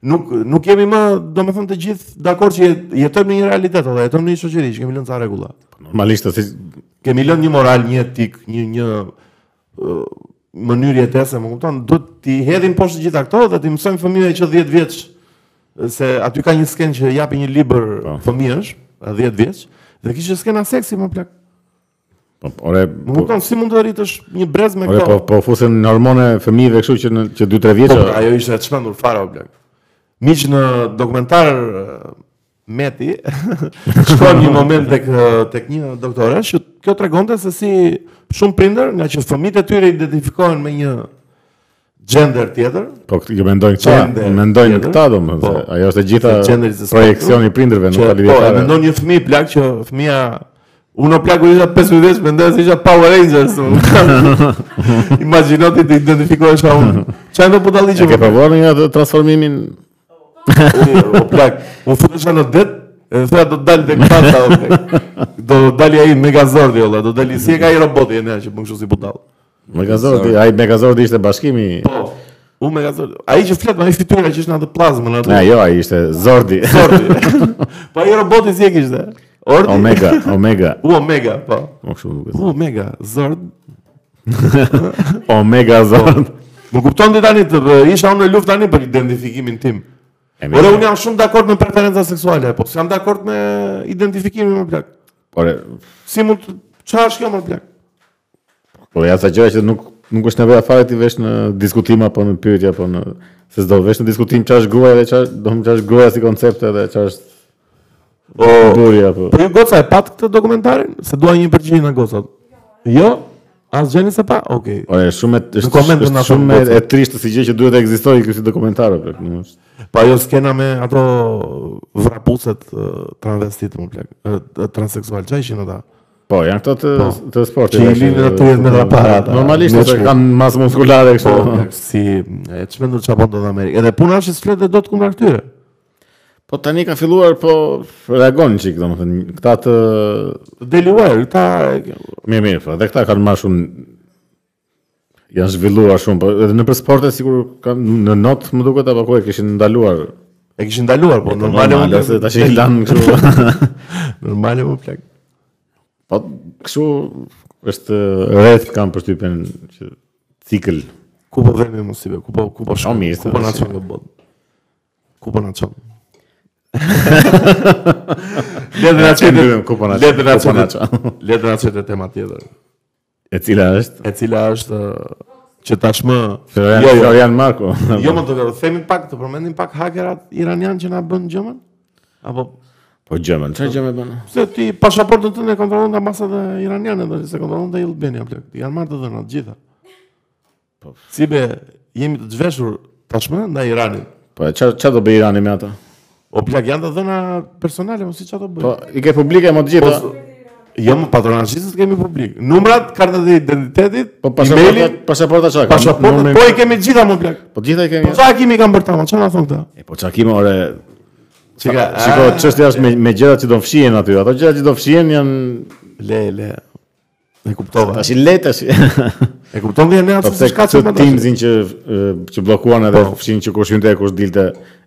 Speaker 2: Nuk, nuk jemi më, do me thënë të gjithë dakord që jet- jetojmë në një realitet, edhe jetojmë në një shoqëri, që kemi lënë ca rregulla.
Speaker 1: Normalisht si
Speaker 2: Kemi lënë një moral, një etik, një, një ë, mënyrë jetese, më kupton, duhet t'i hedhim poshtë të gjitha këto dhe t'i mësojmë fëmijëve që 10 vjeç se aty ka një skenë që japi një libër
Speaker 1: Po.
Speaker 2: fëmijësh, 10 vjeç, dhe kishte skena seksi më plak.
Speaker 1: po, ore,
Speaker 2: Më
Speaker 1: po,
Speaker 2: kupton, si mund të rritësh një brez me
Speaker 1: ore
Speaker 2: këto?
Speaker 1: po po fusin në hormone fëmijëve kështu që në që 2-3 vjeç.
Speaker 2: Po, pra, ajo ishte e çmendur fare o blek. Miq në dokumentar eh, Meti shkon një moment tek eh, tek një doktore që kjo tregonte se si shumë prindër nga që fëmijët e tyre identifikohen me një gender tjetër,
Speaker 1: Po këtë- jo mendojnë këta,
Speaker 2: Gjende
Speaker 1: mendojnë
Speaker 2: tjetër.
Speaker 1: këta domethënë.
Speaker 2: pra, Po.
Speaker 1: se Ajo është e gjitha
Speaker 2: Se gjenderi se s'ka
Speaker 1: projeksioni i prindërve, nuk
Speaker 2: që
Speaker 1: ka
Speaker 2: po, e
Speaker 1: lidhje
Speaker 2: mendon një fëmijë plak që fëmia Unë o plak kur isha 15 vjeç mendoj se isha Power Rangers. unë. Imagjino ti të identifikohesh ka unë. Çfarë do po dalli
Speaker 1: E
Speaker 2: që
Speaker 1: ke provuar një atë transformimin?
Speaker 2: o plak, unë futesha në det, e thëra do të dalë tek panta o plak. Do dali ai Megazord olla, do dali si e ka ai roboti e nea që bën kështu si budall.
Speaker 1: Megazordi, ai Megazordi ishte bashkimi.
Speaker 2: Po, u Megazord. Ai që flet me ai fytyra që është në atë plazmën
Speaker 1: Na
Speaker 2: atë.
Speaker 1: jo, ai ishte Zordi.
Speaker 2: Zordi. po ai roboti si e kishte? Ordi.
Speaker 1: Omega, Omega.
Speaker 2: U Omega, po.
Speaker 1: Po kështu duket.
Speaker 2: U Omega, Zord. Po.
Speaker 1: Omega Zord.
Speaker 2: Më kupton ti tani të isha unë në luftë tani për identifikimin tim.
Speaker 1: E mirë.
Speaker 2: Ora unë jam shumë dakord me preferenca seksuale, po s'jam dakord me identifikimin me plak.
Speaker 1: Ore,
Speaker 2: Si mund të çfarë është kjo më plak?
Speaker 1: po ja sa gjëra që nuk nuk është nevoja fare ti vesh në diskutim apo në pyetje apo në se s'do vesh në diskutim çfarë është gruaja dhe çfarë do të çfarë është gruaja si koncept edhe çfarë është
Speaker 2: O,
Speaker 1: burri apo.
Speaker 2: po ju goca e pat këtë dokumentarin? Se dua një përgjigje nga gocat. Jo? Asgjë se pa? Okej.
Speaker 1: Ore, shumë e- është,
Speaker 2: komente na
Speaker 1: është
Speaker 2: thonë
Speaker 1: shumë e-
Speaker 2: gocat.
Speaker 1: e trishtë si gjë që duhet të ekzistojë ky si dokumentar apo. nuk është.
Speaker 2: Po ajo skena me ato vrapuset ë, transvestit më plak, ë, ë, transseksual, çfarë ishin ata?
Speaker 1: Po, janë këto të, të sportit.
Speaker 2: Që i
Speaker 1: tash,
Speaker 2: linë
Speaker 1: e,
Speaker 2: në 30 metra para, ata,
Speaker 1: Normalisht
Speaker 2: me
Speaker 1: ata
Speaker 2: çmu.
Speaker 1: kanë masë muskulare kështu.
Speaker 2: Po, plak, si e çmendur çapo do në Amerikë. Edhe puna është se s'flet dhe dot kundër këtyre.
Speaker 1: Po tani ka filluar po reagon çik domethënë këta të
Speaker 2: Daily Wire, këta
Speaker 1: mirë mirë po, edhe këta kanë më shumë janë zhvilluar shumë, po edhe nëpër sporte sikur kanë në not më duket apo ku e kishin ndaluar.
Speaker 2: e kishin ndaluar, po normale
Speaker 1: Normale
Speaker 2: unë-
Speaker 1: ose tash i lan kështu.
Speaker 2: Normale më plak.
Speaker 1: Po kështu është rreth kanë përshtypjen që cikël.
Speaker 2: Ku po vemi mos i be, ku po ku po shkon,
Speaker 1: mirë,
Speaker 2: ku po
Speaker 1: se-
Speaker 2: na çon në botë. Ku po na çon. Le të na çojë.
Speaker 1: mbyllëm, ku po na-
Speaker 2: Le të na
Speaker 1: ku po na
Speaker 2: çojë. Le të na çojë te tema tjetër,
Speaker 1: E cila është?
Speaker 2: e cila është ë, që tashmë
Speaker 1: Florian,
Speaker 2: Jo, jo.
Speaker 1: Florian Marko.
Speaker 2: Jo më të kërë, themin pak, të përmendim pak hakerat iranian që na bën gjëmën? Apo,
Speaker 1: Po gjëmën, çfarë gjëmë bën?
Speaker 2: pse ti pasaportën tënde e kontrollon nga masat e iraniane, dhe se kontrollon të Albania, plek. Janë marrë të dhëna të gjitha. Si be, jemi të zhveshur tashmë ndaj Iranit.
Speaker 1: Po çfarë çfarë do bëj Irani me ato?
Speaker 2: O plak, janë të dhëna personale, mos si çfarë do bëj.
Speaker 1: Po i ke publike më të gjitha.
Speaker 2: Po, jo më patronazhistët kemi publik. Numrat, kartat e identitetit,
Speaker 1: Po pasaporta,
Speaker 2: e-mailin,
Speaker 1: pasaporta çka? ka?
Speaker 2: pasaportën,
Speaker 1: Numri-
Speaker 2: po i kemi të gjitha më plak.
Speaker 1: Po gjitha i kemi.
Speaker 2: Po çfarë kimi kanë bërë tamam, çfarë na thon këta?
Speaker 1: E po çka kime ore?
Speaker 2: Çika,
Speaker 1: Shiko, çështja është me me gjërat që do fshihen aty. Ato gjërat që do fshihen janë
Speaker 2: le, le. E kuptova.
Speaker 1: tash i lehtë tash.
Speaker 2: E kupton dhe ne
Speaker 1: Po
Speaker 2: atë
Speaker 1: pse
Speaker 2: se shka
Speaker 1: këtë
Speaker 2: që më tim
Speaker 1: timzin që e, që bllokuan edhe
Speaker 2: Po.
Speaker 1: fshin që kush hynte e kush dilte.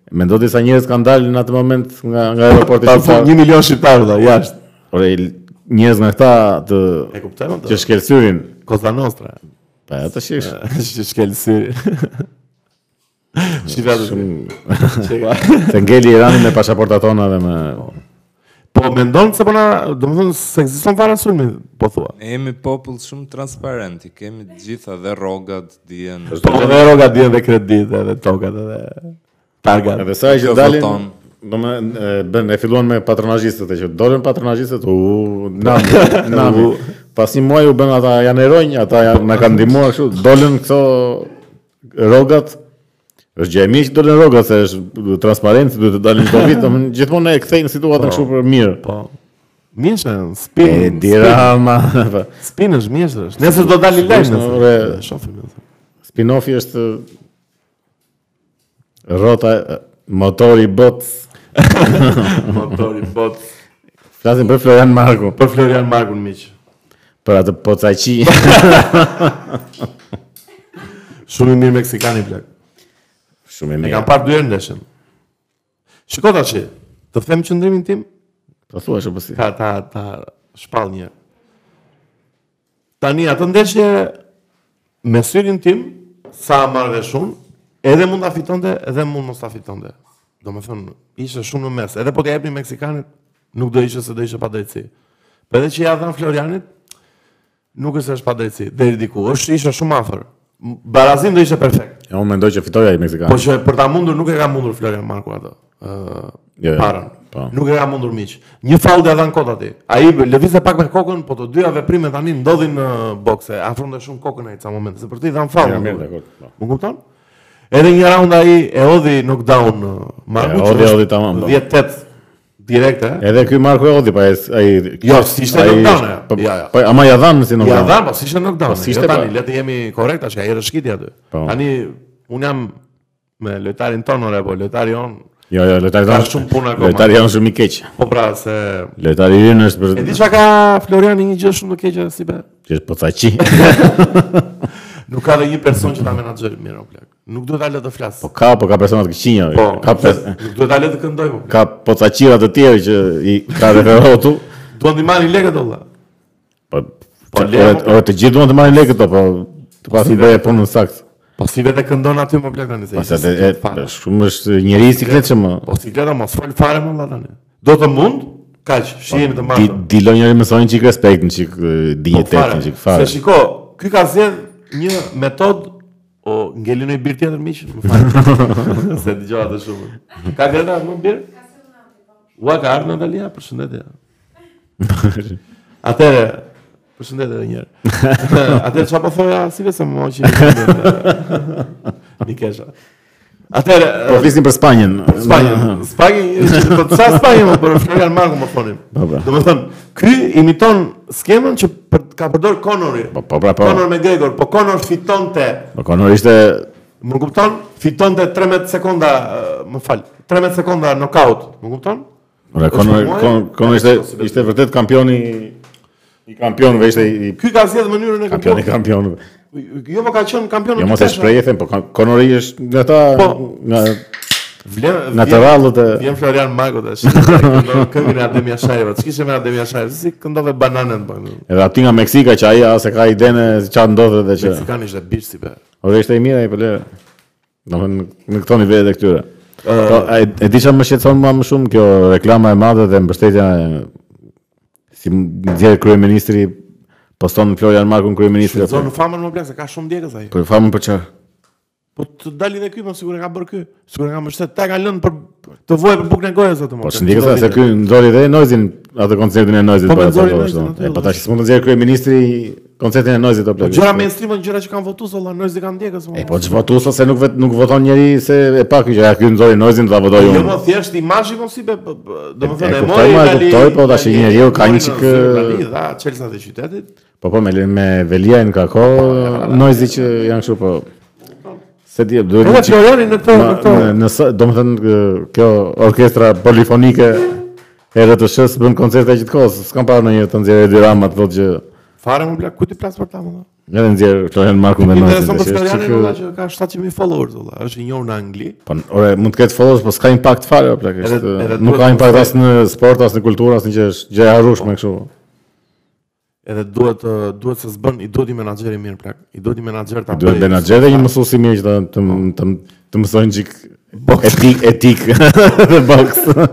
Speaker 1: Mendo disa njerëz kanë dalë në atë moment nga nga aeroporti
Speaker 2: Ta fut
Speaker 1: shqiptar.
Speaker 2: një milion shqiptarë dhe jashtë
Speaker 1: Ore i l- njerëz nga këta të
Speaker 2: E kuptova
Speaker 1: që
Speaker 2: të
Speaker 1: shkelsyrin.
Speaker 2: Koza Nostra
Speaker 1: Po ato shi
Speaker 2: Që shkel syri Shqipa të Shqipa.
Speaker 1: se ngeli Irani me pasaportat tona dhe me
Speaker 2: Po mendon se po na Do më thënë se egziston fara sulmi Po thua
Speaker 3: Ne jemi popull shumë transparent, i kemi të gjitha dhe rrogat dijen.
Speaker 2: Po dhe roga dhjen dhe kredit Dhe tokat edhe Targat
Speaker 1: Edhe sa që
Speaker 3: Kjo
Speaker 1: dalin,
Speaker 3: voton.
Speaker 1: do me, e, bën, e filluan me patronazhistët e që dolën patronazhistët, u, nami, nami. Pas një muaj u bën ata janë erojnë, ata janë na kanë ndihmuar kështu, dolën këto rrogat. Është gjë e mirë që dolën rrogat se është transparencë, duhet të dalin këto vit, domethënë gjithmonë e kthejnë situatën kështu për mirë.
Speaker 2: Po Mjeshën
Speaker 1: E
Speaker 2: Spin
Speaker 1: dirama.
Speaker 2: spin- Spin është mjeshën është Nesër do dali lajmë
Speaker 1: Spin,
Speaker 2: nesër.
Speaker 1: ore.
Speaker 2: E, Shofim nesër.
Speaker 1: Spinofi është rrota e, motori i botës.
Speaker 2: Motori bot
Speaker 1: Flasim për Florian Marku,
Speaker 2: Për Florian Markun miq
Speaker 1: për atë pocaqi.
Speaker 2: Shumë i mirë meksikani plak
Speaker 1: Shumë e
Speaker 2: E
Speaker 1: mirë.
Speaker 2: kam parë dy herë ndeshën. Shiko tash, të them qëndrimin tim,
Speaker 1: Po thua që si.
Speaker 2: ka ta ta shpall një. herë. Tani atë ndeshje me syrin tim sa marrë shumë, edhe mund ta fitonte, edhe mund mos ta fitonte. Domethënë, ishte shumë në mes. Edhe po t'ja japni meksikanit, nuk do ishte se do ishte padrejtësi. Po edhe që ja dhan Florianit, nuk është se është padrejtësi deri diku. Është ishte shumë afër. M- Barazim do ishte perfekt.
Speaker 1: Ja, unë mendoj që fitoi ai meksikan.
Speaker 2: Po që për ta mundur nuk e ka mundur Florian Marku ato. ë
Speaker 1: Jo, jo.
Speaker 2: parën.
Speaker 1: Po.
Speaker 2: Nuk e ka mundur miq. Një faull ja dhan kot aty. Ai lëvizte pak me kokën, po të dyja veprimet tani ndodhin në bokse. Afronte shumë kokën ai ca momente, se për të i dhan faull.
Speaker 1: Ja, mirë,
Speaker 2: nuk e.
Speaker 1: dakor, po.
Speaker 2: Më kupton? Edhe një raund ai e hodhi knockdown uh, Marku.
Speaker 1: E
Speaker 2: që
Speaker 1: hodhi,
Speaker 2: është
Speaker 1: hodhi tamam, po.
Speaker 2: 10-8 direkte.
Speaker 1: Edhe ky Marko e hodhi pa ai ai
Speaker 2: Jo, s'ishte
Speaker 1: ai-
Speaker 2: knockdown, e.
Speaker 1: Po,
Speaker 2: Ja, ja.
Speaker 1: po, ama ja dhan si
Speaker 2: Ja
Speaker 1: knockdown.
Speaker 2: dhan, po s'ishte knockdown.
Speaker 1: Po,
Speaker 2: e.
Speaker 1: s'ishte,
Speaker 2: Jo tani
Speaker 1: po.
Speaker 2: le të jemi korrekt tash, ai rëshkiti aty.
Speaker 1: Po.
Speaker 2: Tani un jam me lojtarin tonë ore, po lojtari on.
Speaker 1: Jo, jo, lojtari
Speaker 2: Ka
Speaker 1: janë
Speaker 2: shumë punë akoma.
Speaker 1: Lojtari janë shumë i keq.
Speaker 2: Po pra se
Speaker 1: Lojtari ynë është për
Speaker 2: E di çka ka Floriani një gjë shumë të keqe si be.
Speaker 1: që është pocaqi.
Speaker 2: Nuk ka dhe një person që ta menaxhoj mirë o plak. Nuk duhet ta lë të flas. Po,
Speaker 1: Ka, po ka persona të këqinj. Ka pes-
Speaker 2: nuk duhet ta lë të këndoj po. plak.
Speaker 1: ka pocaqira të tjerë që i ka referotu.
Speaker 2: Duan të marrin lekë olla.
Speaker 1: Po
Speaker 2: Po,
Speaker 1: po
Speaker 2: le, po.
Speaker 1: të gjithë duan të marrin lekë këto, po të pasi bëj punën saktë.
Speaker 2: Po si vetë këndon aty më plak tani se.
Speaker 1: Pastaj
Speaker 2: se-
Speaker 1: e- e- shumë është njerëz i sikletshëm. o.
Speaker 2: Po si gleda mos fol fare më olla tani. Do të mund kaq shihemi të
Speaker 1: Po, Di
Speaker 2: martën.
Speaker 1: dilo njëri me sonin çik respektin, çik e, dignitetin, çik fare.
Speaker 2: Po, Se shiko, ky ka zgjedh një metodë o ngelin një birë tjetër miq, më fal. se dëgjova të shumë. Ka gërda më birë? Ua ka ardhur Natalia, përshëndetje. Atëre, përshëndetje edhe një herë. Atëre çfarë po thoja, si vetëm më hoqi. Nikesha. Atëre,
Speaker 1: Po flisin për Spanjën.
Speaker 2: Spanjën. Spanjën, po sa Spanjën më për Florian Marko më thonim.
Speaker 1: Po, po.
Speaker 2: Domethënë, ky imiton skemën që për, ka përdor Conori.
Speaker 1: Po po pra po.
Speaker 2: Conor McGregor, po Conor fitonte,
Speaker 1: Po Conor ishte
Speaker 2: më kupton? Fitonte 13 sekonda, eh, më fal, 13 sekonda knockout, më kupton?
Speaker 1: Ora Conor
Speaker 2: Është
Speaker 1: Con-
Speaker 2: Po,
Speaker 1: Conor ishte ishte vërtet kampioni i- i kampionëve, ishte i
Speaker 2: Ky ka zgjedhë mënyrën e
Speaker 1: kampioni i
Speaker 2: kampionit.
Speaker 1: kampionëve.
Speaker 2: Jo po ka qenë kampion.
Speaker 1: Jo mos e shpreh e them, po Con- Conori është nga ata
Speaker 2: Po.
Speaker 1: nga
Speaker 2: Vlen
Speaker 1: naturalët e
Speaker 2: Vjen Florian Marko tash. Këndon Këngën e Ademia Shajeva. Ç'kishte me Ademia Shajeva? Si këndove bananën po.
Speaker 1: Edhe aty nga Meksika që ai as e ka idenë se çfarë ndodhte dhe që.
Speaker 2: Meksikani ishte bitch si be.
Speaker 1: Ora ishte i mirë ai po le. Domethënë në këto nivele të këtyre. Po e, e di çfarë më shqetëson më më shumë kjo reklama e madhe dhe mbështetja e si nxjerr kryeministri poston Florian Markun kryeministri.
Speaker 2: Zonë në famën më plak se ka shumë djegës ai.
Speaker 1: Për famën për çfarë?
Speaker 2: Po të dali dhe ky, po sigurisht e ka bërë ky. Sigurisht e ka mbështet, ta ka lënë për të vojë për bukën e gojës atë më.
Speaker 1: Po shndikë se se ky nxori dhe Noizin atë koncertin e Noizit
Speaker 2: Po,
Speaker 1: për
Speaker 2: me nxori
Speaker 1: ato,
Speaker 2: Noizin
Speaker 1: thonë.
Speaker 2: aty,
Speaker 1: E
Speaker 2: dhe
Speaker 1: po tash s'mund të nxjerr kryeministri koncertin e Noizit apo
Speaker 2: Gjëra mainstream janë gjëra që kanë votuar solla, njerëz që kanë djegës. mo.
Speaker 1: E po çvotu se nuk vet, nuk voton njeri se e pak që ja ky nxori Noizin ta votoj
Speaker 2: Jo,
Speaker 1: unë.
Speaker 2: më thjesht imazhi mos si be, p- p-
Speaker 1: e
Speaker 2: domethënë e
Speaker 1: kuptoj,
Speaker 2: mori
Speaker 1: ma, e
Speaker 2: Itali.
Speaker 1: kuptoj, po, tash
Speaker 2: Itali-
Speaker 1: njeriu ka
Speaker 2: mori
Speaker 1: një
Speaker 2: në
Speaker 1: çik,
Speaker 2: zyrë
Speaker 1: ë,
Speaker 2: Itali, Dha Chelsea të qytetit.
Speaker 1: Po po me me Veliajn ka
Speaker 2: Po,
Speaker 1: ko Noizi që janë kështu po se di duhet
Speaker 2: Nuk
Speaker 1: një
Speaker 2: e
Speaker 1: çik-
Speaker 2: Floriani në këtë, në
Speaker 1: Ma-
Speaker 2: këtë.
Speaker 1: në- nëse domethënë kë- kjo orkestra polifonike e RTS-s bën koncerte gjithë kohës. S'kam parë ndonjë të nxjerrë dy rama të thotë që
Speaker 2: Fare më plak, ku ti plas për ta më? dha?
Speaker 1: nga të nxjerr Florian Markun dhe Noizi.
Speaker 2: Intereson për
Speaker 1: tash, është
Speaker 2: Florianin
Speaker 1: çik-
Speaker 2: olla që ka 7000 followers olla, është i njohur në Angli.
Speaker 1: Po ore mund të ketë followers, po s'ka impakt fare apo plak.
Speaker 2: Edhe-
Speaker 1: është,
Speaker 2: edhe
Speaker 1: Nuk
Speaker 2: duhet
Speaker 1: ka
Speaker 2: të
Speaker 1: impakt
Speaker 2: kthej.
Speaker 1: as në sport, as në kulturë, as në gjë, është gjë e harrueshme kështu.
Speaker 2: Edhe duhet ë, duhet se s'bën, i duhet i menaxheri mirë plak. I duhet i menaxher ta
Speaker 1: Duhet
Speaker 2: bëjë.
Speaker 1: të na gjejë një mësues i mirë që ta- të m- të m- të mësojnë çik etik etik dhe boks.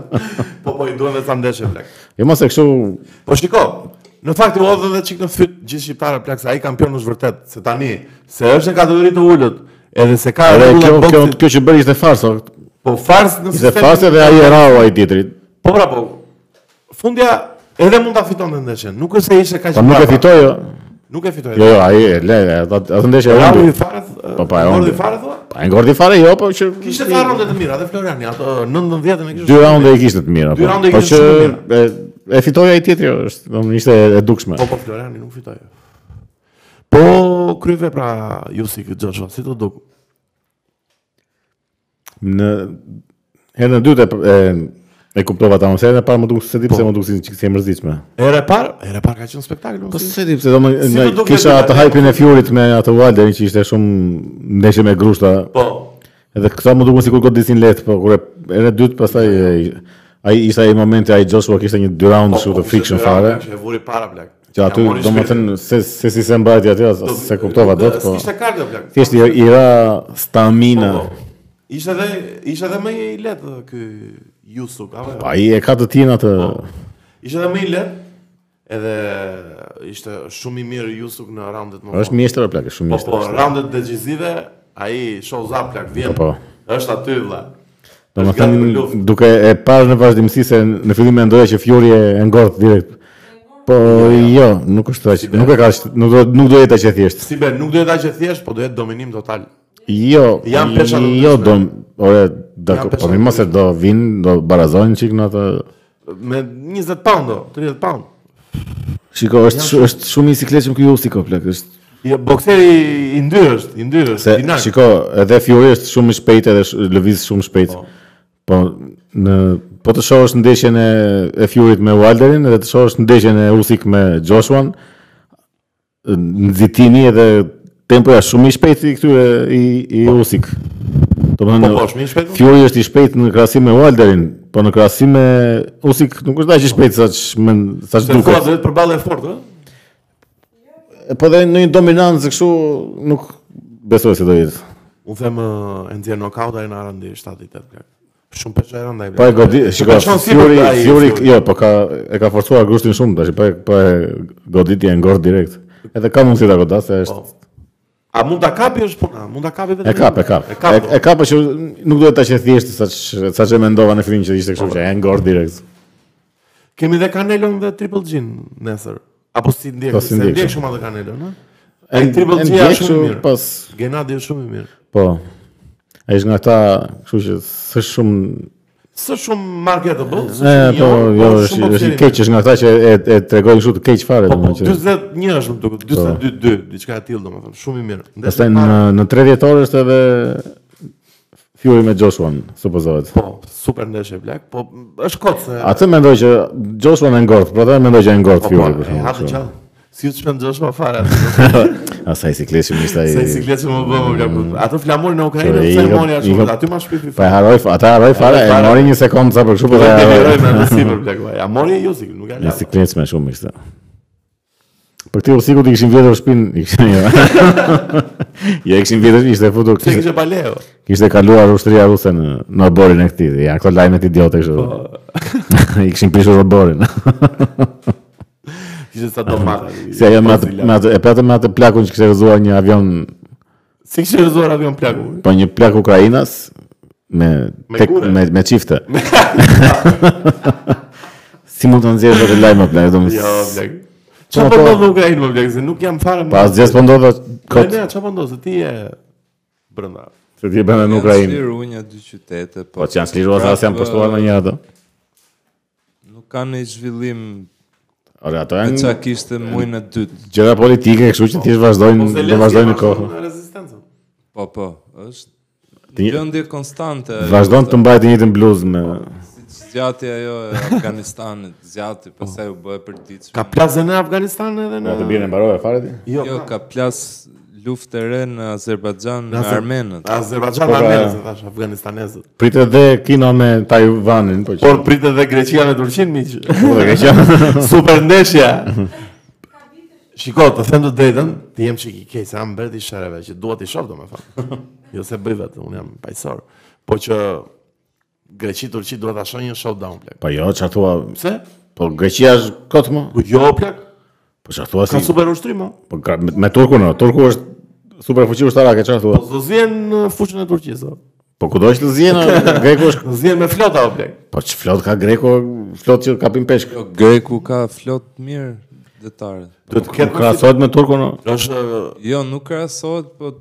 Speaker 2: Po po i duhen vetë sa ndeshje plak.
Speaker 1: Jo mos e kështu
Speaker 2: Po shiko, në fakt u hodhën edhe çik në fyt gjithë shqiptarë plak se ai kampion është vërtet, se tani se është në kategori të ulët, edhe se ka
Speaker 1: Edhe
Speaker 2: rregulla
Speaker 1: kjo, kjo,
Speaker 2: boksit,
Speaker 1: kjo që bëri ishte farso
Speaker 2: po fars në
Speaker 1: Ishte farse dhe ai e rau ai tjetrit
Speaker 2: Po pra po. Fundja edhe mund ta fitonte ndeshjen. Nuk është se ishte kaq
Speaker 1: Po nuk e
Speaker 2: brapa.
Speaker 1: fitoj jo
Speaker 2: Nuk e fitoi.
Speaker 1: Jo jo ai e le le, atë atë ndeshje e
Speaker 2: Ramu i
Speaker 1: hundi
Speaker 2: fare.
Speaker 1: Po, pa, e
Speaker 2: Ramu
Speaker 1: hundi.
Speaker 2: i fare thua?
Speaker 1: Pa e ngordi fare jo po që
Speaker 2: Kishte fare ronde të mira, dhe Floriani ato 9-10 e kishte.
Speaker 1: Dy raunde i kishte të mira
Speaker 2: Dy
Speaker 1: po.
Speaker 2: raunde i
Speaker 1: Po
Speaker 2: kishte
Speaker 1: që
Speaker 2: shumë
Speaker 1: e, e fitoi ai tjetri jo, është domethënë ishte e dukshme
Speaker 2: Po po Floriani nuk fitoi. Po kryve pra ju si këtë Joshua, si të duk.
Speaker 1: Në herën e dytë e, e, e kuptova ta mos herën e parë më duk se di
Speaker 2: Po.
Speaker 1: pse më duk si çik si e mërzitshme
Speaker 2: Ere par, ere par ka qenë spektakl. Po
Speaker 1: se di pse domethënë
Speaker 2: Si
Speaker 1: nga-
Speaker 2: më duk e
Speaker 1: kisha
Speaker 2: dyta,
Speaker 1: atë
Speaker 2: e-
Speaker 1: hype-in e Fjurit me atë Wilderin që ishte shumë ndeshje me grushta
Speaker 2: Po.
Speaker 1: Edhe këta më duken sikur godisin lehtë, po kur e era e dytë pastaj e- ai ishte ai momenti ai Joshua kishte një dy
Speaker 2: Po,
Speaker 1: round kështu të friction fare.
Speaker 2: Që e vuri para plak.
Speaker 1: Që aty domethënë se se si se mbajti aty as as se kuptova dot, po
Speaker 2: Ishte kardio plak.
Speaker 1: thjesht jo i i ra stamina.
Speaker 2: Po. Ishte edhe ishte edhe më i lehtë ky Yusuf, apo?
Speaker 1: Pa ai e ka të tin atë.
Speaker 2: Ishte edhe më i lehtë. Edhe ishte shumë i mirë Yusuf në raundet më.
Speaker 1: Është mjeshtër plak, është shumë
Speaker 2: Po
Speaker 1: mjeshtër.
Speaker 2: po, raundet decisive, ai show zap plak vjen.
Speaker 1: Po, po.
Speaker 2: Është aty vëlla.
Speaker 1: Do më
Speaker 2: Është gati për luftë.
Speaker 1: thënë, duke e parë në vazhdimësi se në fillim e ndoja që Fjuri e e ngordh direkt. Po jo, nuk është aq, nuk e ka, aq- nuk do nuk do jetë aq e thjeshtë.
Speaker 2: Si be, nuk do jetë aq e thjesht, po do jetë dominim total.
Speaker 1: Jo,
Speaker 2: Janë pesha të
Speaker 1: jo
Speaker 2: ndryshme.
Speaker 1: do, ore, dakor,
Speaker 2: Janë pesha
Speaker 1: po
Speaker 2: të
Speaker 1: mirë mos e do vinë, do barazojnë çik në atë.
Speaker 2: Me 20 pound, do, 30 pound.
Speaker 1: Shiko, është shu- është shumë i sikletshëm ky Usyk o plak, është
Speaker 2: Jo, bokseri i ndyrë është, i ndyrë është,
Speaker 1: Se
Speaker 2: dinak.
Speaker 1: shiko, edhe Fury është shumë i shpejt edhe sh- lëviz shumë shpejt. Po në po të shohësh ndeshjen e, e Furyt me Wilderin edhe të shohësh ndeshjen e Usyk me Joshua, nxitimi edhe tempo është shumë i shpejt i këtyre i, i Usyk. Domethënë
Speaker 2: Po, po, shumë i shpejt.
Speaker 1: Fury është i shpejt në krahasim me Wilderin, po në krahasim me Usyk nuk është aq i shpejt saç men- saç
Speaker 2: Se thua
Speaker 1: duket.
Speaker 2: vetë për ballë e fortë, ë?
Speaker 1: Po dhe në një dominancë kështu nuk besoj se do jetë.
Speaker 2: U them ë, e nxjerr knockout ai në arandi 7-8 plak. Shumë pesha e rëndaj.
Speaker 1: Po e godit, shiko, Fury, Fury, jo, po ka e ka forcuar grushtin shumë tash, po e- po e goditi e ngor direkt. Edhe ka mundësi ta godas, se është
Speaker 2: Po. A mund ta kapi është puna, mund ta kapi vetëm.
Speaker 1: e kap, e kap.
Speaker 2: E kap.
Speaker 1: E, e kap, po që nuk duhet ta që thjesht saç saç e mendova në fillim që ishte kështu që e ngor direkt.
Speaker 2: Kemi dhe Canelon dhe Triple G nesër. Apo si ndjek,
Speaker 1: Po, si
Speaker 2: se
Speaker 1: ndjek
Speaker 2: ndjek shumë atë Canelon, ë? Ai Triple G
Speaker 1: ndjek po-
Speaker 2: është shumë i
Speaker 1: kështu
Speaker 2: mirë.
Speaker 1: Pas,
Speaker 2: Gennadi është shumë i mirë.
Speaker 1: po. Ai është nga ata, kështu që s'është shumë
Speaker 2: Së shumë marketable, së
Speaker 1: e
Speaker 2: shumë
Speaker 1: po, jo,
Speaker 2: por
Speaker 1: është është
Speaker 2: shumë
Speaker 1: i
Speaker 2: bokseri
Speaker 1: keq,
Speaker 2: mirë.
Speaker 1: është nga ata që e e tregojnë kështu të keq fare
Speaker 2: Po, po,
Speaker 1: domethënë. që- Po.
Speaker 2: 41 është më duket, 42, diçka e tillë domethënë, shumë i mirë. Ndeshja
Speaker 1: Pastaj
Speaker 2: e
Speaker 1: në
Speaker 2: parë,
Speaker 1: në 30 orë është edhe Fury me Joshua, supozohet.
Speaker 2: po, super ndeshje blak, po është kot se
Speaker 1: Atë mendoj që Joshua në ngordh, pra dhe mendoj që e ngordh
Speaker 2: po,
Speaker 1: Fury për
Speaker 2: e hapë
Speaker 1: shkak.
Speaker 2: gjallë. Si u shpendosh më fare.
Speaker 1: Asaj sikleshi më ishte
Speaker 2: Se
Speaker 1: ai.
Speaker 2: sikletë më bëu ka kuptuar. Ato flamurin në Ukrainë,
Speaker 1: Po, i-
Speaker 2: ceremonia
Speaker 1: i-
Speaker 2: shumë, aty më shpifi.
Speaker 1: Po e haroj, ata haroj fare, e
Speaker 2: fare.
Speaker 1: mori një sekondë sa për kështu, po
Speaker 2: Po
Speaker 1: e
Speaker 2: deliroj
Speaker 1: haroj.
Speaker 2: me atë sipër blak. vaj. A mori ju si nuk e
Speaker 1: Një
Speaker 2: la.
Speaker 1: siklesh me shumë ishte. Për këtë usiku i kishin vjedhur shpinë, i kishin jo. Jo, i kishin vjedhur, ishte futur,
Speaker 2: Se
Speaker 1: kishte,
Speaker 2: kishte paleo.
Speaker 1: kishte kaluar ushtria ruse në në oborin e këtij. Ja, këto lajmet idiote kështu.
Speaker 2: Po.
Speaker 1: I kishin prishur oborin.
Speaker 2: Kishte sa do marr.
Speaker 1: Si ajo
Speaker 2: Po,
Speaker 1: me atë, me atë, e patë me atë plakun që kishte rëzuar një avion,
Speaker 2: Si kishte rëzuar avion plaku.
Speaker 1: po një plak Ukrainas, me,
Speaker 2: Me
Speaker 1: tek-
Speaker 2: gure.
Speaker 1: me, me qifte. si mund të nëzirë dhe të lajmë, plak, do më...
Speaker 2: Jo
Speaker 1: s-
Speaker 2: blak. Çfarë
Speaker 1: Po,
Speaker 2: po
Speaker 1: po.
Speaker 2: ndodh në Ukrainë më blak, se nuk jam fare.
Speaker 1: Pa asë gjesë po ndodhë
Speaker 2: Kot.
Speaker 1: kotë,
Speaker 2: Ne, çfarë po ndodh se ti je brenda.
Speaker 1: se ti e bëna në
Speaker 3: Janë
Speaker 1: Ukrainë.
Speaker 3: shliru një dy qytete, po,
Speaker 1: Po që janë sliruar se asë janë postuar në një ato.
Speaker 3: Nuk kanë një zhvillim
Speaker 1: Ore, ato
Speaker 3: e qa
Speaker 1: janë
Speaker 3: kishte mujnë e dytë.
Speaker 1: gjëra politike, kështu që thjesht vazhdojnë, do vazhdojnë në kohë.
Speaker 2: Rezistencën.
Speaker 3: Po, po, është
Speaker 1: Ti-
Speaker 3: gjëndje konstante. ajo,
Speaker 1: Vazhdojnë të mbajtë një njëtën bluzë me...
Speaker 3: si që Zjati ajo e Afganistanit, zjati, pastaj u bë e përditshme.
Speaker 2: Ka plazë në Afganistan edhe në
Speaker 1: Në të bjerë në barove, fare ti?
Speaker 2: Jo,
Speaker 3: Jo, ka plas luftë e re në Azerbajxhan me
Speaker 2: Azer-
Speaker 3: armenët.
Speaker 2: Azerbajxhan
Speaker 1: Po, pra-
Speaker 2: armenës, e thash afganistanezët.
Speaker 1: Pritë dhe Kina me Tajvanin, po që...
Speaker 2: Por pritet dhe Greqia me Turqinë miq.
Speaker 1: Po, dhe ka qenë.
Speaker 2: Super ndeshja. Shiko, të them të drejtën, ti jem çik i keq, se jam bërë i shereve që dua ti shoh domethënë. Jo se bëj vetë, unë jam pajisor. Po që Greqi Turqi duhet ta shohin një showdown plak.
Speaker 1: Po jo, që atua...
Speaker 2: Pse?
Speaker 1: Po Greqia është kotë më?
Speaker 2: Po jo plak.
Speaker 1: Po çfarë thua si?
Speaker 2: Ka super ushtrim, o.
Speaker 1: Po ka, me, me Turkun, o, Turku është super fuqi ushtarake, çfarë thua?
Speaker 2: po do zjen në fushën e Turqisë. o.
Speaker 1: Po kudo që të zjenë, Greku është.
Speaker 2: Do zjen me flota o plak.
Speaker 1: Po ç'flot ka Greku, flot që kapin peshk.
Speaker 3: Jo, Greku ka flot mirë detare.
Speaker 2: Do të
Speaker 1: Nuk
Speaker 2: ketë krahas.
Speaker 1: krahasohet me Turkun. o.
Speaker 2: Është
Speaker 3: Jo, nuk krahasohet, po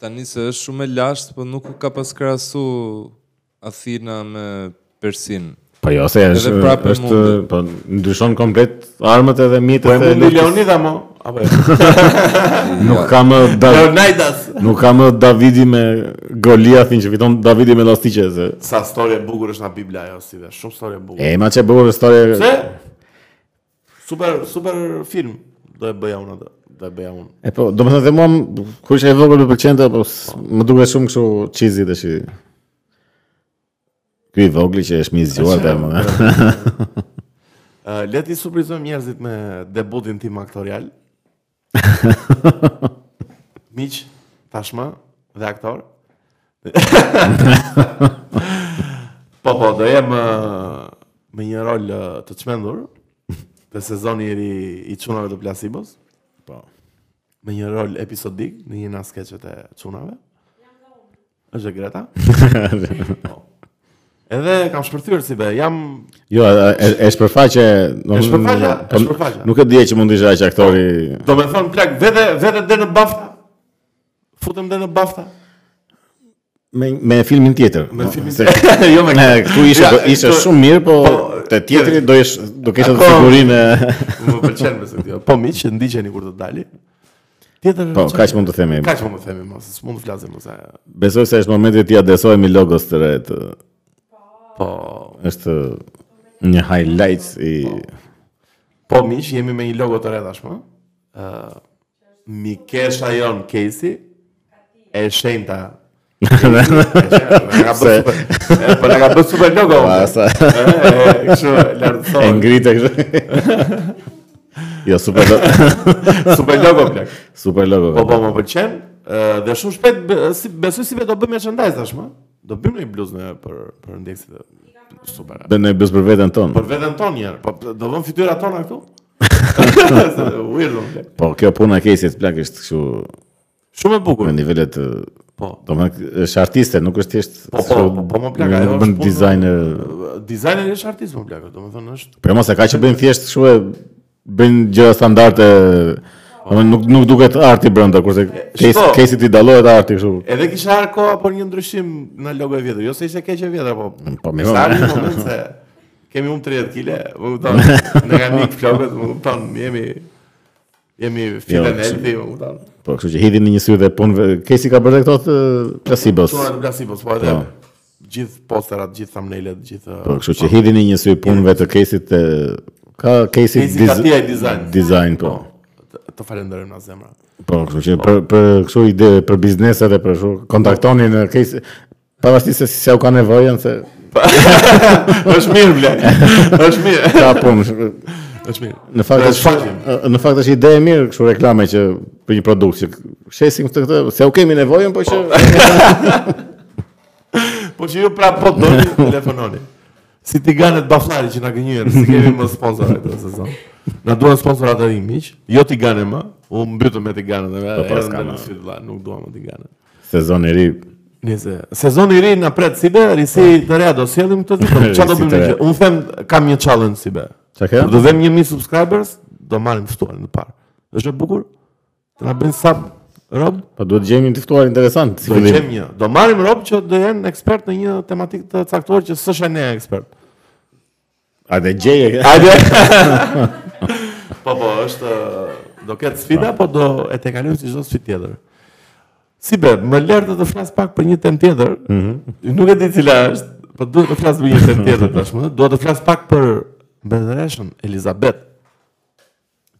Speaker 3: tani se është shumë e lashtë, po nuk u ka pas krahasu Athina me Persin.
Speaker 1: Po jo, se është
Speaker 3: Edhe prapë
Speaker 1: është
Speaker 3: mundet.
Speaker 1: po ndryshon komplet armët edhe mjetet
Speaker 2: po e mundi
Speaker 1: luftës.
Speaker 2: Leonida mo. Apo. jo?
Speaker 1: Nuk ka më Dav-
Speaker 2: Leonidas.
Speaker 1: nuk ka më Davidi me Goliathin që fiton Davidi me elastiqe se.
Speaker 2: Sa storie e bukur është na Bibla ajo si dhe, shumë storie e bukur.
Speaker 1: E ma çe bukur storia.
Speaker 2: Pse? Super super film do e bëja unë atë, do e bëja unë.
Speaker 1: E po, do më thënë dhe mua, m- kur isha i vogël më pëlqente, po s- më duke shumë kështu qizi dhe shi. Ky i vogli që është mi zgjuar dhe më.
Speaker 2: Uh, le ti surprizojmë njerëzit me debutin tim aktorial. Miq, tashmë dhe aktor. po po, do jem uh, me një rol uh, të çmendur te sezoni i ri i çunave të plasibos.
Speaker 1: Po.
Speaker 2: me një rol episodik në një nga skeqet e çunave. Është e Greta? po. Edhe kam shpërthyer si be, jam
Speaker 1: Jo, e- e, e shpërfaqe... do-
Speaker 2: E shpërfaqe, e
Speaker 1: po,
Speaker 2: shpërfaqe.
Speaker 1: Nuk e dje që mund të isha që aktori...
Speaker 2: do me thonë plak vete vete deri në bafta. Futem deri në bafta.
Speaker 1: Me, me filmin tjetër.
Speaker 2: Me filmin
Speaker 1: tjetër. jo me Ku ishe,
Speaker 2: Ja,
Speaker 1: ishe
Speaker 2: këtu-
Speaker 1: shumë mirë, po,
Speaker 2: po,
Speaker 1: te tjetri do ish do kishe
Speaker 2: Ako-
Speaker 1: të figurinë.
Speaker 2: Më pëlqen besoj kjo. Po miq, ndiqeni kur të dali. Tjetër
Speaker 1: Po, kaq mund të themi.
Speaker 2: Kaç mund të themi mos, s'mund të flasim mos. e-
Speaker 1: Besoj se është momenti ti adresohemi logos të re. Të,
Speaker 2: Po,
Speaker 1: është një highlight i
Speaker 2: po miq, jemi me një logo të re tashmë. Ë Mikesha jon Casey e shenjta. Nga bërë super. e, Po na ka bërë super logo.
Speaker 1: Pa, sa-
Speaker 2: E, e, Kështu
Speaker 1: e
Speaker 2: lartësor.
Speaker 1: ngritë kështu. jo, super lo-
Speaker 2: Super logo plak.
Speaker 1: super logo.
Speaker 2: Po po më pëlqen ë, dhe shumë shpejt be- si besoj si vetë do bëjmë merchandise tashmë. Do bëjmë një bluzë ne për për ndjekësit. e- Super.
Speaker 1: Dhe në bus për veten tonë.
Speaker 2: Për veten tonë njerë, po do vëmë fytyrat tona këtu. Se Weird. më plak.
Speaker 1: Po kjo puna e Kesit plak është kështu
Speaker 2: Shumë e bukur.
Speaker 1: në nivele të
Speaker 2: Po.
Speaker 1: domethënë është artiste, nuk është thjesht
Speaker 2: Po, po,
Speaker 1: kështu,
Speaker 2: po, po, më plak,
Speaker 1: nuk
Speaker 2: ajo është
Speaker 1: bën
Speaker 2: punë-
Speaker 1: designer.
Speaker 2: Dizajneri është artist më plakë, domethënë është
Speaker 1: Po mos e ka që bëjnë thjesht kështu e bëjnë gjëra standarde. Domethënë nuk nuk duket arti brenda kurse Kesi
Speaker 2: shiko.
Speaker 1: Kesi ti dallohet arti kështu.
Speaker 2: Edhe kisha arë koha për një ndryshim në logo e vjetër, jo se ishte keq e vjetër, po.
Speaker 1: Po, mirë.
Speaker 2: Sa në moment se kemi um 30 kile, më kupton. Ne kanë ik flokët, më kupton, jemi jemi filen
Speaker 1: kështu.
Speaker 2: elti, më kupton.
Speaker 1: Po, kështu që hidhin në një sy dhe punëve. Kesi ka bërë dhe këto të placebos.
Speaker 2: Çuna të blasi po, po edhe
Speaker 1: Po.
Speaker 2: gjithë posterat, gjithë thumbnailet, gjithë
Speaker 1: Po, kështu që hidhin në një sy punëve të Kesit të ka Kesi
Speaker 2: Kesi ka Oh. tia e design.
Speaker 1: Design po.
Speaker 2: Të- Të falenderojmë nga zemra.
Speaker 1: Po, kështu që
Speaker 2: Oh.
Speaker 1: për për kështu ide për biznese dhe për kështu kontaktoni në Kesi pavarësisht se si u ka nevojë janë se
Speaker 2: Është mirë bla. Është mirë.
Speaker 1: ka punë.
Speaker 2: Është mirë.
Speaker 1: Në fakt
Speaker 2: Dhe
Speaker 1: është
Speaker 2: shfaqim.
Speaker 1: në fakt është ide e mirë kështu reklame që për një produkt që shesim këtë këtë se u kemi nevojën po që
Speaker 2: Po që ju prapë po doni, telefononi. Si tiganët baflari që na gënjën, si kemi më sponsorë këtë sezon. Na duan sponsorat e rinj miq, jo tigane më. U mbytëm me tiganët dhe
Speaker 1: Po, po,
Speaker 2: erën
Speaker 1: s'ka
Speaker 2: dhe
Speaker 1: më.
Speaker 2: në sytë vlla, nuk duam më tigane.
Speaker 1: sezon i ri.
Speaker 2: Nëse sezoni i ri na pret si be, risi të reja do sjellim këtë ditë. Çfarë do
Speaker 1: Risi
Speaker 2: bëjmë
Speaker 1: Po. të
Speaker 2: ne?
Speaker 1: reja.
Speaker 2: që- Unë them kam një challenge si be.
Speaker 1: Çka ke?
Speaker 2: Kur do vëmë 1000 subscribers, do marrim ftuar në parë. Është e bukur? Të na bëjnë sub rob?
Speaker 1: Po duhet gjejmë një të ftuar interesant si
Speaker 2: Do
Speaker 1: fillim.
Speaker 2: gjejmë një. Do marrim rob që do jenë ekspert në një tematik të caktuar që s'është ne ekspert.
Speaker 1: A dhe gjeje.
Speaker 2: Hajde. po po, është do ketë sfida, po do e tekalojmë si çdo sfidë tjetër. Si be, më lërë të të flas pak për një temë tjetër. Nuk e di cila është, po duhet të flas për një temë tjetër tashmë. Duhet të flas pak për mbretëreshën Elizabeth,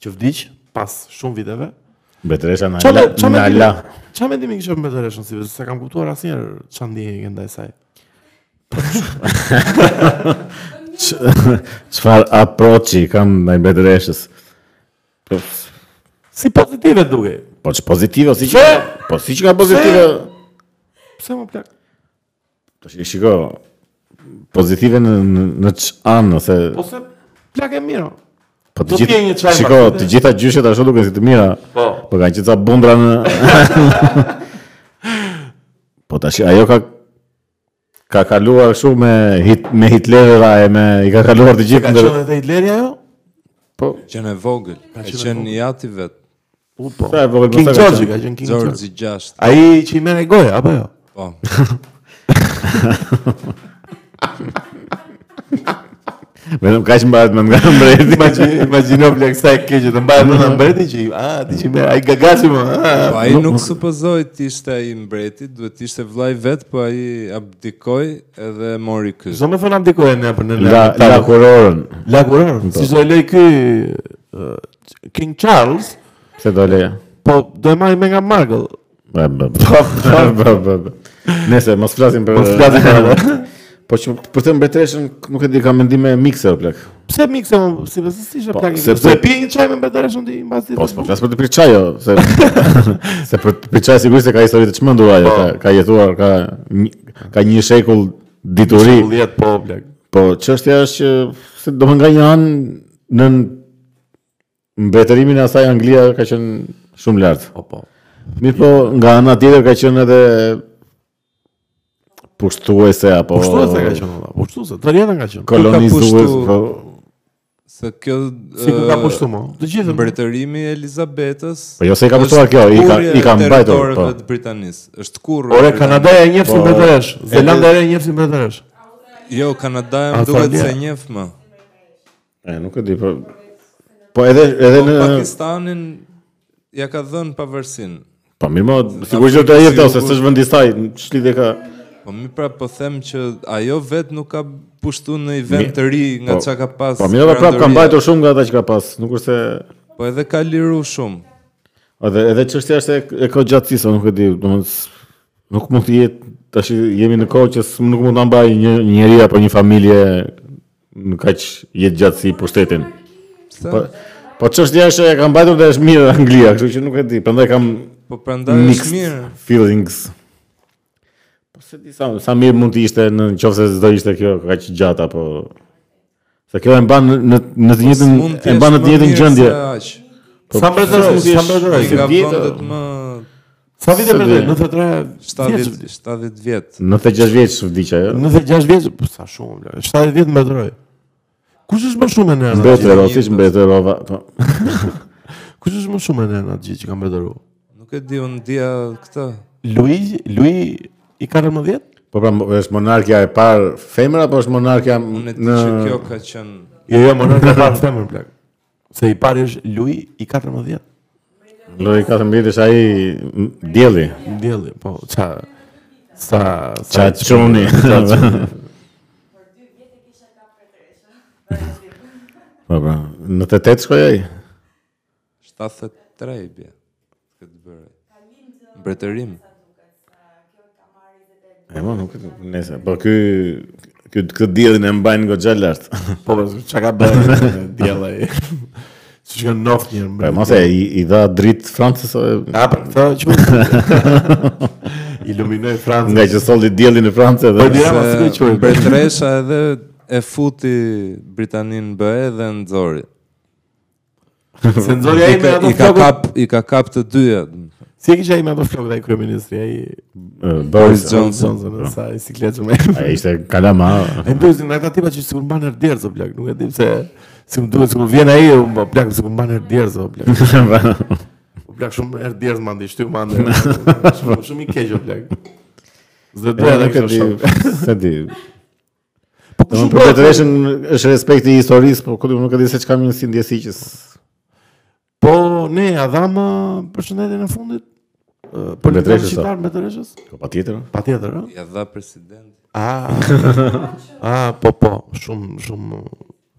Speaker 2: që vdiq pas shumë viteve.
Speaker 1: Betresha na
Speaker 2: Qa
Speaker 1: la.
Speaker 2: me- qa me
Speaker 1: Na
Speaker 2: dimi-
Speaker 1: la.
Speaker 2: Qa me dimi kështë mbretëreshën, si be, se kam kuptuar asnjëherë çfarë ndjenjë ke ndaj saj.
Speaker 1: Çfarë approachi kam ndaj Betreshës? Po
Speaker 2: Si pozitive duke.
Speaker 1: po që pozitive si që
Speaker 2: Pse?
Speaker 1: po si që ka pozitive.
Speaker 2: Pse më plak?
Speaker 1: Tash shiko pozitive në në, në ç anë ose
Speaker 2: Po se plak e mirë. o.
Speaker 1: po
Speaker 2: do
Speaker 1: të gjithë
Speaker 2: t'je një çaj
Speaker 1: shiko
Speaker 2: vakante.
Speaker 1: të gjitha gjyshet ashtu duken si të mira.
Speaker 2: Po.
Speaker 1: Po kanë qenë ca bundra në Po tash ajo ka ka kaluar kështu me hit, me Hitler e me i ka kaluar të
Speaker 2: Ka
Speaker 1: gjithë ndër
Speaker 2: qenë edhe Hitleri ajo?
Speaker 1: po
Speaker 3: Qenë e vogël, ka qenë i ati vetë,
Speaker 2: U po.
Speaker 1: Sa e vogël
Speaker 2: King
Speaker 1: pastaj ka
Speaker 2: George
Speaker 1: qenë.
Speaker 2: ka qenë King George.
Speaker 3: Zorzi 6,
Speaker 2: Ai që i merr e goja apo jo?
Speaker 3: po.
Speaker 1: vetëm kaq mbahet me nga mbreti.
Speaker 2: Imagjino, imagjino plak sa e keqe të mbahet në mbreti që i, a ti që i merr ai gagashi më. a.
Speaker 3: Po ai nuk supozoi të ishte ai mbreti, duhet të ishte vllai vet, po ai abdikoi edhe mori ky.
Speaker 2: Çdo më thon abdikojë ne për në
Speaker 1: La Po. la kurorën.
Speaker 2: la kuror. Si do e lej ky ë, King Charles,
Speaker 1: Se do leja.
Speaker 2: po do e marrim me nga Markle.
Speaker 1: Ba, ba, ba, ba, ba, ba. Nese, mos flasim për...
Speaker 2: Mos flasim për-
Speaker 1: Po që për të mbretreshën, nuk e di, ka mendime mikse, o plak.
Speaker 2: Pse mikse më, si pse si ishte
Speaker 1: Po,
Speaker 2: plak.
Speaker 1: sepse-
Speaker 2: Sepse e pi një çaj me betareshun ti mbas
Speaker 1: Po,
Speaker 2: ditës.
Speaker 1: s'po flas për të pirë jo, se, se për të pirë sigurisht se ka histori të çmendur ajo, ka, ka jetuar, ka, një- ka një shekull dituri,
Speaker 2: Uljet po plak.
Speaker 1: po çështja është që, se do më nga një anë, në mbretërimin e asaj Anglia ka qenë shumë lartë.
Speaker 2: Po po.
Speaker 1: Mirë po, nga ana tjetër ka qenë edhe pushtuese apo
Speaker 2: Pushtuese ka qenë valla, pushtuese, trajeta ka qenë.
Speaker 1: kolonizues,
Speaker 3: pushtu-
Speaker 1: po
Speaker 3: Se kjo
Speaker 2: Si ku ka
Speaker 3: ë,
Speaker 2: pushtu mo? Të gjithë më.
Speaker 3: mbretërimi i Elizabetës.
Speaker 1: Po jo se i ka pushtuar kjo, i ka i ka mbajtur. Po.
Speaker 3: Po. të Britanisë. Është kurrë.
Speaker 2: Ore
Speaker 3: e
Speaker 2: Kanadaja e njefsin
Speaker 1: Po,
Speaker 2: mbretëresh, Zelanda e njefsin mbretëresh.
Speaker 3: Britanisë. Jo, Kanadaja më duket
Speaker 2: Australia.
Speaker 3: se njeh më.
Speaker 1: E nuk e di, po Po edhe edhe
Speaker 3: Po
Speaker 1: në
Speaker 3: Pakistanin ja ka dhënë pavarësinë.
Speaker 1: Po mirë, mo, sigurisht do të jetë ose
Speaker 3: Sigur.
Speaker 1: s'është vendi i saj, ç'lidhje ka.
Speaker 3: Po mi pra po them që ajo vetë nuk ka pushtu në i vend të ri nga
Speaker 1: po-
Speaker 3: çka ka pas.
Speaker 1: Po mirë, edhe prap ka
Speaker 3: Perëndoria.
Speaker 1: mbajtur shumë nga ata që ka pas, nuk është se
Speaker 3: Po edhe ka liru shumë.
Speaker 1: edhe edhe çështja është e- e kohëgjatësisë, nuk e di, domethënë s- nuk mund të jetë tash jemi në kohë që s- nuk mund ta mbajë një njeri apo një familje në kaq jetë gjatësi pushtetin.
Speaker 3: Pse?
Speaker 1: Po po çështja është e ka mbajtur dhe është mirë Anglia, kështu që nuk e di, prandaj kam
Speaker 3: Po prandaj është
Speaker 1: mixed
Speaker 3: mirë.
Speaker 1: feelings. Po se di sa, sa mirë mund të ishte në qoftë se do ishte kjo kaq gjatë apo se kjo e mban në- në në
Speaker 3: Po
Speaker 1: të njëjtën
Speaker 3: S'mund t'jesh
Speaker 1: e mban në
Speaker 3: më
Speaker 1: të njëjtën
Speaker 3: mirë
Speaker 1: gjendje.
Speaker 3: se aq.
Speaker 2: Sa mbretëresh,
Speaker 1: si
Speaker 2: sa
Speaker 1: është-
Speaker 2: mbretëresh.
Speaker 1: si
Speaker 3: Nga
Speaker 1: vjetë,
Speaker 3: vendet më
Speaker 2: Sa vite
Speaker 1: Se
Speaker 2: mbretëre?
Speaker 1: di.
Speaker 2: 93 po, vjeç.
Speaker 3: 70 70 vjet.
Speaker 1: 96 vjeç jo? u vdiq ajo.
Speaker 2: 96 vjeç, po, sa shumë, bla. 70 vjet mbretëroj. Kush është më shumë e nëna?
Speaker 1: Mbetë
Speaker 3: gjithë
Speaker 1: rrotish,
Speaker 3: njëjtës.
Speaker 1: mbetë rrova. Po.
Speaker 2: Kush është më shumë e nëna gjithë që ka mbretëruar?
Speaker 3: Nuk e di unë dia këtë.
Speaker 2: Luigi, Luigi i 14?
Speaker 1: Po pra është monarkia e parë femër apo është monarkia
Speaker 3: Unë e di
Speaker 1: në
Speaker 3: që kjo ka qenë
Speaker 2: Jo, jo, më nëse parë femër plak. Se i pari është Luigi i 14.
Speaker 1: Lori 14 është ai m, dielli.
Speaker 2: Ndjelli, po, ça sa
Speaker 1: Ça
Speaker 2: sa
Speaker 1: çuni. Po pra, në të tetë shkoj ai.
Speaker 3: 73 bje. Këtë bëre. Mbretërim.
Speaker 1: E mo, nuk e di, nese, po ky ky këtë diellin e mbajnë goxha lart.
Speaker 2: po ça ka bërë Ndjelli. Si që kanë noft një
Speaker 1: Po
Speaker 2: mbre.
Speaker 1: mos e i, i dha dritë Francës o,
Speaker 2: A për këtë që Iluminoj Francën.
Speaker 1: nga që solli diellin në Francë edhe
Speaker 2: Po dirama si do
Speaker 3: Se
Speaker 2: quhet.
Speaker 3: Mbretëresha edhe e futi Britaninë në BE dhe nxori.
Speaker 2: Se nxori ai
Speaker 3: I
Speaker 2: me
Speaker 3: ka-
Speaker 2: ato
Speaker 3: i ka
Speaker 2: flokët.
Speaker 3: kap i ka kap të dyja.
Speaker 2: Si e kisha ai me ato flokët ai kryeministri ai
Speaker 1: e, Boris
Speaker 3: Boris
Speaker 1: Johnson.
Speaker 3: Johnson.
Speaker 2: Johnson sa i sikletë me.
Speaker 1: Ai ishte kalama.
Speaker 2: Ai bëzin nga ata tipa që sikur mban erdherë zë plak, nuk e di pse si më duhet sikur vjen ai u bë, plak sikur mban erdherë zë plak.
Speaker 1: Po,
Speaker 2: U plak shumë erdherë mandi, shtyp mandi. Shumë shumë i keq u plak. Zë
Speaker 1: Po
Speaker 2: do edhe
Speaker 1: nuk e di,
Speaker 2: kështu.
Speaker 1: se di.
Speaker 2: Po
Speaker 1: Domthonë për Bretëreshën është respekti i historisë, po ku di, nuk e di se çka më si ndjesi që s-
Speaker 2: Po ne a dham ë, përshëndetjen e fundit ë, për
Speaker 1: Mbretëreshës,
Speaker 2: Bretëreshës, qitar Bretëreshës?
Speaker 1: Po patjetër.
Speaker 2: Patjetër, ë?
Speaker 3: Ja dha presidenti.
Speaker 2: Ah. Ah, po po, shumë shumë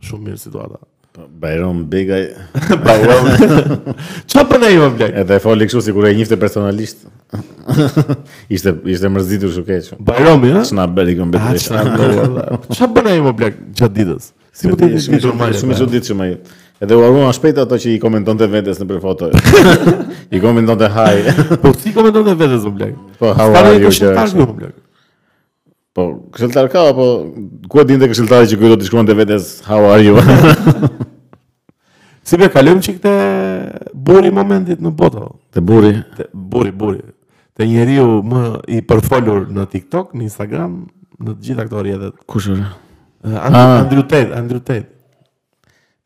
Speaker 2: shumë mirë situata.
Speaker 1: Po, Bajram Begaj
Speaker 2: Bajram. Çfarë po ne jemi blek?
Speaker 1: edhe e foli kështu sikur e njifte personalisht. ishte ishte mërzitur kështu keq.
Speaker 2: Bajrami, ë?
Speaker 1: Ç'na bëri këmbë
Speaker 2: Ah,
Speaker 1: Bretëresha.
Speaker 2: çfarë bëre, valla. Çfarë bën ai më blek gjatë ditës? Si po mund të jetë
Speaker 1: shumë
Speaker 2: ditë normale?
Speaker 1: shumë i çuditshëm ai. Edhe u harruan shpejt ato që i komentonte vetes nëpër foto. I komentonte hi.
Speaker 2: Po si komenton të vetes më blek?
Speaker 1: Po how
Speaker 2: Ka
Speaker 1: are
Speaker 2: një
Speaker 1: you? që-
Speaker 2: këshilltar këtu më blek.
Speaker 1: Po këshilltar ka apo ku e dinte këshilltari që ky do të shkruante vetes how are you?
Speaker 2: Si be kalojmë çik te buri momentit në botë.
Speaker 1: Te burri.
Speaker 2: Te buri, buri. Te njeriu më i përfolur në TikTok, në Instagram, në të gjitha këto rrjetet.
Speaker 1: Kush është?
Speaker 2: Eh, And-
Speaker 1: Ah.
Speaker 2: Andrew Tate, Andrew Tate.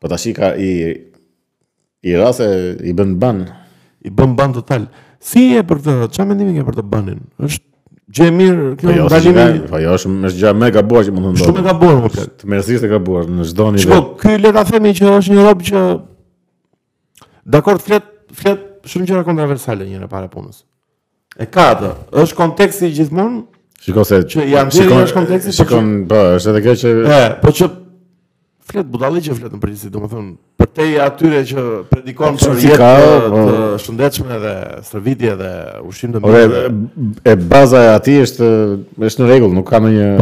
Speaker 1: Po tash i ka i i rase i bën ban.
Speaker 2: I bën ban total. Si e për këtë? Çfarë mendimi ke për të banin? Është gjë e mirë
Speaker 1: Po
Speaker 2: kjo
Speaker 1: jo, është gjë-
Speaker 2: ndalimi.
Speaker 1: po jo, është është gjë më e gabuar që mund të
Speaker 2: Shumë e
Speaker 1: ndodhë.
Speaker 2: ka bërë më plak.
Speaker 1: Të merësisht e gabuar në çdo nivel.
Speaker 2: Shko, ky le ta themi që është një rob që dakor flet flet shumë gjëra kontroversale njëra para punës. E ka atë. Është konteksti gjithmonë,
Speaker 1: Shiko se
Speaker 2: Që janë dhënë është kompleksi, po
Speaker 1: Shikon, po, është edhe kjo që
Speaker 2: e, po që flet budalli që flet në përgjithësi, domethënë, për te atyre që predikon
Speaker 1: Po,
Speaker 2: për
Speaker 1: si
Speaker 2: jetë
Speaker 1: ka,
Speaker 2: të,
Speaker 1: po.
Speaker 2: të shëndetshme dhe stërvitje dhe ushqim të
Speaker 1: Ore,
Speaker 2: mirë. dhe-
Speaker 1: e baza e atij është është në rregull, nuk ka ndonjë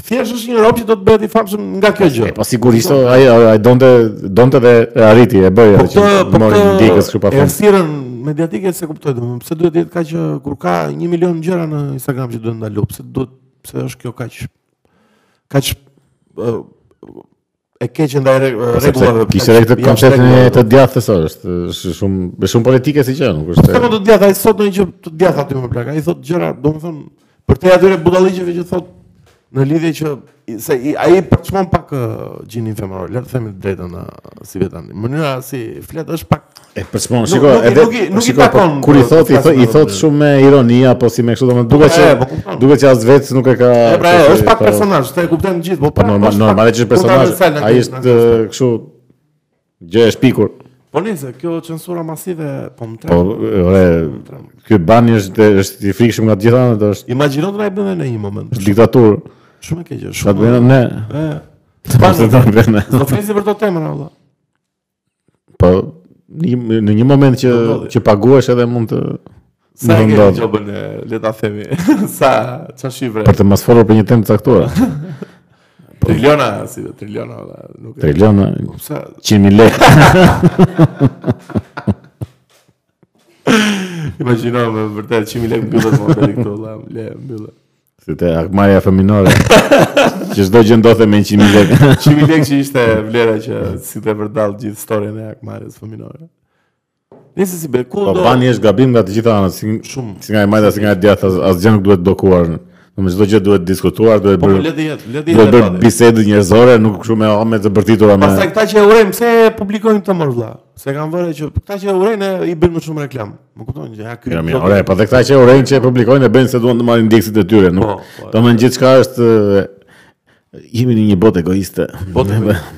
Speaker 2: Thjesht është një rob që do të bëhet i famshëm nga kjo gjë.
Speaker 1: E po sigurisht o, ai ai donte donte dhe e arriti, e bëri
Speaker 2: Po
Speaker 1: atë që
Speaker 2: këtë, po
Speaker 1: mori ndjekës kështu pa fund.
Speaker 2: Errësirën mediatike se kuptoj domun, pse duhet të jetë kaq ë, kur ka 1 milion gjëra në Instagram që duhet ndalu, pse duhet pse është kjo kaq kaq ë, e keq ndaj rre-
Speaker 1: Po Sepse
Speaker 2: rregullave.
Speaker 1: kishte edhe këtë konceptin e të djathtë sot, është është shumë është shumë politike si gjë, nuk
Speaker 2: Sa më
Speaker 1: është.
Speaker 2: të djathtë ai sot ndonjë gjë të djathtë aty më plak. Ai thotë gjëra, domethënë Për te atyre budalliqeve që thot në lidhje që i- se i- ai përçmon pak ë, gjinin femëror, le të themi të drejtën ë, si vetë tani. Mënyra si flet është pak
Speaker 1: E përspon, shiko,
Speaker 2: nuk i-
Speaker 1: edhe
Speaker 2: nuk i- nuk i
Speaker 1: shiko, po,
Speaker 2: takon,
Speaker 1: kur i
Speaker 2: po,
Speaker 1: thot, i
Speaker 2: të
Speaker 1: thot, i
Speaker 2: flasim
Speaker 1: thot
Speaker 2: për-
Speaker 1: shumë me ironi apo si me kështu domethënë duket
Speaker 2: e, po,
Speaker 1: që
Speaker 2: kupton.
Speaker 1: duket që as vetë nuk e ka.
Speaker 2: E pra, e,
Speaker 1: kështu,
Speaker 2: është pak
Speaker 1: po,
Speaker 2: personazh, të e kuptojmë gjithë, po
Speaker 1: Po
Speaker 2: pra,
Speaker 1: normal,
Speaker 2: është pak-
Speaker 1: normalisht është
Speaker 2: mund ta
Speaker 1: personazh.
Speaker 2: ndërsa në
Speaker 1: Ai
Speaker 2: këtë-
Speaker 1: është
Speaker 2: në këtë-
Speaker 1: ë, kështu gjë e shpikur.
Speaker 2: Po nice, kjo censura masive po më
Speaker 1: Po,
Speaker 2: trem.
Speaker 1: ore, ky bani është është i frikshëm nga të gjitha anët, është
Speaker 2: Imagjino të na e bënë në një moment.
Speaker 1: është diktaturë.
Speaker 2: Po. Shumë e keqe,
Speaker 1: Sa
Speaker 2: shumë.
Speaker 1: të bëjmë ne?
Speaker 2: E,
Speaker 1: Sa të bëjmë ne?
Speaker 2: Do flesi për këto temën valla.
Speaker 1: Po një- në një moment që
Speaker 2: Do ndodhi.
Speaker 1: që paguhesh edhe mund të
Speaker 2: Sa e
Speaker 1: mund të
Speaker 2: keni
Speaker 1: ndodhi.
Speaker 2: gjobën, e, le ta themi. Sa çfarë shifre?
Speaker 1: për të mos folur për një temë të caktuar.
Speaker 2: Triliona, si dhe triliona, valla, nuk e.
Speaker 1: Triliona,
Speaker 2: Sa
Speaker 1: 100.000 lekë.
Speaker 2: imagjino me vërtet 100 lekë mbyllet më deri këtu, valla, le mbyllet.
Speaker 1: Si te akmarja feminore. që çdo gjë ndodhte me 100.000 lekë.
Speaker 2: 100 lekë që ishte vlera që si të përdall gjithë historinë e Akmares fëminore. Nëse si be, ku
Speaker 1: Po
Speaker 2: do
Speaker 1: bani është gabim nga të gjitha anët, si,
Speaker 2: Shumë.
Speaker 1: si nga e majta, si nga e djathta, as- asgjë nuk duhet blokuar. Domethënë çdo gjë duhet diskutuar, duhet
Speaker 2: Po po,
Speaker 1: bërë
Speaker 2: le të jetë, le të
Speaker 1: duhet
Speaker 2: jetë.
Speaker 1: bërë
Speaker 2: valla.
Speaker 1: bisedë njerëzore, nuk kështu me me të bërtitura me.
Speaker 2: Pastaj këta që e urejmë, pse e publikojnë këtë mor vlla? Se kanë vënë që këta që e urejnë e, i bëjnë më shumë reklam. Më kupton që ja ky.
Speaker 1: Ja, mirë, ore, po dhe këta që urejnë që e publikojnë e bëjnë se duan të marrin ndjekësit e tyre, nuk.
Speaker 2: Po, po.
Speaker 1: Domethënë gjithçka është e, jemi në një botë egoiste.
Speaker 2: Botë egoiste.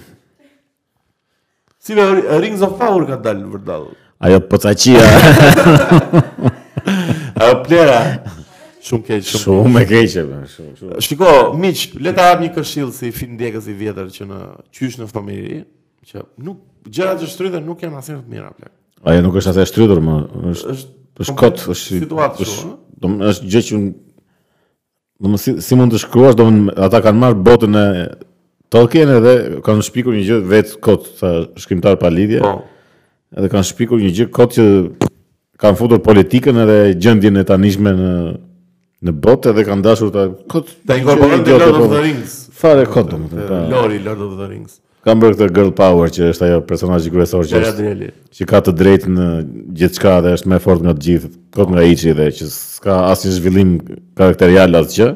Speaker 2: Si me Ri- Rings of Power ka dalë vërdall.
Speaker 1: Ajo pocaqia
Speaker 2: Ajo plera. Shumë keq, shumë.
Speaker 1: shumë e keqe, bë, shumë shumë.
Speaker 2: Shiko, miq, le ta jap një këshill si film ndjekës i vjetër që në qysh në familje, që nuk gjërat që shtrydhen nuk janë asnjë të mira plak.
Speaker 1: Ajo nuk është as e shtrydhur më, është
Speaker 2: Është
Speaker 1: është kot, është
Speaker 2: situatë kështu,
Speaker 1: është- domethënë është gjë që unë- domethënë si, si mund të shkruash, domethënë ata kanë marrë botën e Tolkien edhe kanë shpikur një gjë vetë kot, tha shkrimtar pa lidhje.
Speaker 2: po.
Speaker 1: edhe kanë shpikur një gjë kot që kanë futur politikën edhe gjendjen e tanishme në në botë edhe kanë dashur ta kot
Speaker 2: Ta inkorporojnë te
Speaker 1: idiotë,
Speaker 2: Lord
Speaker 1: po.
Speaker 2: of the Rings.
Speaker 1: Fare kot domethënë. pra.
Speaker 2: Lori Lord of the Rings.
Speaker 1: Kanë bërë këtë girl power që është ajo personazhi kryesor që
Speaker 2: Gjëra
Speaker 1: është
Speaker 2: dreli.
Speaker 1: që ka të drejtë në gjithçka dhe është më e fortë nga të gjithë. Kot nga Ichi dhe që s'ka asnjë zhvillim karakterial asgjë.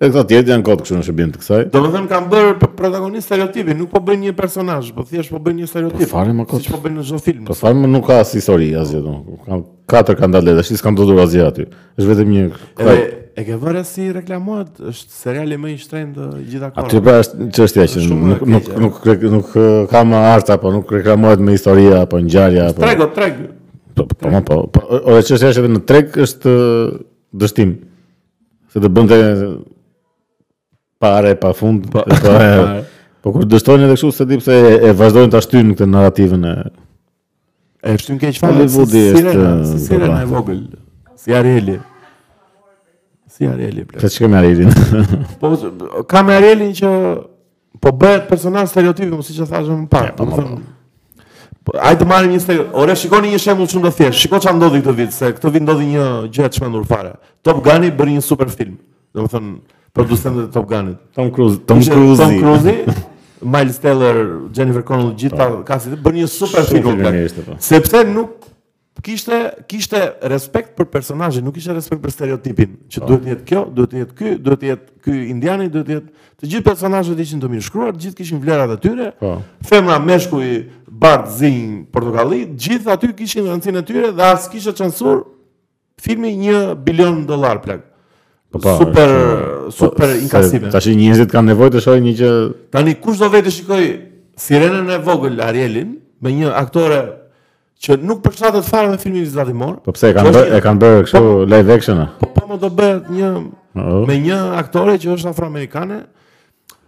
Speaker 1: Dhe këta tjerë janë kot kështu në shërbim të kësaj.
Speaker 2: Do më thënë kam bërë p- protagonist stereotipin, nuk po bëjnë një personazh, po thjesht po bëjnë një stereotip.
Speaker 1: Po fare, ma kot.
Speaker 2: Siç po bëjnë në çdo film.
Speaker 1: Po fare më nuk ka as histori asgjë domun. Ka katër kandale dhe s'kan ndodhur asgjë aty. Është vetëm një
Speaker 2: Edhe e ke vënë si reklamohet, është seriali më i shtrenjtë të gjitha
Speaker 1: Aty
Speaker 2: kohën.
Speaker 1: pra është çështja që
Speaker 2: Shumë
Speaker 1: nuk
Speaker 2: e
Speaker 1: nuk
Speaker 2: keqe.
Speaker 1: nuk nuk, nuk eh, ka më art apo nuk reklamohet me historia apo ngjarja apo
Speaker 2: Trego, treg.
Speaker 1: po po po, po, po ora çështja është edhe në treg është eh, dështim. Se të bënte pare pa fund po eh, po kur dështojnë edhe kështu se di pse e- e vazhdojnë ta shtynë këtë narrativën e
Speaker 2: E shtym keq
Speaker 1: Hollywoodi
Speaker 2: si
Speaker 1: është,
Speaker 2: sirena,
Speaker 1: e,
Speaker 2: si sirena
Speaker 1: po,
Speaker 2: e vogël. Si Arieli. Si Arieli plot.
Speaker 1: se çka më arrin.
Speaker 2: Po ka me Arielin që po bëhet personazh stereotipi, mos siç e thashë më parë.
Speaker 1: po,
Speaker 2: Do të thënë, Po, hajde të marrim një stereo. Ore, shikoni një shembull shumë të thjeshtë. Shiko çfarë ndodhi këtë vit, se këtë vit ndodhi një gjë e çmendur fare. Top Guni bëri një super film. Domethënë, producentët e Top Gunit.
Speaker 1: Tom Cruise, Tom
Speaker 2: Ishte
Speaker 1: Cruise.
Speaker 2: Tom Cruise, Miles Teller, Jennifer Connelly, gjithë ta kasi të bën një super
Speaker 1: Shumë
Speaker 2: film.
Speaker 1: film
Speaker 2: plak.
Speaker 1: mirë ishte, po.
Speaker 2: Sepse nuk kishte kishte respekt për personazhin, nuk kishte respekt për stereotipin, që
Speaker 1: Po.
Speaker 2: duhet të jetë kjo, duhet të jetë ky, duhet të jetë ky indiani, duhet të jetë të gjithë personazhet ishin të mirë shkruar, të gjithë kishin vlerat e tyre.
Speaker 1: Po.
Speaker 2: Femra, meshkuj, bardh, zinj, portokalli, të gjithë aty kishin rëndësinë e tyre dhe as kishte censur filmi 1 bilion dollar plak.
Speaker 1: po,
Speaker 2: super
Speaker 1: është,
Speaker 2: super
Speaker 1: Se
Speaker 2: inkasime.
Speaker 1: Tash njerëzit kanë nevojë të shohin një gjë
Speaker 2: Tani kush do vetë shikoj Sirenën e vogël Arielin me një aktore që nuk përshtatet fare me filmin vizatimor.
Speaker 1: Po pse e kanë bërë e kanë bërë kështu live action a?
Speaker 2: Po po më do bëhet një
Speaker 1: Oo.
Speaker 2: me një aktore që është afroamerikane.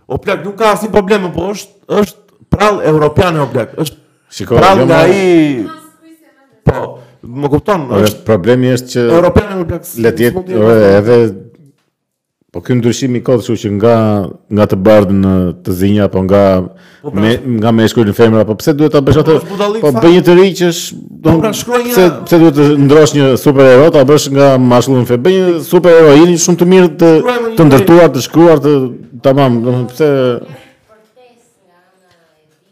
Speaker 2: O plak nuk ka asnjë problem, po është është prall europiane o plak. Është
Speaker 1: Shiko,
Speaker 2: prall
Speaker 1: jo,
Speaker 2: nga
Speaker 1: ma-
Speaker 2: ai Po, më kupton,
Speaker 1: Ore,
Speaker 2: është
Speaker 1: problemi është që
Speaker 2: europiane o plak.
Speaker 1: Po, le të jetë
Speaker 2: s'mund
Speaker 1: ore, edhe po ky ndryshim i kod, kështu që nga nga të bardhë në të zinja apo nga
Speaker 2: pra,
Speaker 1: me, nga me shkruajnë femra, po pse duhet ta bësh atë?
Speaker 2: është budallik
Speaker 1: Po
Speaker 2: fare.
Speaker 1: bëj një të ri që është do-
Speaker 2: pra, shkruaj një-
Speaker 1: pse pse duhet të ndrosh një superhero ta bësh nga maskullin fe? Bëj një superheroin shumë të mirë të
Speaker 2: Shkruaj me një
Speaker 1: të
Speaker 2: njeri.
Speaker 1: ndërtuar, të shkruar, të tamam, domethënë pse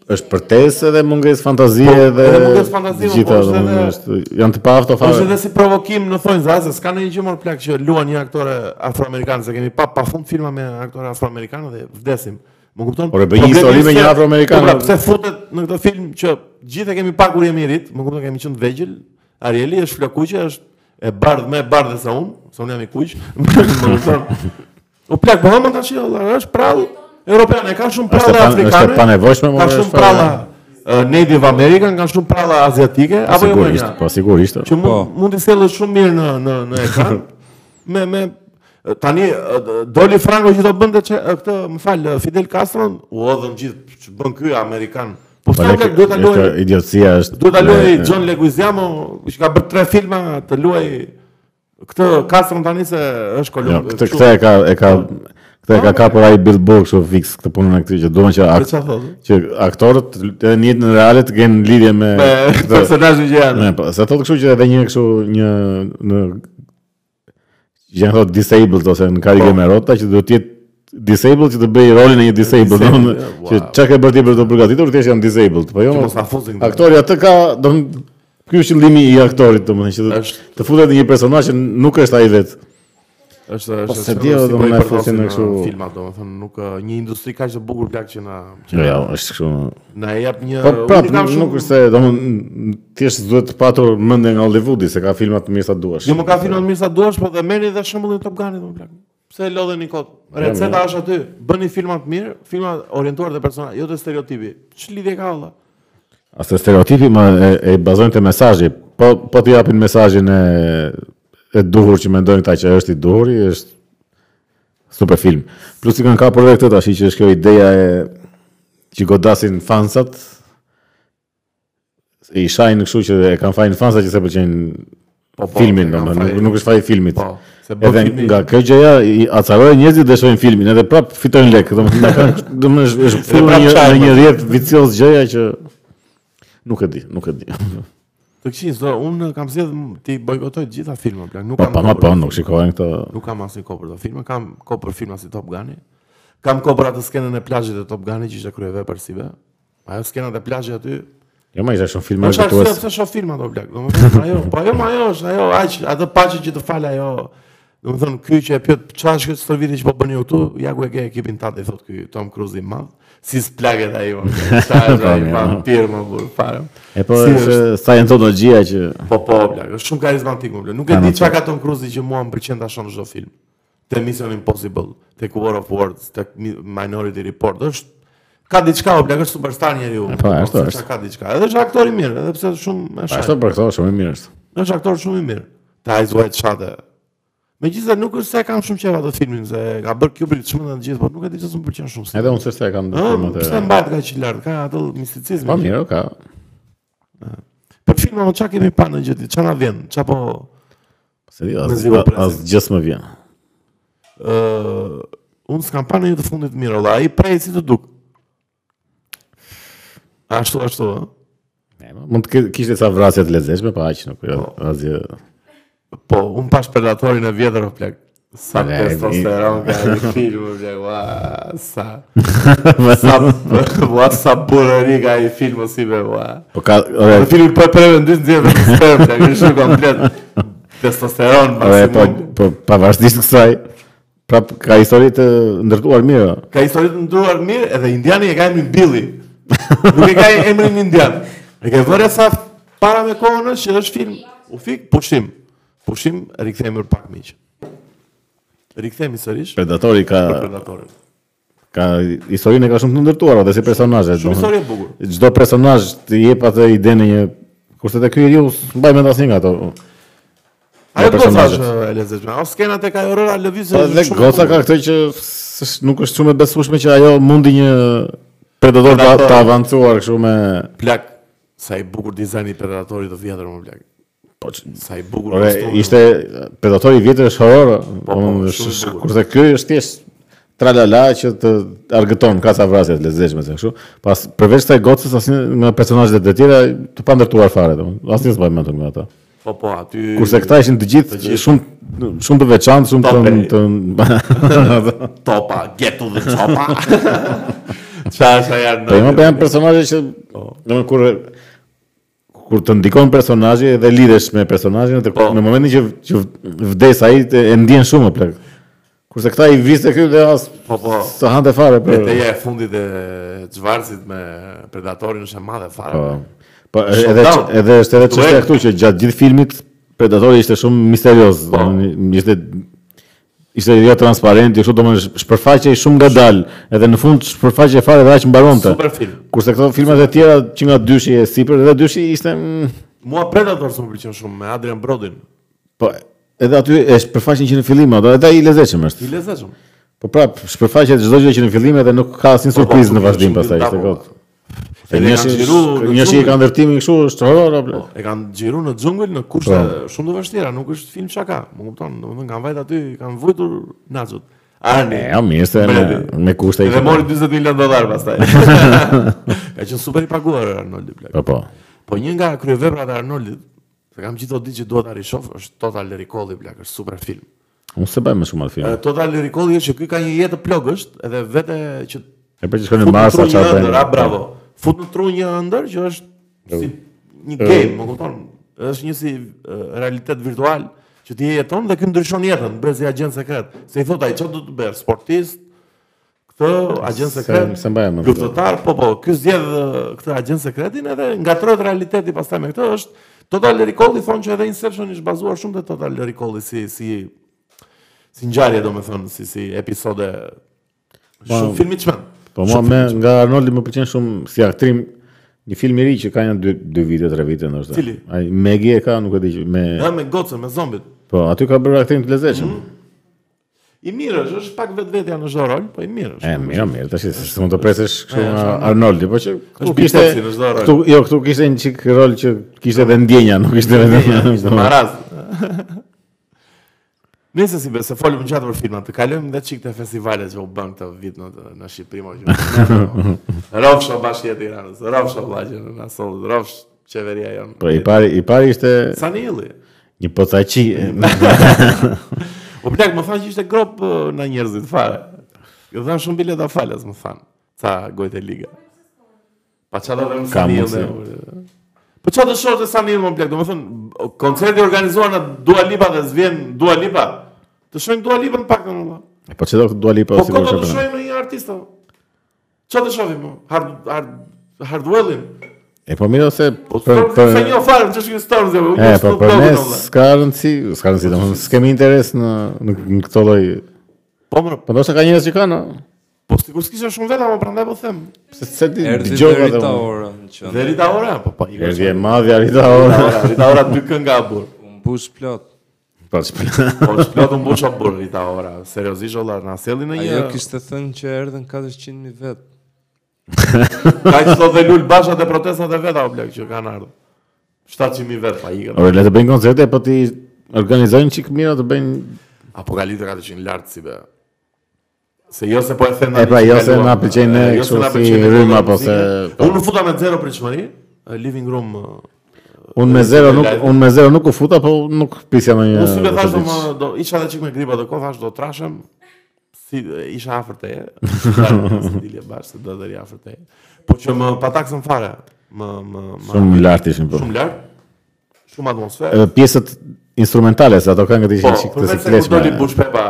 Speaker 1: është përtesë dhe mungesë fantazie dhe
Speaker 2: Po, Edhe mungesë fantazie, po,
Speaker 1: gjitha,
Speaker 2: është edhe-
Speaker 1: domethënë, është janë të paafto
Speaker 2: Po është
Speaker 1: fare.
Speaker 2: edhe si provokim në thonjë zase, s'ka ndonjë gjë më plak që luan një aktore afroamerikanë, se kemi pa pafund filma me aktore afroamerikanë dhe vdesim. Më kupton?
Speaker 1: Por e bëj një
Speaker 2: Problemi
Speaker 1: histori me
Speaker 2: është
Speaker 1: një
Speaker 2: se-
Speaker 1: afroamerikan.
Speaker 2: Po pra, pse futet në këtë film që gjithë e kemi pa kur jemi rit, më kupton kemi qenë vegjël, Arieli është flakuqe, është e bardh më e bardhë se unë, se unë jam i kuq. Më kupton? U plak Muhammed tash, Allah, është prall europian, e ka shumë
Speaker 1: Është e
Speaker 2: pralla
Speaker 1: pan-
Speaker 2: afrikane.
Speaker 1: është e panevojshme, more,
Speaker 2: Ka
Speaker 1: është po,
Speaker 2: shumë
Speaker 1: fare.
Speaker 2: pralla eh, Native American, ka shumë pralla aziatike, apo jo?
Speaker 1: Sigurisht,
Speaker 2: Manja?
Speaker 1: po sigurisht.
Speaker 2: që mund
Speaker 3: Po.
Speaker 2: mund të sjellësh shumë mirë në në në ekran. me me tani e, d- doli Franco që do bënte çe- e, këtë, më fal, e, Fidel Castro, u hodhën gjithë që bën ky amerikan. Po
Speaker 1: Po ne
Speaker 2: thonë ka duhet ta luajë
Speaker 1: idiocia është.
Speaker 2: duhet ta luajë
Speaker 1: e, e,
Speaker 2: John Leguizamo, që ka bërë tre filma të luajë këtë Castro tani se është
Speaker 1: Jo,
Speaker 2: kolumb.
Speaker 1: këtë këtë e ka e ka këtë e ka kapur ai Bill Burr kështu fix këtë punën e këtij që duan që
Speaker 2: Ah. Për
Speaker 1: akt,
Speaker 2: çfarë thotë?
Speaker 1: që aktorët të- në jetën reale të kenë lidhje me
Speaker 2: Me
Speaker 1: këtë-
Speaker 2: personazhin që janë.
Speaker 1: Ne, po, se thotë kështu që edhe një kështu një në janë thotë disabled ose në karike
Speaker 2: Po.
Speaker 1: me rota që duhet të jetë disabled që të bëj rolin e një disabled, domethënë
Speaker 2: Disabled, ja,
Speaker 1: që
Speaker 2: wow.
Speaker 1: çka ke bërë ti për të përgatitur, thjesht jam disabled. Po jo.
Speaker 2: Që mos na fuzin këta.
Speaker 1: Aktori atë ka domethënë ky është qëllimi i aktorit domethënë që të,
Speaker 2: Është-
Speaker 1: të futet në një personazh që nuk është ai vetë.
Speaker 2: Është
Speaker 1: Po,
Speaker 2: është
Speaker 1: se
Speaker 2: është
Speaker 1: di,
Speaker 2: si
Speaker 1: do
Speaker 2: po
Speaker 1: më
Speaker 2: i
Speaker 1: na
Speaker 2: përdosin
Speaker 1: fusin në kështu-
Speaker 2: filma domethënë nuk e, një industri kaq të bukur plak që na që
Speaker 1: Jo, është kështu.
Speaker 2: na jep një
Speaker 1: Po
Speaker 2: unë
Speaker 1: prap,
Speaker 2: i kam
Speaker 1: nuk
Speaker 2: shumë-
Speaker 1: është se, domethënë thjesht duhet të patur mendje nga Hollywoodi se ka filma të mirë sa duash.
Speaker 2: Jo më ka filmat mirë sa duash, po dhe merri dhe shembullin e Top Gunit më plak. Pse e lodheni kot? Receta është aty. Bëni filma të mirë, filma orientuar te persona, jo te stereotipi. Ç'lidhje ka valla?
Speaker 1: Ase stereotipi më e, e bazojnë te mesazhi. Po po të japin mesazhin e e duhur që mendojnë ata që është i duhuri, është super film. Plus i kanë kapur edhe këtë tash që është kjo ideja e që godasin fansat i shajnë kështu që e kanë fajin fansa që se pëlqejnë
Speaker 2: po,
Speaker 1: filmin,
Speaker 2: e kanë
Speaker 1: domethënë nuk,
Speaker 2: fajin.
Speaker 1: nuk është faji i filmit.
Speaker 2: Po, se bën
Speaker 1: edhe
Speaker 2: filmi-
Speaker 1: nga kjo gjëja i acarojnë njerëzit dhe shohin filmin, edhe prap fitojnë lekë, domethënë nga kanë domethënë është- është futur
Speaker 2: prap
Speaker 1: në një-
Speaker 2: çajnë.
Speaker 1: në një rrjet vicioz gjëja që nuk e di, nuk e di.
Speaker 2: Të kishin do unë kam zgjedh m- ti bojkotoj të gjitha filmat plak. Nuk
Speaker 1: Po
Speaker 2: kam.
Speaker 1: pa, ma
Speaker 2: kohë për-
Speaker 1: po, nuk shikojnë këto.
Speaker 2: Nuk kam asnjë kohë për të filma, kam kohë për filma si Top Guni. Kam kohë për atë skenën e plazhit të Top Gunit që ishte kryevepër si be. Ajo skena e plazhit aty,
Speaker 1: Jo, ma isha shumë filma
Speaker 2: Po çfarë
Speaker 1: argëtues.
Speaker 2: se pse shoh film ato blak? Domethënë ajo, po ajo ma ajo është, ajo aq, atë paqe që të fal ajo. Domethënë ky që e pyet çfarë është kjo stërvitje që po bëni ju këtu, ja ku e ke ekipin tat i thot ky Tom Cruise i madh. Si splaget ajo. Sa është ai
Speaker 1: Po, mirë,
Speaker 2: vampir më burr, fare.
Speaker 1: E po
Speaker 2: Si
Speaker 1: është Scientologia që
Speaker 2: Po po blak, është shumë karizmatik më blak. Nuk e
Speaker 1: Kanë
Speaker 2: di
Speaker 1: atë.
Speaker 2: çka ka Tom Cruise që mua më pëlqen ta shoh në çdo film. Te Mission Impossible, te War of Words, te Mi- Minority Report, është ka diçka o blak, është superstar njeriu.
Speaker 1: Po, ashtu
Speaker 2: Ose
Speaker 1: është.
Speaker 2: çka Ka diçka. Edhe është aktor i mirë, edhe pse shumë e
Speaker 1: pa
Speaker 2: shaj.
Speaker 1: ashtu për këto shumë e mirë është.
Speaker 2: është aktor shumë i mirë. Ta i zuajt shate. Me gjithë se nuk është se e kam shumë qeva të filmin, se ka bërë kjo për të shumë dhe në gjithë, por nuk e di që së më përqenë shumë.
Speaker 1: Edhe unë s'është se e kam
Speaker 2: Ëh,
Speaker 1: filmat
Speaker 2: Pse
Speaker 1: e.
Speaker 2: mbajt ka që lartë, ka atë misticizmi.
Speaker 1: Po mirë, ka.
Speaker 2: Për filma më qa kemi pa në gjithë, qa na vjen, qa po...
Speaker 1: Se di,
Speaker 2: Me
Speaker 1: as,
Speaker 2: zivo
Speaker 1: a-
Speaker 2: presin.
Speaker 1: as gjës më vjen.
Speaker 2: Uh, unë s'kam pa në një të fundit mirë, ola, a i prej si të duk. Ashtu, ashtu, ëh.
Speaker 1: E, po. ma, Mund të ke- kishte sa vrasje të lezetshme, pa aq nuk. jo, Asgjë.
Speaker 2: Po, unë pash predatorin e vjetër o plak. Sa
Speaker 1: Ne,
Speaker 2: testosteron ka një film, o plak, ua, sa... Sa, ua, sa burëri ka i film, o si be, ua.
Speaker 1: Po ka
Speaker 2: Në
Speaker 1: ore,
Speaker 2: filmin për përve në dysë djetë, në sperm, plak, në shumë komplet. Testosteron,
Speaker 1: ore, po
Speaker 2: maksimum.
Speaker 1: po pavarësisht kësaj, prap ka histori të ndërtuar mirë.
Speaker 2: Ka historitë ndruar mirë, edhe indiani e ka emrin Billy. Nuk e ka emrin indian. E ke vërë sa para me kohën është që është film. U fik, pushim. Pushim, rikthehemi pak miq. Rikthehemi sërish
Speaker 1: Predatori ka
Speaker 2: për predatorin.
Speaker 1: ka historinë e ka shumë të ndërtuar edhe si personazhe.
Speaker 2: Shumë
Speaker 1: domethënë.
Speaker 2: histori e bukur.
Speaker 1: çdo personazh të jep atë idenë një kurse te ky ju mbaj mend asnjë nga ato.
Speaker 2: Ajo
Speaker 1: Nga
Speaker 2: goca
Speaker 1: personazhet.
Speaker 2: është e lezetshme. O skenat e ka Aurora lëvizje.
Speaker 1: Po
Speaker 2: është
Speaker 1: dhe
Speaker 2: shumë
Speaker 1: goca
Speaker 2: bukur.
Speaker 1: ka këtë që s'është- nuk është shumë e besueshme që ajo mundi një predator të, të avancuar kështu me
Speaker 2: plak sa i bukur dizajni i predatorit të vjetër më plak.
Speaker 1: po që-
Speaker 2: Sa i bukur.
Speaker 1: Ore,
Speaker 2: kostumi.
Speaker 1: ishte predatori i vjetër është horror, domethënë
Speaker 2: Po, shumë i
Speaker 1: është-
Speaker 2: bukur.
Speaker 1: kurse ky është thjesht tralala që të argëton ka sa vrasje të lezetshme se kështu. Pas përveç kësaj gocës asnjë nga personazhet e tjera të pandërtuar fare domethënë. Asnjë s'baj mend nga ata.
Speaker 2: Po po, aty
Speaker 1: Kurse këta ishin të gjithë shumë shumë të veçantë, shumë të
Speaker 2: Tope.
Speaker 1: të
Speaker 2: topa, get to the topa. Çfarë janë?
Speaker 1: Po më janë personazhe që
Speaker 2: Po.
Speaker 1: domethënë kur kur të ndikon personazhi dhe lidhesh me personazhin dhe
Speaker 2: Po.
Speaker 1: në momentin që që vdes ai të- e ndjen shumë o plak. Kurse këta i viste këtu dhe as
Speaker 2: Po, po.
Speaker 1: Së hante fare për.
Speaker 2: Betejë e fundit e Çvarcit me Predatorin është e madhe fare.
Speaker 1: Po. Po edhe
Speaker 2: Showdown.
Speaker 1: edhe është edhe çështja
Speaker 2: Duel.
Speaker 1: këtu që gjatë gjithë filmit Predatori ishte shumë misterioz,
Speaker 2: Po.
Speaker 1: domethënë ishte ishte jo transparent, kështu domethënë shpërfaqej shumë ngadal, edhe në fund shpërfaqej fare dhe aq mbaronte.
Speaker 2: Super film.
Speaker 1: Kurse këto filmat e tjera që nga dyshi e sipër, edhe dyshi ishte mm,
Speaker 2: Mua Predator s'më pëlqen shumë me Adrian Brodin.
Speaker 1: po edhe aty e shpërfaqin që në fillim ato, edhe ai i lezetshëm është.
Speaker 2: I lezetshëm.
Speaker 1: Po prap, shpërfaqet çdo gjë që në fillim edhe nuk ka asnjë
Speaker 2: po,
Speaker 1: surprizë
Speaker 2: nuk
Speaker 1: në
Speaker 2: ka
Speaker 1: vazhdim
Speaker 2: shumë
Speaker 1: pastaj,
Speaker 2: gjë
Speaker 1: ishte
Speaker 2: tapo.
Speaker 1: kot. E
Speaker 2: Edhe
Speaker 1: njëshi,
Speaker 2: kanë xhiru në Po.
Speaker 1: njëshi i
Speaker 2: džungël.
Speaker 1: ka ndërtimin kështu, është horror apo.
Speaker 2: E kanë xhiru në xhungël në kushte
Speaker 1: Po.
Speaker 2: shumë të vështira, nuk është film shaka. Më kupton, domethënë kanë vajt aty, kanë vujtur naxhut. Arni.
Speaker 1: E, ja, mirë, se me- me kushte i
Speaker 2: Dhe
Speaker 1: kanë.
Speaker 2: mori 40 milion dollar pastaj. Ka qenë super i paguar Arnoldi Black.
Speaker 1: Po po.
Speaker 2: Po një nga kryeveprat e Arnoldit, se kam gjithë ditë që duhet ta rishof, është Total Recall i Black, është super film.
Speaker 1: Unë se bëj më shumë atë film.
Speaker 2: E, Total Recall është që ky ka një jetë plogësht, edhe vete që
Speaker 1: E për që shkon në
Speaker 2: fut në
Speaker 1: Mars
Speaker 2: tru një
Speaker 1: atë
Speaker 2: ëndër, a
Speaker 1: bëjnë. Po.
Speaker 2: bravo. Fut në tru një ëndër që është si një
Speaker 1: Po.
Speaker 2: game, më kupton? Është një si e, realitet virtual që ti jeton dhe ky ndryshon jetën, bëhet si agent sekret. Se i thot ai çfarë do të bësh, sportist, këtë agent
Speaker 1: Se-
Speaker 2: sekret,
Speaker 1: se mbaj mend.
Speaker 2: luftëtar, po po, ky zgjedh e, këtë agent sekretin edhe ngatrohet realiteti pastaj me këtë është Total Recall i thonë që edhe Inception është bazuar shumë te Total Recall si si si ngjarje domethënë, si si episode shumë filmi çmend.
Speaker 1: Po mua me nga Arnoldi më pëlqen shumë si aktrim një film i ri që ka janë 2 2 vite, 3 vite ndoshta.
Speaker 2: Cili?
Speaker 1: Ai Megi e ka, nuk e di që me
Speaker 2: Dhe me gocën, me zombit.
Speaker 1: Po, aty ka bërë aktrim të lezetshëm.
Speaker 2: I mirë është, është pak vetvetja në çdo rol, po i mirë
Speaker 1: E
Speaker 2: është.
Speaker 1: mirë, mirë, tash se mund të presësh kështu nga Arnoldi, po që këtu
Speaker 2: Big Pepsi në çdo rol.
Speaker 1: këtu jo, këtu kishte një çik rol që kishte edhe ndjenja, nuk ishte
Speaker 2: Ishte
Speaker 1: vetëm.
Speaker 2: maraz. Nëse si besë, folëm gjatë për filmat, të kalojmë dhe çik të festivale që u bën këtë vit në, në Shqipëri më që. Rofsh o bashkë e Tiranës, rofsh o vlaqë në Nasollit, rofsh qeveria jonë.
Speaker 1: Po i pari, i pari ishte
Speaker 2: Sani Illi.
Speaker 1: një pocaçi.
Speaker 2: O plak, më thanë që ishte grop ë, në njerëzit fare. Ju dhanë shumë bileta falas, më thanë. Ca gojtë e liga. Pa qa do vëmë
Speaker 1: Ka
Speaker 2: Sani Illi. Po qa do shorë të Sani Illi, më plak, do më thënë, koncerti organizuar në Dua Lipa dhe zvjen Dua Lipa. Të shojmë Dua Lipa në pak në më thënë.
Speaker 1: Po çdo Dua Lipa
Speaker 2: Po
Speaker 1: sigurisht.
Speaker 2: këtë të
Speaker 1: apo ne?
Speaker 2: shohim në një artist apo? Ço të shohim? mo? Hard hard Hardwellin.
Speaker 1: E po mirë ose
Speaker 2: Po për për sa një farë ç'është ky Storms apo?
Speaker 1: E, po për ne s'ka rëndësi, s'ka rëndësi, domethënë s'kemi interes në në, në këtë lloj.
Speaker 2: Po më
Speaker 1: Po ndoshta ka njerëz që kanë, a?
Speaker 2: po sigurisht kisha shumë veta, po prandaj po them.
Speaker 1: pse se ti
Speaker 3: Erdi
Speaker 1: dëgjova
Speaker 3: deri
Speaker 1: dhe
Speaker 3: ta
Speaker 1: unë.
Speaker 3: ora në qëndë.
Speaker 2: Dhe Rita Ora, po po. Rita
Speaker 1: Erdi e madhja rita ora.
Speaker 2: Ora, Rita Ora dy kënga burr.
Speaker 3: Unë bush plot.
Speaker 1: Po ç'pëla.
Speaker 2: Po shplotun mbushë burr Rita Ora. Seriozisht olla, na selli në një.
Speaker 3: Ajo kishte thënë që erdhen 400.000 vetë.
Speaker 2: Kaq sot dhe Lul Basha dhe protestat e veta o blek që kanë ardhur. 700.000 vet pa ikën.
Speaker 1: Ore, le të bëjnë koncerte, po ti organizojnë çik mira të bëjnë
Speaker 2: Apokalitë ka të qenë lartë si be. Se jo se po e them
Speaker 1: E, pra,
Speaker 2: që
Speaker 1: jo se
Speaker 2: kaluam,
Speaker 1: na pëlqen ne
Speaker 2: e, jo
Speaker 1: kështu
Speaker 2: se na
Speaker 1: si
Speaker 2: pëlqen ne
Speaker 1: rrymë
Speaker 2: këto
Speaker 1: apo se- po.
Speaker 2: muzike. Unë futa me zero pritshmëri, e, living room. e,
Speaker 1: unë me zero nuk unë me zero nuk u futa, po nuk prisja në një.
Speaker 2: Unë si be thash do
Speaker 1: rrugë.
Speaker 2: më do isha edhe çik me gripa do kohë thash do trashem. Si e, isha afër teje. Si dilje bash se do të ri afër teje. Po që më pataksën fare. Më më më
Speaker 1: shumë lart ishin po.
Speaker 2: shumë lart. Shumë atmosferë.
Speaker 1: Edhe pjesët instrumentale, se ato këngët
Speaker 2: Po,
Speaker 1: ishin çik të
Speaker 2: përveç se kur doli
Speaker 1: sikletshme.
Speaker 2: Bush Pepa.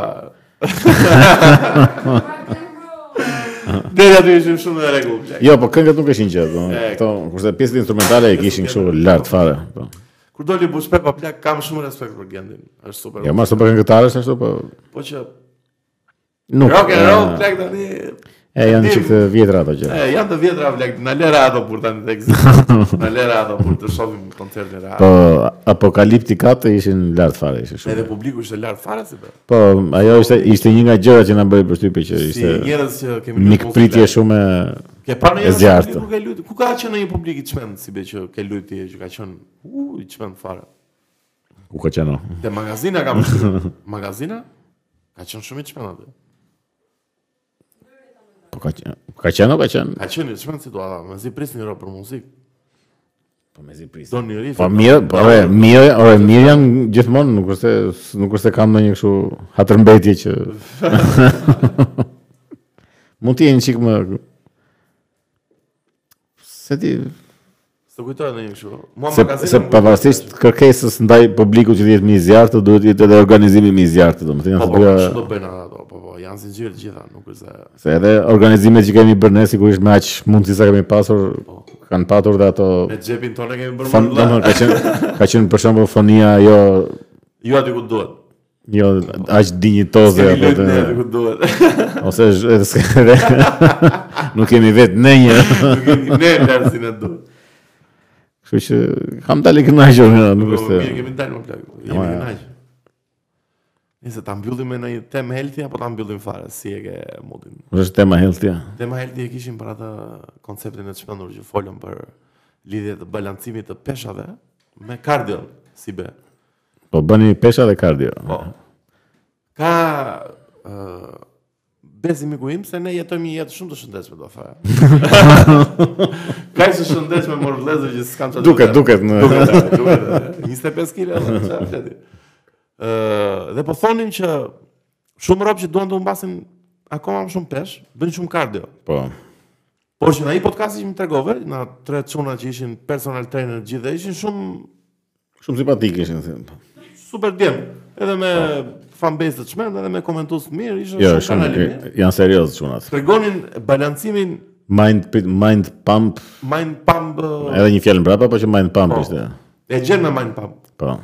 Speaker 2: Deri aty ishim shumë në rregull. plak.
Speaker 1: Jo, po këngët nuk ishin gjë, do.
Speaker 2: E,
Speaker 1: Kto, kurse pjesët instrumentale i kishin kështu lart fare, po.
Speaker 2: Kur doli Bush Pepa plak kam shumë respekt për Gendin. Është super.
Speaker 1: Ja, më së bëhen këtarës ashtu, po
Speaker 2: Po që
Speaker 1: nuk.
Speaker 2: rock and roll
Speaker 1: e,
Speaker 2: plak tani
Speaker 1: e janë çik të vjetra ato gjëra.
Speaker 2: e, janë të vjetra plak. Na lera ato kur tani tek. zi- Na lera ato kur të shohim koncertin e
Speaker 1: Po
Speaker 2: radhë.
Speaker 1: apokaliptikat ishin lart fare, ishin shumë.
Speaker 2: Edhe publiku ishte lart fare si be.
Speaker 1: Po, ajo ishte ishte një nga gjërat që na bëri përshtypje që
Speaker 2: Si
Speaker 1: ishte
Speaker 2: njerëz që kemi
Speaker 1: mikpritje
Speaker 2: shumë.
Speaker 1: shumë e
Speaker 2: Ke parë
Speaker 1: e
Speaker 2: një
Speaker 1: zjarrt.
Speaker 2: Ku ka luajtur? Ku ka qenë një publik i çmend si be që ke luajti që ka qenë u i çmend fare.
Speaker 1: u ka qenë. o.
Speaker 2: Te magazina kam shkruar. Magazina ka qenë shumë i çmend aty.
Speaker 1: Po ka qenë, ka qenë, o ka qenë.
Speaker 2: Ka qenë i çmend situata, mezi prisni ro për muzikë.
Speaker 1: Po me
Speaker 2: Do një riff.
Speaker 1: Po mirë, po ore, mirë, ore, mirë janë gjithmonë, nuk është se- nuk është se kam ndonjë kështu hatërmbetje që mund të jenë çik më Se ti
Speaker 2: Së kujtoj në një kështu. Mua
Speaker 1: se,
Speaker 2: magazina
Speaker 1: se
Speaker 2: më kujtohet.
Speaker 1: pavarësisht kërkesës ndaj publikut që dihet mi zjartë, duhet të jetë edhe organizimi mi zjartë, domethënë janë
Speaker 2: Po,
Speaker 1: të
Speaker 2: po,
Speaker 1: dyja-
Speaker 2: kështu do bëjnë ato, po, po, janë zinxhir gjitha, nuk është se...
Speaker 1: Se edhe organizimet që kemi bërë ne sigurisht me aq mundësi sa kemi pasur kanë patur dhe ato
Speaker 2: Po. Me xhepin tonë kemi bërë më
Speaker 1: fon,
Speaker 2: të
Speaker 1: domethënë
Speaker 2: mëdha.
Speaker 1: ka qenë ka qenë për shembull fonia jo
Speaker 2: Ju aty ku duhet.
Speaker 1: jo aq dinjitoze
Speaker 2: Kemi
Speaker 1: Po, apo
Speaker 2: lënë
Speaker 1: të
Speaker 2: ne aty ku duhet.
Speaker 1: ose zh- edhe s'ka edhe nuk kemi vetë ne një.
Speaker 2: Nuk kemi ne larsin e duhet.
Speaker 1: Kështu që kam dalë kënaqur nga nuk
Speaker 2: Po,
Speaker 1: është.
Speaker 2: Mirë, kemi dalë më plak. Jemi
Speaker 1: ja.
Speaker 2: kënaq. Nëse ta mbyllim me një temë healthy apo ta mbyllim fare, si e ke modin?
Speaker 1: Është tema healthy. ja.
Speaker 2: Tema healthy e kishim për atë konceptin e të shpendur që folëm për lidhje të balancimit të peshave me kardio, si be.
Speaker 1: Po bëni pesha dhe kardio.
Speaker 2: Po. Ka uh, besi miku im se ne jetojmë një jetë shumë të shëndetshme do fare. Kaq të shëndetshme mor vëllezër që s'kam çfarë.
Speaker 1: Duket,
Speaker 2: të them.
Speaker 1: duket në
Speaker 2: Duket, duket. 25 kilo, çfarë fleti. Ë, dhe po thonin që shumë rob që duan të humbasin akoma më shumë pesh, bëjnë shumë kardio.
Speaker 1: po.
Speaker 2: Por që në ai podcast që më tregove, në tre çuna që ishin personal trainer gjithë, dhe ishin shumë
Speaker 1: Shumë simpatik ishin. po. se-
Speaker 2: super djem. Edhe me fanbase të çmend, edhe me komentues të mirë, ishin
Speaker 1: Po. Jo,
Speaker 2: shumë
Speaker 1: shumë
Speaker 2: kanali mirë.
Speaker 1: janë serioz çunat.
Speaker 2: Tregonin balancimin
Speaker 1: Mind mind pump,
Speaker 2: mind pump ë,
Speaker 1: edhe një fjalë mbrapa, po që mind pump ishte.
Speaker 2: e gjen me mind pump.
Speaker 1: Po.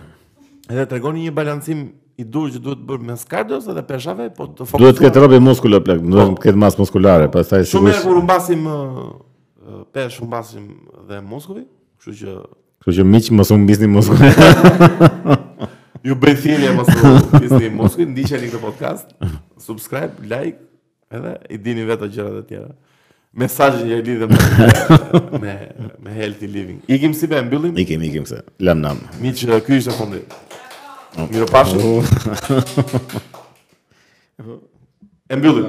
Speaker 2: Edhe tregoni një balancim i dur që duhet bërë mes kardios edhe peshave, po të fokusohen.
Speaker 1: Duhet të ketë robi muskulo plak, duhet të ketë masë muskulare, pastaj
Speaker 2: Po. Shumë herë
Speaker 1: sigurisht.
Speaker 2: kur humbasim ë, ë, pesh, humbasim dhe muskuj, kështu që
Speaker 1: Kështu që miq mos u mbisni muskulin.
Speaker 2: ju bëj thirrje mos u pisni muskuj, ndiqeni këtë podcast, subscribe, like, edhe i dini vetë ato gjërat e tjera. Mesazhin që e lidhem me me, me healthy living. Ikim si be mbyllim.
Speaker 1: Ikim, ikim se. Lam nam.
Speaker 2: Miq, ë, ky ishte fundi. Mirupafshim. E mbyllim.